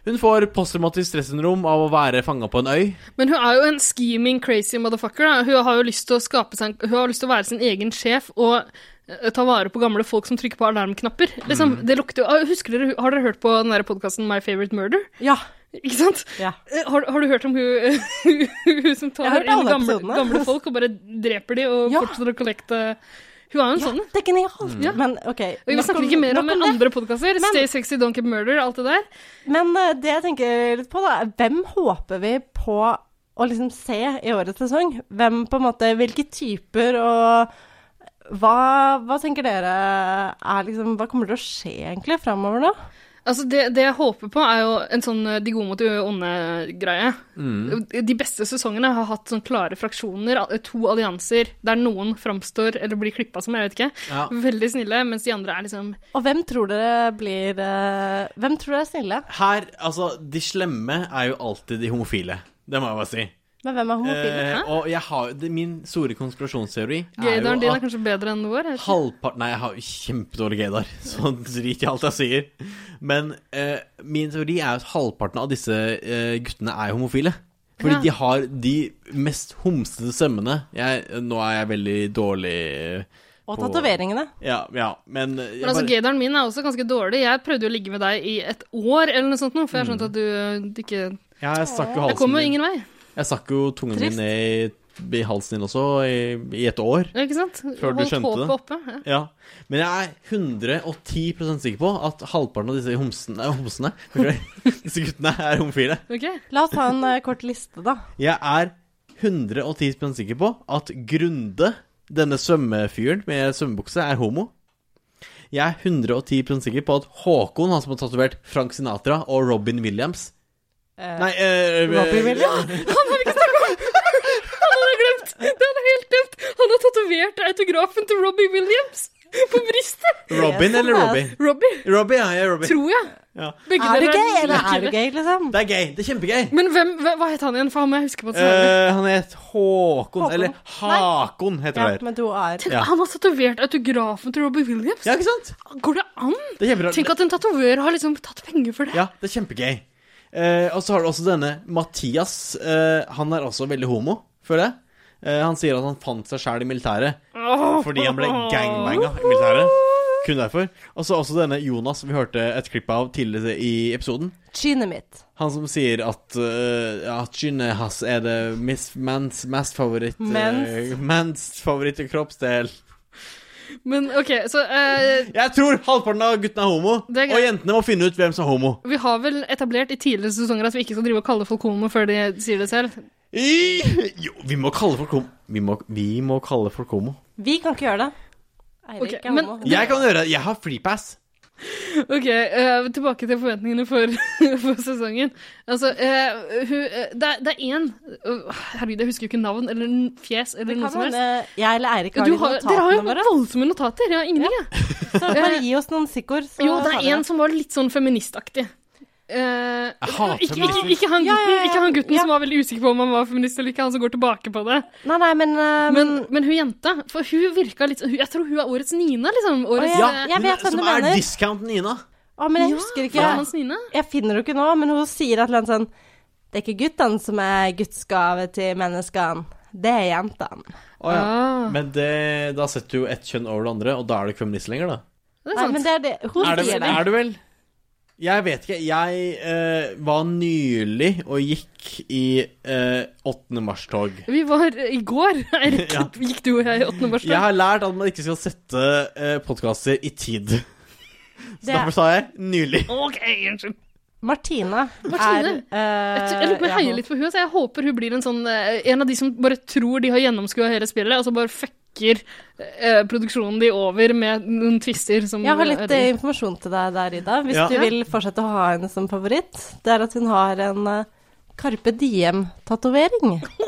Speaker 4: Hun får posttraumatisk stressyndrom av å være fanga på en øy.
Speaker 1: Men hun er jo en scheming crazy motherfucker. Da. Hun har jo lyst til å skape seg en- Hun har lyst til å være sin egen sjef og eh, ta vare på gamle folk som trykker på alarmknapper. Liksom,
Speaker 2: Mm.
Speaker 1: det lukter jo ah, Husker dere, Har dere hørt på den der podkasten My Favorite Murder?
Speaker 2: Ja.
Speaker 1: Ikke sant? Eh, Har, har du hørt om hun, hun som
Speaker 2: Jeg har
Speaker 1: tar
Speaker 2: hørt alle
Speaker 1: inn gamle,
Speaker 2: episodene.
Speaker 1: gamle folk og bare dreper de og fortsetter å kollekte Hun er jo en sånn en.
Speaker 2: Det er genialt.
Speaker 1: Ja.
Speaker 2: Men OK.
Speaker 1: Og Vi
Speaker 2: nok
Speaker 1: snakker ikke mer om
Speaker 2: nok det.
Speaker 1: andre podkaster.
Speaker 2: Men-
Speaker 1: Stay sexy, don't get murder, alt det der.
Speaker 2: Men eh, det jeg tenker litt på, da, er hvem håper vi på å liksom se i årets sesong? Hvem på en måte Hvilke typer og hva, hva tenker dere er liksom Hva kommer til å skje egentlig framover nå?
Speaker 1: Altså det, det jeg håper på, er jo en sånn eh, de gode mot de onde-greie.
Speaker 2: Mm.
Speaker 1: De beste sesongene har hatt sånn klare fraksjoner, al- to allianser, der noen framstår eller blir klippa som, jeg vet ikke.
Speaker 2: Ja.
Speaker 1: Veldig snille, mens de andre er liksom
Speaker 2: Og hvem tror dere blir eh, Hvem tror dere er snille?
Speaker 4: Her, altså De slemme er jo alltid de homofile. Det må jeg bare si.
Speaker 2: Men hvem er homofile?
Speaker 4: Eh,
Speaker 2: Hæ?
Speaker 4: og jeg har, det, min store konspirasjonsteori er
Speaker 1: Gaydaren
Speaker 4: jo
Speaker 1: din er
Speaker 4: at
Speaker 1: kanskje bedre enn vår? jeg vet ikke.
Speaker 4: halvparten Nei, jeg har jo kjempedårlig gaydar, så drit i alt jeg sier. Men eh, min teori er at halvparten av disse eh, guttene er homofile. Fordi
Speaker 1: Ja.
Speaker 4: de har de mest homsete stemmene. Jeg, nå er jeg veldig dårlig eh,
Speaker 2: Og
Speaker 4: på-
Speaker 2: tatoveringene.
Speaker 4: Ja, ja, men eh, jeg
Speaker 1: Men altså,
Speaker 4: bare-
Speaker 1: gaydaren min er også ganske dårlig. Jeg prøvde jo å ligge med deg i et år eller noe sånt nå, for jeg skjønte at du eh, ikke
Speaker 4: Ja, Mm. jeg stakk jo
Speaker 1: Jeg
Speaker 4: halsen
Speaker 1: kom jo
Speaker 4: min.
Speaker 1: ingen vei.
Speaker 4: Jeg stakk jo tungen
Speaker 1: Trist.
Speaker 4: min ned i, i halsen din også, i, i et år.
Speaker 1: Ja, Ikke sant?
Speaker 4: Før du
Speaker 1: Holdt
Speaker 4: skjønte det.
Speaker 1: håpet oppe. Ja.
Speaker 4: Ja. Men jeg er 110 sikker på at halvparten av disse homsene, eh, homsene beklager, Disse guttene er homofile.
Speaker 2: La oss ta en eh, kort liste, da.
Speaker 4: Jeg er 110 sikker på at Grunde, denne svømmefyren med svømmebukse, er homo. Jeg er 110 sikker på at Håkon, han som har tatovert Frank Sinatra og Robin Williams Nei, eh,
Speaker 2: Robbie Williams?
Speaker 1: Han har vi ikke snakket om! Han hadde glemt! Det hadde jeg helt glemt! Han har tatovert autografen til Robbie Williams på brystet!
Speaker 4: Robin eller Robbie?
Speaker 1: Robbie.
Speaker 4: Robbie, ja, jeg er Robbie.
Speaker 1: Tror jeg.
Speaker 4: Ja.
Speaker 1: Begge Er du deler er gay, eller er du likere.
Speaker 2: gay, liksom?
Speaker 4: Det er gay. Det er kjempegay.
Speaker 1: Men hvem, hva, hva het han igjen? For han må jeg huske på. at han
Speaker 4: Eh, han het Håkon,
Speaker 1: Håkon.
Speaker 4: eller Hakon, heter det.
Speaker 2: men du er
Speaker 1: Tenk,
Speaker 4: ja.
Speaker 1: Han har tatovert autografen til Robbie Williams!
Speaker 4: Ja, ikke sant?
Speaker 1: Går det an?
Speaker 4: Det er kjemperart.
Speaker 1: Tenk at en tatoverer har liksom tatt penger for det.
Speaker 4: Ja, det er kjempegøy. Eh, og så har du også denne Mathias. eh, han er også veldig homo, føler jeg. Eh, han sier at han fant seg sjæl i militæret
Speaker 1: Åh.
Speaker 4: fordi han ble gangbanga i militæret. Kun derfor. Og så også denne Jonas vi hørte et klipp av tidligere i episoden.
Speaker 2: Kynet mitt.
Speaker 4: Han som sier at uh, ja, kynet hans er det mis, mens, mest favoritt
Speaker 1: Mens.
Speaker 4: eh, mens favoritt kroppsdel.
Speaker 1: Men OK, så eh,
Speaker 4: Jeg tror halvparten av guttene er homo,
Speaker 1: Det er greit.
Speaker 4: og jentene må finne ut hvem som er homo.
Speaker 1: Vi har vel etablert i tidligere sesonger at vi ikke skal drive og kalle folk homo før de sier det selv.
Speaker 4: I, jo, vi må kalle folk homo. Vi må, vi må kalle folk homo.
Speaker 2: Vi kan ikke gjøre det. Eirik
Speaker 1: Ok,
Speaker 2: er
Speaker 1: men-
Speaker 2: homo.
Speaker 4: Jeg kan gjøre det. Jeg har freepass.
Speaker 1: OK, eh, tilbake til forventningene for, for sesongen. Altså, eh, hun, eh, det, er- det er én Å, Herregud, jeg husker jo ikke navn eller n- fjes eller
Speaker 2: Det
Speaker 1: noe
Speaker 2: kan
Speaker 1: som helst.
Speaker 2: hende jeg eller Eirik har
Speaker 1: Du
Speaker 2: de
Speaker 1: Dere har jo
Speaker 2: notatene våre.
Speaker 1: voldsomme notater. Jeg har ingenting, jeg. Eh,
Speaker 2: Så bare gi oss noen stikkord. så
Speaker 1: Jo, det
Speaker 2: tar
Speaker 1: er
Speaker 2: vi
Speaker 1: en som var litt sånn feministaktig. Eh,
Speaker 4: Jeg hater
Speaker 1: ikke, ikke,
Speaker 4: feminister.
Speaker 1: ikke han gutten,
Speaker 2: Ja, ja, ja.
Speaker 1: Ikke han gutten som var veldig usikker på om han var feminist eller ikke, han som går tilbake på det.
Speaker 2: Nei, nei, men, eh,
Speaker 1: men, hun jenta, for hun virka litt sånn, hun- Jeg tror hun er årets Nina, liksom. Årets,
Speaker 2: ja,
Speaker 1: eh,
Speaker 2: jeg vet hvem du mener.
Speaker 4: discount Nina.
Speaker 2: Å, men jeg
Speaker 1: Ja,
Speaker 2: husker ikke.
Speaker 1: Farmans Nina.
Speaker 2: Jeg finner det jo ikke nå, men hun sier et eller annet sånn Det er ikke guttene som er Guds gave til menneskene, det er jentene.
Speaker 4: Å,
Speaker 1: Ah,
Speaker 4: ja. Men det, da setter du ett kjønn over det andre, og da er du ikke feminist lenger, da.
Speaker 2: Det er sant. Nei, men det er det. Hun
Speaker 4: Er det,
Speaker 2: sier det.
Speaker 4: er det vel? Jeg vet ikke. Jeg eh, var nylig og gikk i eh, 8. mars-tog.
Speaker 1: Vi var eh, i går, Eirik.
Speaker 4: Ja.
Speaker 1: Gikk du og jeg i åttende
Speaker 4: Jeg
Speaker 1: bursdag?
Speaker 4: har lært at man ikke skal sette uh, podkaster i tid. Så
Speaker 2: Det-
Speaker 4: derfor sa jeg nylig.
Speaker 1: OK, unnskyld.
Speaker 2: Martine,
Speaker 1: Martine.
Speaker 2: er eh,
Speaker 1: Jeg, tror- jeg lurer på om jeg
Speaker 2: ja,
Speaker 1: heier
Speaker 2: hun-
Speaker 1: litt på hun, så jeg håper hun blir en sånn eh, En av de som bare tror de har gjennomskua hele spillet, og så bare fucker eh, produksjonen de over med noen twister som
Speaker 2: Jeg har litt eh,
Speaker 1: ødelegger.
Speaker 2: informasjon til deg der, Ida. Hvis
Speaker 1: Ja.
Speaker 2: du
Speaker 1: Ja.
Speaker 2: vil fortsette å ha henne som favoritt, det er at hun har en eh, Carpe Diem-tatovering.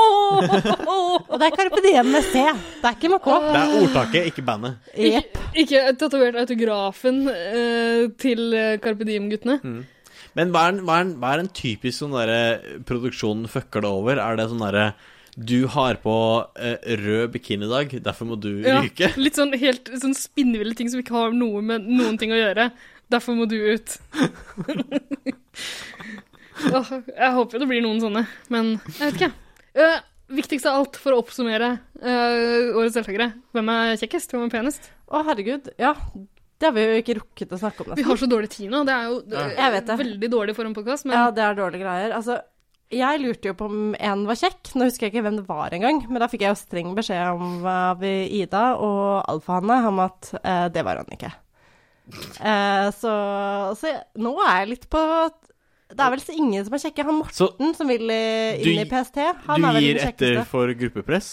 Speaker 2: Og det er Carpe Diem med C, det er ikke med K.
Speaker 4: Det er ordtaket, ikke bandet.
Speaker 1: Ikke, ikke tatovert autografen eh, til eh, Carpe Diem-guttene.
Speaker 4: Mm. Men hva er, en, hva, er en, hva er en typisk sånn derre produksjonen fucker det over? Er det sånn derre Du har på eh, rød bikini i dag, derfor må du
Speaker 1: Ja,
Speaker 4: ryke?
Speaker 1: litt sånn helt sånn spinnville ting som ikke har noe med noen ting å gjøre. Derfor må du ut. Åh, jeg håper jo det blir noen sånne, men jeg vet ikke. Eh, viktigst av alt for å oppsummere eh, årets deltakere. Hvem er kjekkest? Hvem er penest?
Speaker 2: Å, herregud. Ja, det har vi jo ikke rukket å snakke om.
Speaker 1: Vi har så dårlig tid nå. Det er jo eh,
Speaker 2: Jeg vet det.
Speaker 1: veldig dårlig for en podkast, men
Speaker 2: Ja, det er dårlige greier. Altså, jeg lurte jo på om en var kjekk. Nå husker jeg ikke hvem det var engang, men da fikk jeg jo streng beskjed om av Ida og alfahanne om at eh, det var han ikke. Eh, så, så jeg- nå er jeg litt på at Det er vel så ingen som er kjekke. Han Morten som vil eh,
Speaker 4: du-
Speaker 2: inn i PST, han
Speaker 4: Du
Speaker 2: er vel
Speaker 4: gir
Speaker 2: den
Speaker 4: etter
Speaker 2: kjekkeste.
Speaker 4: for gruppepress?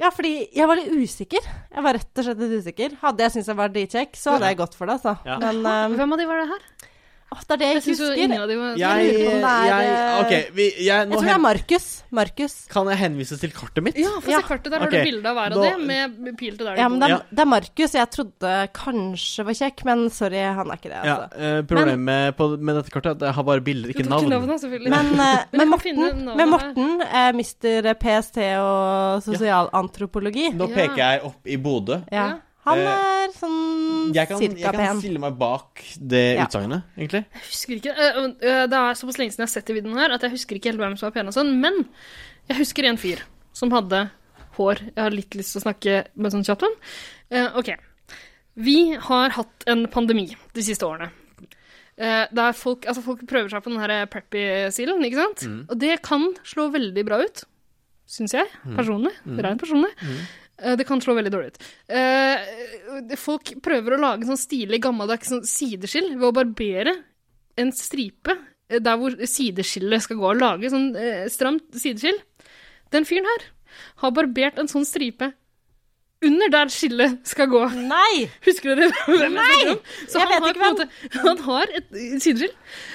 Speaker 2: Ja, fordi jeg var litt usikker. Jeg var rett og slett litt usikker. Hadde jeg syntes jeg var dritkjekk, så hadde jeg gått for det, altså.
Speaker 4: Ja.
Speaker 2: Men eh,
Speaker 1: Hvem av de var det her?
Speaker 2: det er det jeg,
Speaker 1: Jeg synes jo
Speaker 2: husker.
Speaker 1: ingen av de var-
Speaker 2: Jeg
Speaker 4: Jeg,
Speaker 2: lurer på om det er,
Speaker 4: jeg
Speaker 2: eh,
Speaker 4: OK, vi, jeg,
Speaker 2: jeg
Speaker 4: nå
Speaker 2: tror det er Markus. Markus.
Speaker 4: Kan jeg henvise til kartet mitt?
Speaker 1: Ja, få se kartet. Der har
Speaker 4: Ok,
Speaker 1: du bilde av hver av
Speaker 4: nå-
Speaker 1: de med pil til der de
Speaker 2: Ja, men det
Speaker 1: kommer.
Speaker 2: er, det er Markus jeg trodde kanskje var kjekk, men sorry, han er ikke det.
Speaker 4: Ja,
Speaker 2: Altså.
Speaker 4: eh, problemet med, på, med dette kartet er at jeg har bare bilder, ikke navn.
Speaker 2: Men, eh,
Speaker 1: Men
Speaker 2: men
Speaker 1: jeg må
Speaker 2: Morten,
Speaker 1: finne navnet
Speaker 2: men Morten eh, mister PST og sosialantropologi.
Speaker 4: Nå peker jeg opp i Bodø.
Speaker 2: altså. Ja. Han
Speaker 4: Eh,
Speaker 2: er sånn
Speaker 4: jeg kan,
Speaker 2: cirka
Speaker 4: jeg kan
Speaker 2: pen.
Speaker 4: stille meg bak det
Speaker 2: Ja.
Speaker 4: utsagnet, egentlig.
Speaker 1: Jeg husker ikke, øh, øh, Det er såpass lenge siden jeg har sett i videoen her, at jeg husker ikke helt hvem som var pen og sånn, men jeg husker en fyr som hadde hår Jeg har litt lyst til å snakke med sånn kjapt om. Eh, OK. Vi har hatt en pandemi de siste årene. Eh, der folk, altså folk prøver seg på den her preppy-silen, ikke sant?
Speaker 13: Mm.
Speaker 1: Og det kan slå veldig bra ut, syns jeg.
Speaker 13: Mm.
Speaker 1: Personlig.
Speaker 13: Mm.
Speaker 1: Rent personlig. Eh, Det kan slå veldig dårlig ut. Eh, det- Folk prøver å lage sånn stilig, gammeldags sånn sideskill ved å barbere en stripe eh, der hvor sideskillet skal gå. Lage sånn eh, stramt sideskill. Den fyren her har barbert en sånn stripe under der skillet skal gå.
Speaker 2: Nei!
Speaker 1: Husker dere hvem jeg snakker om? Så
Speaker 2: Jeg
Speaker 1: han
Speaker 2: vet
Speaker 1: har,
Speaker 2: ikke
Speaker 1: på en måte- han har et eh, sideskill.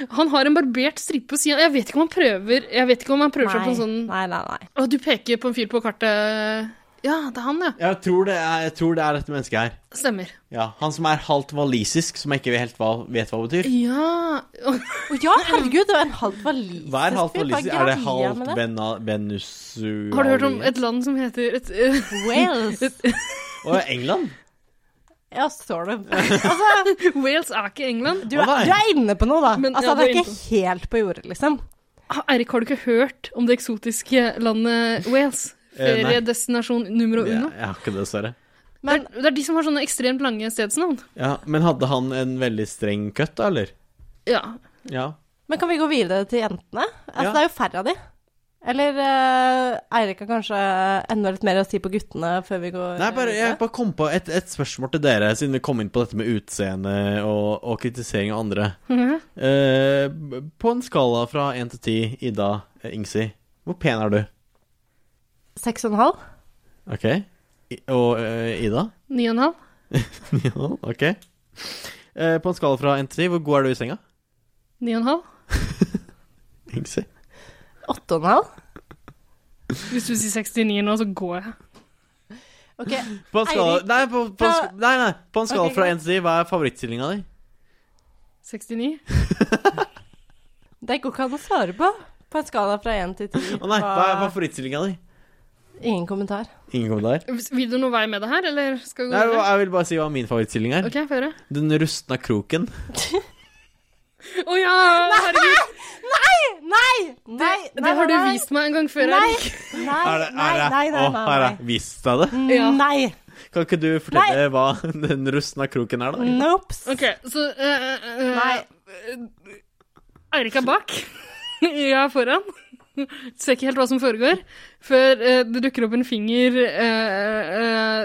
Speaker 1: Han har en barbert stripe på sida. Jeg vet ikke om han prøver Jeg vet ikke om han prøver seg på en sånn
Speaker 2: Nei, nei, nei.
Speaker 1: Å, du peker på en fyr på kartet. Ja, det er han, ja.
Speaker 4: Jeg tror det er, jeg tror det er dette mennesket her.
Speaker 1: Stemmer.
Speaker 4: Ja, Han som er halvt walisisk, som jeg ikke vet helt hva, vet hva betyr.
Speaker 1: Ja Å
Speaker 2: ja, herregud, det var en halv walisisk
Speaker 4: Hva er halvt
Speaker 2: fyr, hva
Speaker 4: walisisk? Er det
Speaker 2: greia med det?
Speaker 4: halvt Vena- Venezuela
Speaker 1: Har du hørt om et land som heter et,
Speaker 2: Wales.
Speaker 4: Å, England?
Speaker 2: Ja, står du
Speaker 1: Altså, Wales er ikke England.
Speaker 2: Du er, du er inne på noe, da.
Speaker 1: Men-
Speaker 2: altså,
Speaker 1: ja,
Speaker 2: det
Speaker 1: du er
Speaker 2: er
Speaker 1: inne
Speaker 2: ikke helt på jordet, liksom.
Speaker 1: Ah, Eirik, har du ikke hørt om det eksotiske landet Wales?
Speaker 4: Eh, nei.
Speaker 1: Feriedestinasjon numero
Speaker 4: Ja,
Speaker 1: uno.
Speaker 4: jeg har ikke det, dessverre.
Speaker 1: Men, det, er, det er de som har sånne ekstremt lange stedsnavn.
Speaker 4: Ja, men hadde han en veldig streng cut, da, eller?
Speaker 1: Ja.
Speaker 4: Ja.
Speaker 2: Men kan vi gå videre til jentene? Altså,
Speaker 4: Ja.
Speaker 2: Det er jo færre av de. Eller eh, Eirik har kanskje eh, enda litt mer å si på guttene før vi går
Speaker 4: Nei, bare, jeg bare kom på et, et spørsmål til dere, siden vi kom inn på dette med utseende og, og kritisering av andre.
Speaker 1: Mhm.
Speaker 4: Eh, b- på en skala fra 1 til 10, Ida eh, Ingsi, hvor pen er du?
Speaker 2: Seks og en halv?
Speaker 4: Ok. I, og eh, Ida?
Speaker 1: Ni og en halv.
Speaker 4: ja, ok. Eh, på en skala fra 1 til 10, hvor god er du i senga?
Speaker 1: Ni og en halv?
Speaker 4: Ingsi?
Speaker 2: Åtte og en halv?
Speaker 1: Hvis du sier 69 nå, så går jeg.
Speaker 2: Ok.
Speaker 4: På en skala,
Speaker 1: Eirik,
Speaker 4: nei, på, på, en
Speaker 1: fra-
Speaker 4: sk- nei, nei, på en skala
Speaker 1: Ok,
Speaker 4: fra
Speaker 1: greit.
Speaker 4: 1 til 10, hva er favorittstillinga di?
Speaker 1: 69?
Speaker 2: Det går ikke an å svare på. På en skala fra én til ti.
Speaker 4: Å nei, hva er favorittstillinga di?
Speaker 2: Ingen kommentar.
Speaker 4: Ingen kommentar.
Speaker 1: Vil du noe vei med det her, eller skal vi
Speaker 4: Nei,
Speaker 1: gå
Speaker 4: jeg
Speaker 1: videre?
Speaker 4: jeg vil bare si hva min favorittstilling er.
Speaker 1: OK, få høre.
Speaker 4: Den rustna kroken.
Speaker 1: Å ja, herregud.
Speaker 2: Nei! Nei! Nei!
Speaker 1: Det, det har du vist meg en gang før, Erik.
Speaker 2: Nei,
Speaker 4: Er det- er det- Å, her er Visste jeg det?
Speaker 1: Ja.
Speaker 2: Nei.
Speaker 4: Kan ikke du fortelle hva den rustna kroken er, da?
Speaker 2: Nope.
Speaker 1: OK, så eh, Nei. eh, Eirik er bak. Jeg er foran. Ser ikke helt hva som foregår, før eh, det dukker opp en finger eh, eh,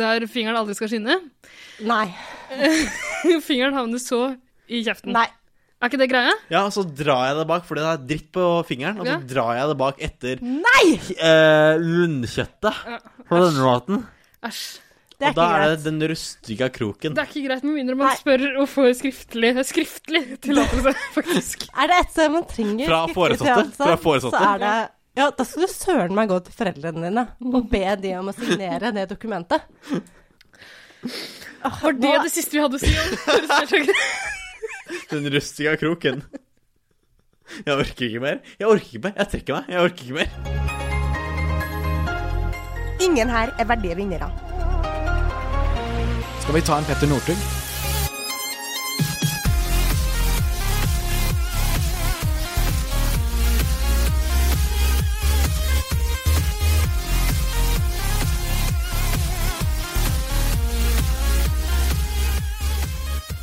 Speaker 1: der fingeren aldri skal skinne.
Speaker 2: Nei.
Speaker 1: fingeren havner så i kjeften.
Speaker 2: Nei.
Speaker 1: Er ikke det greia?
Speaker 4: Ja, og så drar jeg det bak, fordi det er dritt på fingeren. Og så
Speaker 1: Ja.
Speaker 4: drar jeg det bak etter
Speaker 2: Nei!
Speaker 4: eh, lundkjøttet
Speaker 1: Ja,
Speaker 4: fra denne maten.
Speaker 1: Æsj.
Speaker 4: Og da er det den rustiga kroken.
Speaker 1: Det er ikke greit med mindre man spør og får skriftlig, skriftlig tillatelse, faktisk.
Speaker 2: Er det et sted man trenger
Speaker 4: Fra
Speaker 2: skriftlig
Speaker 4: foresatte,
Speaker 2: tillatelse,
Speaker 4: fra foresatte.
Speaker 2: Så er det Ja, da skal du søren meg gå til foreldrene dine og be de om å signere det dokumentet.
Speaker 1: Var det det siste vi hadde å si om Sørstad-kroken?
Speaker 4: Den rustiga kroken. Jeg orker ikke mer. Jeg orker ikke mer. Jeg trekker meg. Jeg orker ikke mer.
Speaker 2: Ingen her er verdige vinnere.
Speaker 6: Skal vi ta en Petter Northug?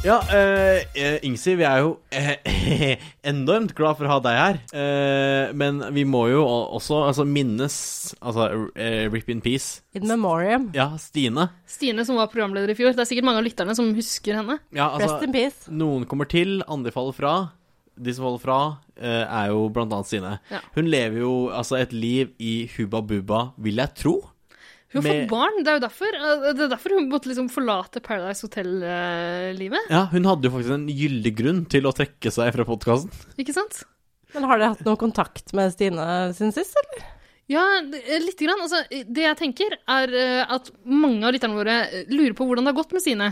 Speaker 4: Ja, eh, eh, Ingsi, vi er jo eh, enormt glad for å ha deg her. Eh, men vi må jo o- også altså, minnes Altså, eh, rip in peace.
Speaker 2: In memoriam.
Speaker 4: Ja, Stine.
Speaker 1: Stine, som var programleder i fjor. Det er sikkert mange av lytterne som husker henne.
Speaker 4: Ja, altså,
Speaker 1: Rest in peace.
Speaker 4: Noen kommer til, andre faller fra. De som faller fra, eh, er jo blant annet Stine.
Speaker 1: Ja.
Speaker 4: Hun lever jo altså et liv i hubba bubba, vil jeg tro.
Speaker 1: Hun har
Speaker 4: Med-
Speaker 1: fått barn, det er jo derfor. eh, Det er derfor hun måtte liksom forlate Paradise Hotel-livet.
Speaker 4: Ja, hun hadde jo faktisk en gyldig grunn til å trekke seg fra podkasten.
Speaker 1: Ikke sant?
Speaker 2: Men har dere hatt noe kontakt med Stine siden sist, eller?
Speaker 1: Ja, det- eh, lite grann. Altså, det jeg tenker, er eh, at mange av lytterne våre eh, lurer på hvordan det har gått med Stine.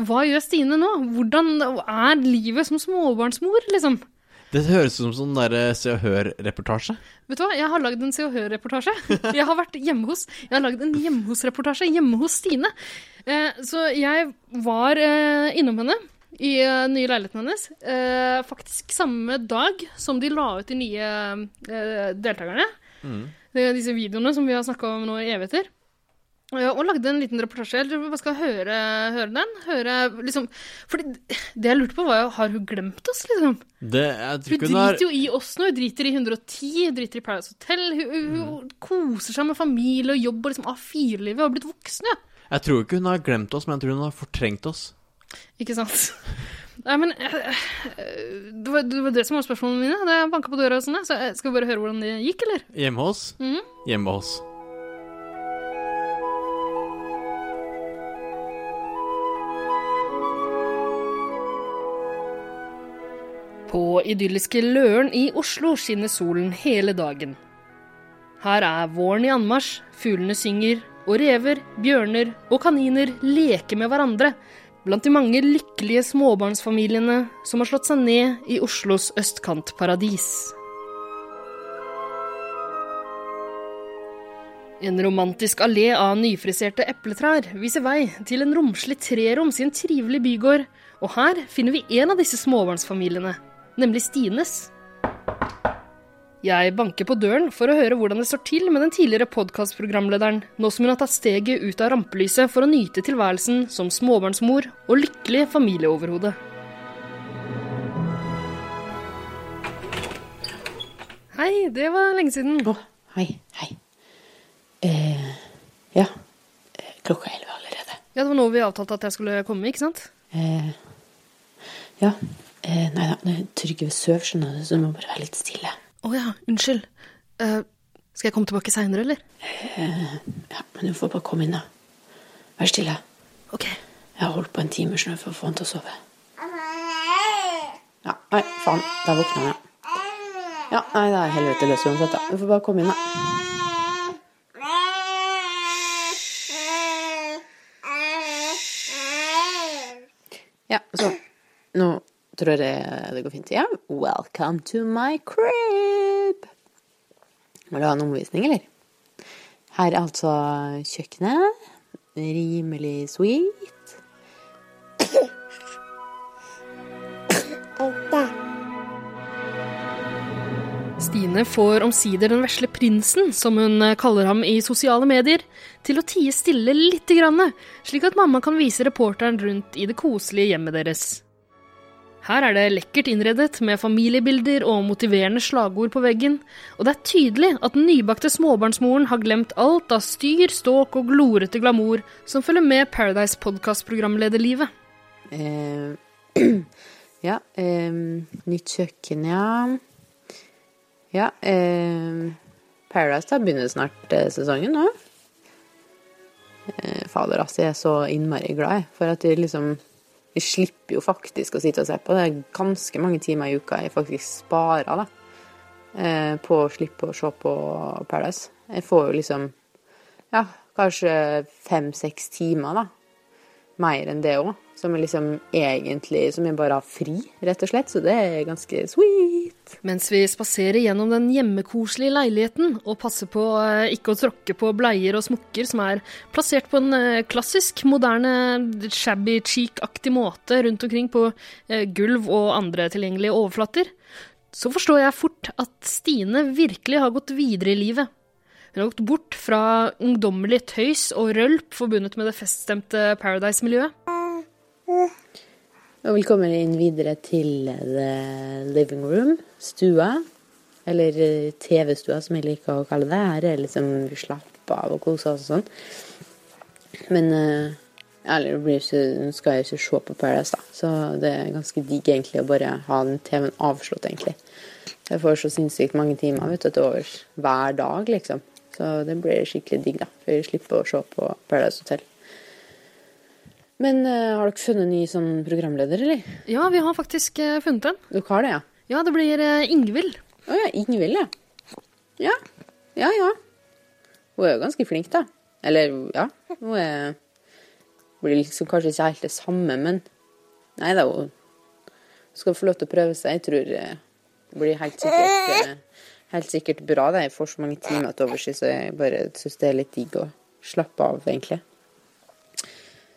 Speaker 1: Hva gjør Stine nå? Hvordan er livet som småbarnsmor, liksom?
Speaker 4: Det høres ut som sånn derre Se og Hør-reportasje.
Speaker 1: Vet du hva, jeg har lagd en Se og Hør-reportasje. Jeg har vært hjemme hos. Jeg har lagd en hjemme hos-reportasje hjemme hos Stine. Eh, så jeg var eh, innom henne i eh, nye leiligheten hennes. Eh, faktisk samme dag som de la ut de nye eh, deltakerne. Det er disse videoene som vi har snakka om nå i evigheter. Ja, Og lagde en liten reportasje. Jeg tror vi bare skal høre, høre den. Høre, liksom, fordi det jeg lurte på, var jo har hun glemt oss, liksom?
Speaker 4: Det, jeg tror
Speaker 1: Hun
Speaker 4: ikke hun har
Speaker 1: driter jo i oss nå. Hun driter i 110, hun driter i Paradise Hotel. Hun, hun, hun koser seg med familie og jobb og liksom A4-livet. Hun har blitt voksen, ja.
Speaker 4: Jeg tror ikke hun har glemt oss, men jeg tror hun har fortrengt oss.
Speaker 1: Ikke sant? Nei, men eh, eh, det var, det var det som var spørsmålene mine. Da jeg banka på døra og sånn, ja, så eh, skal vi bare høre hvordan det gikk, eller?
Speaker 4: Hjemme hos?
Speaker 1: Mhm.
Speaker 4: Hjemme hos.
Speaker 1: På idylliske Løren i Oslo skinner solen hele dagen. Her er våren i anmarsj, fuglene synger, og rever, bjørner og kaniner leker med hverandre blant de mange lykkelige småbarnsfamiliene som har slått seg ned i Oslos østkantparadis. En romantisk allé av nyfriserte epletrær viser vei til en romslig treroms i en trivelig bygård, og her finner vi en av disse småbarnsfamiliene, nemlig Stines. Jeg banker på døren for å høre hvordan det står til med den tidligere podkastprogramlederen, nå som hun har tatt steget ut av rampelyset for å nyte tilværelsen som småbarnsmor og lykkelig familieoverhode. Hei, det var lenge siden.
Speaker 13: Hei, hei. Eh, ja, Eh, klokka er elleve allerede.
Speaker 1: Ja, det var nå vi avtalte at jeg skulle komme, ikke sant?
Speaker 13: Eh, ja, eh, nei da, det- Trygve sover, skjønner du, så du må bare være litt stille.
Speaker 1: Å ja, unnskyld. Eh, skal jeg komme tilbake seinere, eller?
Speaker 13: Eh, ja, men du får bare komme inn, da. Vær stille.
Speaker 1: Ok.
Speaker 13: Jeg har holdt på en time snø for å få han til å sove. Ja, nei, faen. Da våkna han, ja. Ja, nei, det er helvete løs uansett, da. Du får bare komme inn, da. Ja, så Nå tror jeg det går fint. Ja, welcome to my crib. Vil du ha en omvisning, eller? Her er altså kjøkkenet. Rimelig sweet.
Speaker 1: Stine får omsider den vesle prinsen, som hun eh, kaller ham i sosiale medier, til å tie stille lite grann, slik at mamma kan vise reporteren rundt i det koselige hjemmet deres. Her er det lekkert innredet med familiebilder og motiverende slagord på veggen, og det er tydelig at den nybakte småbarnsmoren har glemt alt av styr, ståk og glorete glamour som følger med Paradise Podcast-programlederlivet.
Speaker 13: Eh, ja, eh, nytt kjøkken, ja. Ja, eh, Paradise da begynner snart eh, sesongen nå. Eh, fader, altså, jeg er så innmari glad jeg, for at de liksom Vi slipper jo faktisk å sitte og se på. Det er ganske mange timer i uka jeg faktisk sparer da, eh, på å slippe å se på Paradise. Jeg får jo liksom ja, kanskje fem-seks timer, da mer enn det òg. Som er liksom egentlig Som jeg bare har fri, rett og slett. Så det er ganske sweet.
Speaker 1: Mens vi spaserer gjennom den hjemmekoselige leiligheten og passer på eh, ikke å tråkke på bleier og smokker som er plassert på en eh, klassisk, moderne, shabby chic-aktig måte rundt omkring på eh, gulv og andre tilgjengelige overflater, så forstår jeg fort at Stine virkelig har gått videre i livet. Hun har gått bort fra ungdommelig tøys og rølp forbundet med det feststemte Paradise-miljøet.
Speaker 13: Og velkommen inn videre til the living room, stua. Eller eh, TV-stua, som jeg liker å kalle det. Her er liksom vi slapper av og koser oss og sånn. Men eh, eller, det blir jo ikke, nå skal jeg jo ikke se på Paradise, da. Så det er ganske digg egentlig å bare ha den TV-en avslått, egentlig. Jeg får så sinnssykt mange timer vet du, til overs hver dag, liksom. Så det blir skikkelig digg, da. For jeg slipper å se på Paradise Hotel. Men eh, har dere funnet en ny sånn programleder, eller?
Speaker 1: Ja, vi har faktisk eh, funnet en.
Speaker 13: Dere har det, ja?
Speaker 1: Ja, det blir eh, Ingvild.
Speaker 13: Å ja, Ingvild, ja. Ja, ja. ja. Hun er jo ganske flink, da. Eller, ja. Hun er Blir liksom kanskje ikke helt det samme, men Nei da, hun skal få lov til å prøve seg. Jeg tror eh, det blir helt sikkert, eh, helt sikkert bra. Da. Jeg får så mange timer til overs, så jeg bare syns det er litt digg å slappe av, egentlig.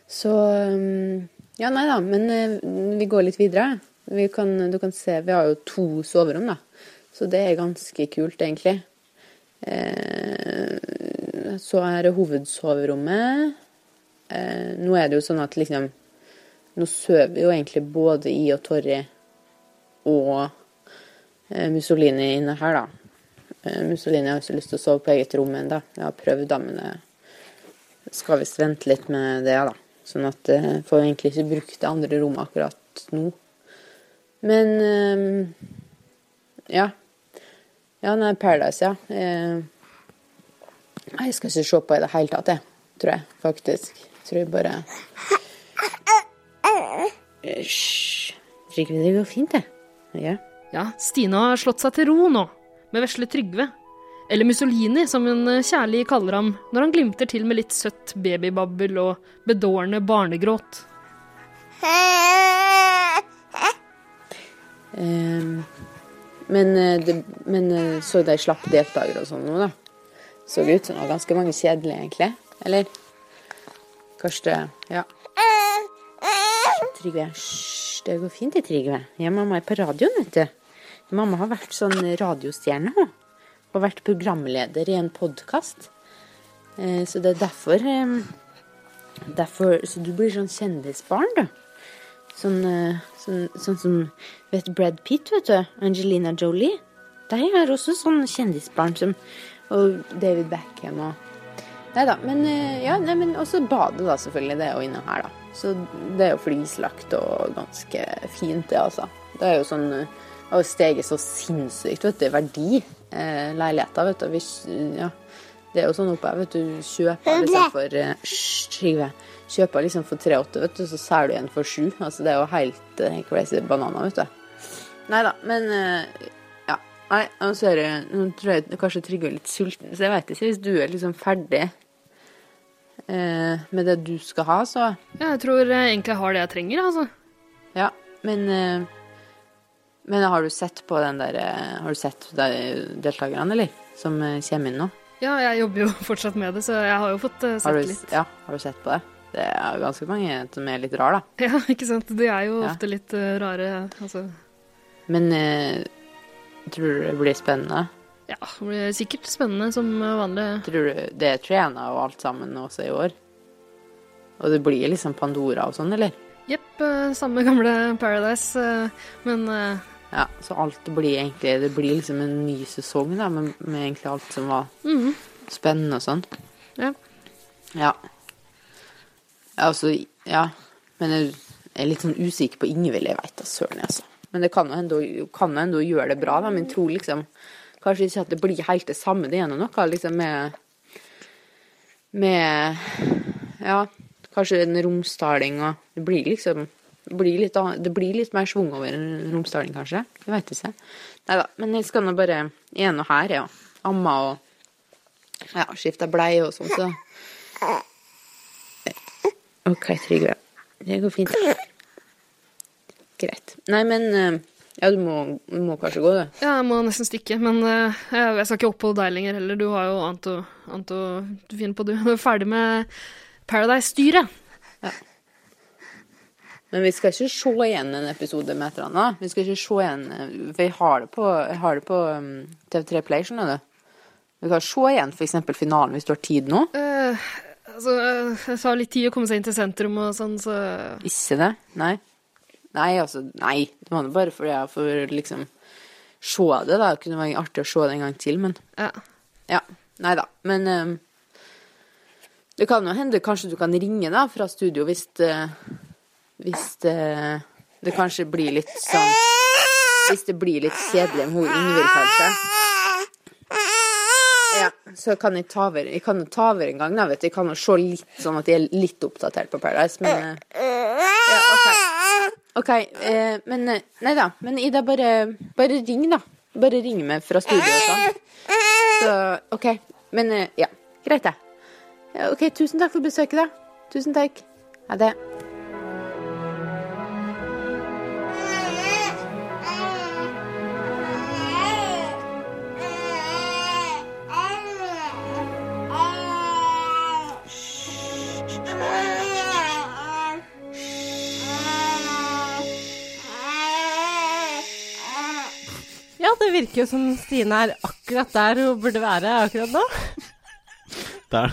Speaker 13: Så um, Ja, nei da, men eh, vi går litt videre. Vi kan, du kan se, vi har jo to soverom, da. Så det er ganske kult, egentlig. Eh, så er det hovedsoverommet. Eh, nå er det jo sånn at liksom Nå sover jo egentlig både I og Torry og eh, Mussolini inne her, da. Eh, Mussolini har jo ikke lyst til å sove på eget rom ennå. Jeg har prøvd, da, men det skal visst vente litt med det, da. Sånn at eh, får vi egentlig ikke brukt det andre rommet akkurat nå. Men ehm, ja. Ja, nei, Paradise, ja. Eh, Nei, jeg skal ikke se på i det hele tatt, jeg. Tror jeg, faktisk. Tror jeg bare Eh, Hysj. Trygve, det går fint, det. Ja.
Speaker 1: Ja, Stine har slått seg til ro nå, med vesle Trygve. Eller Mussolini, som hun eh, kjærlig kaller ham når han glimter til med litt søtt babybabbel og bedårende barnegråt.
Speaker 13: Ehm, men, eh, det, men eh, så de slapp deltakere og sånn nå, da. Så det ut som det var ganske mange kjedelige, egentlig. Eller kanskje det Ja. Trygve. Hysj, det går fint, det, Trygve. Ja, mamma er på radioen, vet du. Mamma har vært sånn radiostjerne, hun. Og vært programleder i en podkast. Så det er derfor eh, Derfor Så du blir sånn kjendisbarn, du. Sånn, eh, sånn, sånn som vet du, Brad Pitt, vet du. Angelina Jolie. De er også sånn kjendisbarn som Og David Beckham og Nei da. Men eh, ja, nei, men også badet, da, selvfølgelig. Det er jo inne her, da. Så det er jo flislagt og ganske fint, det, altså. Det er jo sånn eh, Det har jo steget så sinnssykt, vet du, i verdi. Eh, leiligheter, vet du. Vi, ja. Det er jo sånn oppe her, vet du. Kjøper liksom for eh, Hysj, Trygve. Kjøper liksom for 3,8, vet du, så selger du en for 7. Altså, det er jo helt eh, crazy bananer, vet du. Nei da, men eh, Ja. Nei, og så er det Nå tror jeg kanskje Trygve er litt sulten, så jeg veit ikke. Hvis du er liksom ferdig eh, med det du skal ha, så
Speaker 1: Ja, jeg tror eh, egentlig jeg har det jeg trenger, altså.
Speaker 13: Ja, men eh, Men har du sett på den der eh, Har du sett de deltakerne, eller? Som eh, kommer inn nå?
Speaker 1: Ja, jeg jobber jo fortsatt med det, så jeg har jo fått eh,
Speaker 13: Har
Speaker 1: sett
Speaker 13: du,
Speaker 1: litt.
Speaker 13: ja, har du sett på det? Det er jo ganske mange som er litt rare, da.
Speaker 1: Ja, ikke sant. De er jo
Speaker 13: Ja.
Speaker 1: ofte litt eh, rare, altså.
Speaker 13: Men eh, tror du det blir spennende?
Speaker 1: Ja, det blir sikkert spennende som eh, vanlig.
Speaker 13: Tror du det er trena og alt sammen også i år? Og det blir liksom Pandora og sånn, eller?
Speaker 1: Jepp, eh, samme gamle Paradise, eh, men eh,
Speaker 13: Ja, så alt blir egentlig Det blir liksom en ny sesong, da, med, med egentlig alt som var
Speaker 1: Mhm.
Speaker 13: spennende og sånn.
Speaker 1: Ja.
Speaker 13: Ja. Ja, Altså, ja. Men jeg er litt sånn usikker på Ingvild. Jeg veit da søren, jeg, altså. Men det kan jo hende hun- kan jo hende hun gjør det bra, da. Men jeg tror liksom kanskje ikke at det blir helt det samme. Det er nå noe liksom med Med Ja, kanskje en romsdaling og Det blir liksom det blir, litt, annet- det blir litt mer schwung over en romsdaling, kanskje. Jeg veit ikke. Nei da. Men jeg skal nå bare igjen og her, ja. Amma og ja, skifte bleie og sånn, så OK, Trygve. Det går fint. Greit. Nei, men eh, Ja, du må, du må kanskje gå, du.
Speaker 1: Ja, jeg må nesten stikke, men eh, jeg jeg skal ikke oppholde deg lenger heller. Du har jo annet å, annet å finne på, du. Du er ferdig med Paradise-styret.
Speaker 13: Men vi skal ikke se igjen en episode med et eller annet. Vi skal ikke se igjen eh, For jeg har det på, jeg har det på um, TV3 Play, skjønner du. Vi kan se igjen f.eks. finalen hvis du har tid nå.
Speaker 1: Eh, altså, eh, det tar litt tid å komme seg inn til sentrum og sånn, så
Speaker 13: Ikke det? Nei. Nei, altså Nei. Det var nå bare fordi jeg får liksom se det, da. Det kunne vært artig å se det en gang til, men
Speaker 1: Ja.
Speaker 13: ja. Nei da. Men ehm, det kan jo hende kanskje du kan ringe da fra studio hvis det Hvis det, det kanskje blir litt sånn Hvis det blir litt kjedelig med hun Ingvild, kanskje. Ja, så kan jeg ta over, jeg kan jo ta over en gang, da, vet du. Jeg kan jo se litt sånn at jeg er litt oppdatert på Paradise, men eh, ja, OK. Ok, eh, men eh, Nei da. Men Ida, bare, bare ring, da. Bare ring meg fra studio og sånn. Så OK. Men eh, ja. Greit, det. Ja, OK, tusen takk for besøket, da. Tusen takk. Ha det.
Speaker 2: Ja, det virker jo som Stine er akkurat der hun burde være akkurat nå.
Speaker 4: Der.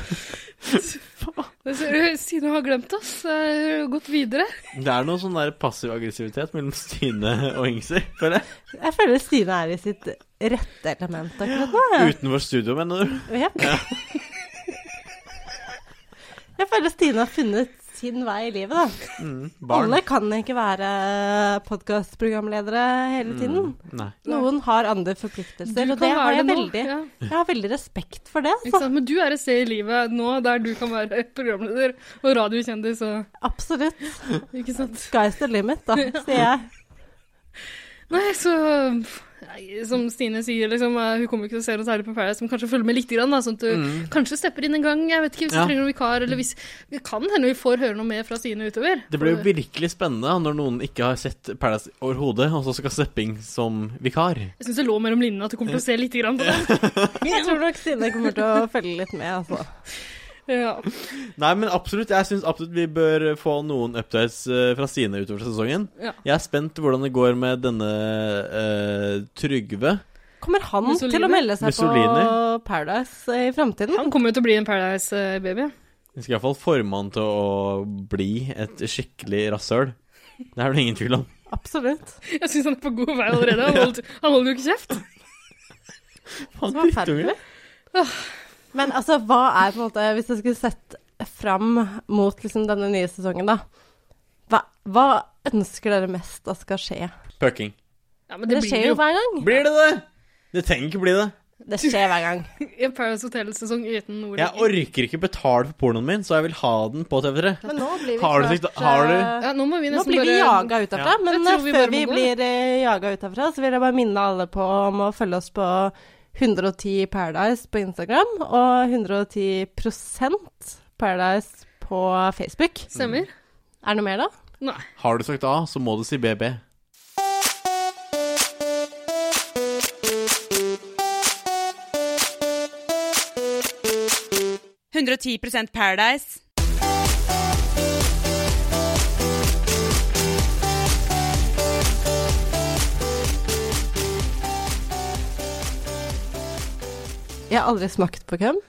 Speaker 1: Det ser du, Stine har glemt oss. eh, hun har Gått videre.
Speaker 4: Det er noe sånn der passiv aggressivitet mellom Stine og Ingsi, føler jeg.
Speaker 2: Jeg føler Stine er i sitt rette element akkurat nå. jeg.
Speaker 4: Utenfor studio, mener du?
Speaker 2: Ja. Jeg føler Stine har funnet sin vei i livet, da.
Speaker 4: Mm, barn.
Speaker 2: Alle kan ikke være podkastprogramledere hele tiden.
Speaker 4: Mm, nei.
Speaker 2: Noen har andre forpliktelser, og det har jeg veldig. Jeg har veldig respekt for det. altså.
Speaker 1: Ikke sant? Men du er et sted i livet nå der du kan være programleder og radiokjendis og
Speaker 2: Absolutt.
Speaker 1: Ikke sant?
Speaker 2: Sky's the limit, da,
Speaker 1: Ja.
Speaker 2: sier jeg.
Speaker 1: Nei, så nei, Som Stine sier, liksom, eh, hun kommer ikke til å se noe særlig på Paradise, men kanskje følge med litt, grann, da, sånn at du
Speaker 4: Mm.
Speaker 1: kanskje stepper inn en gang. Jeg vet ikke hvis
Speaker 4: Ja.
Speaker 1: du trenger noen vikar, eller hvis Det kan hende vi får høre noe mer fra Stine utover.
Speaker 4: Det blir jo virkelig spennende da, når noen ikke har sett Paradise overhodet, og så skal Stepping som vikar.
Speaker 1: Jeg syns det lå mellom linjene at du kommer til å se litt grann på det.
Speaker 2: Jeg tror nok Stine kommer til å følge litt med, altså.
Speaker 1: Ja.
Speaker 4: Nei, men absolutt. Jeg syns absolutt vi bør få noen updates eh, fra Stine utover sesongen.
Speaker 1: Ja.
Speaker 4: Jeg er spent hvordan det går med denne eh, Trygve.
Speaker 2: Kommer han
Speaker 1: Mussolini?
Speaker 2: til å melde seg
Speaker 4: Mussolini?
Speaker 2: på Paradise eh, i framtiden?
Speaker 1: Han kommer jo til å bli en eh, Paradise-baby.
Speaker 4: Vi skal iallfall forme han til å bli et skikkelig rasshøl. Det er det ingen tvil om.
Speaker 2: Absolutt.
Speaker 1: Jeg syns han er på god vei allerede. Han holder, han holder jo ikke kjeft.
Speaker 4: Han
Speaker 2: drittunge. Men altså, hva er på en måte Hvis jeg skulle sett fram mot liksom, denne nye sesongen, da. Hva, hva ønsker dere mest at skal skje?
Speaker 4: Pucking.
Speaker 1: Ja, men
Speaker 2: det, skjer jo hver gang.
Speaker 4: Blir det det? Det trenger ikke bli det.
Speaker 2: Det skjer hver gang.
Speaker 1: I Paradise Hotel sesong uten Nordli.
Speaker 4: Jeg orker ikke betale for pornoen min, så jeg vil ha den på TV3.
Speaker 2: Men nå blir vi
Speaker 4: Har du
Speaker 2: snart,
Speaker 4: tenkt- har du-
Speaker 2: eh,
Speaker 1: Ja, nå må vi nesten
Speaker 2: blir vi
Speaker 1: bare-
Speaker 2: jaga ut herfra.
Speaker 1: Ja.
Speaker 2: Men
Speaker 1: Jeg
Speaker 2: eh,
Speaker 1: tror vi bare
Speaker 2: før vi
Speaker 1: må gå.
Speaker 2: blir eh, jaga ut herfra, så vil jeg bare minne alle på om å følge oss på 110 Paradise på Instagram og 110 Paradise på Facebook.
Speaker 1: Stemmer.
Speaker 2: Er det noe mer, da?
Speaker 1: Nei.
Speaker 4: Har du sagt A, så må du si BB.
Speaker 3: Paradise. 110 Paradise.
Speaker 2: Jeg har aldri smakt på køm.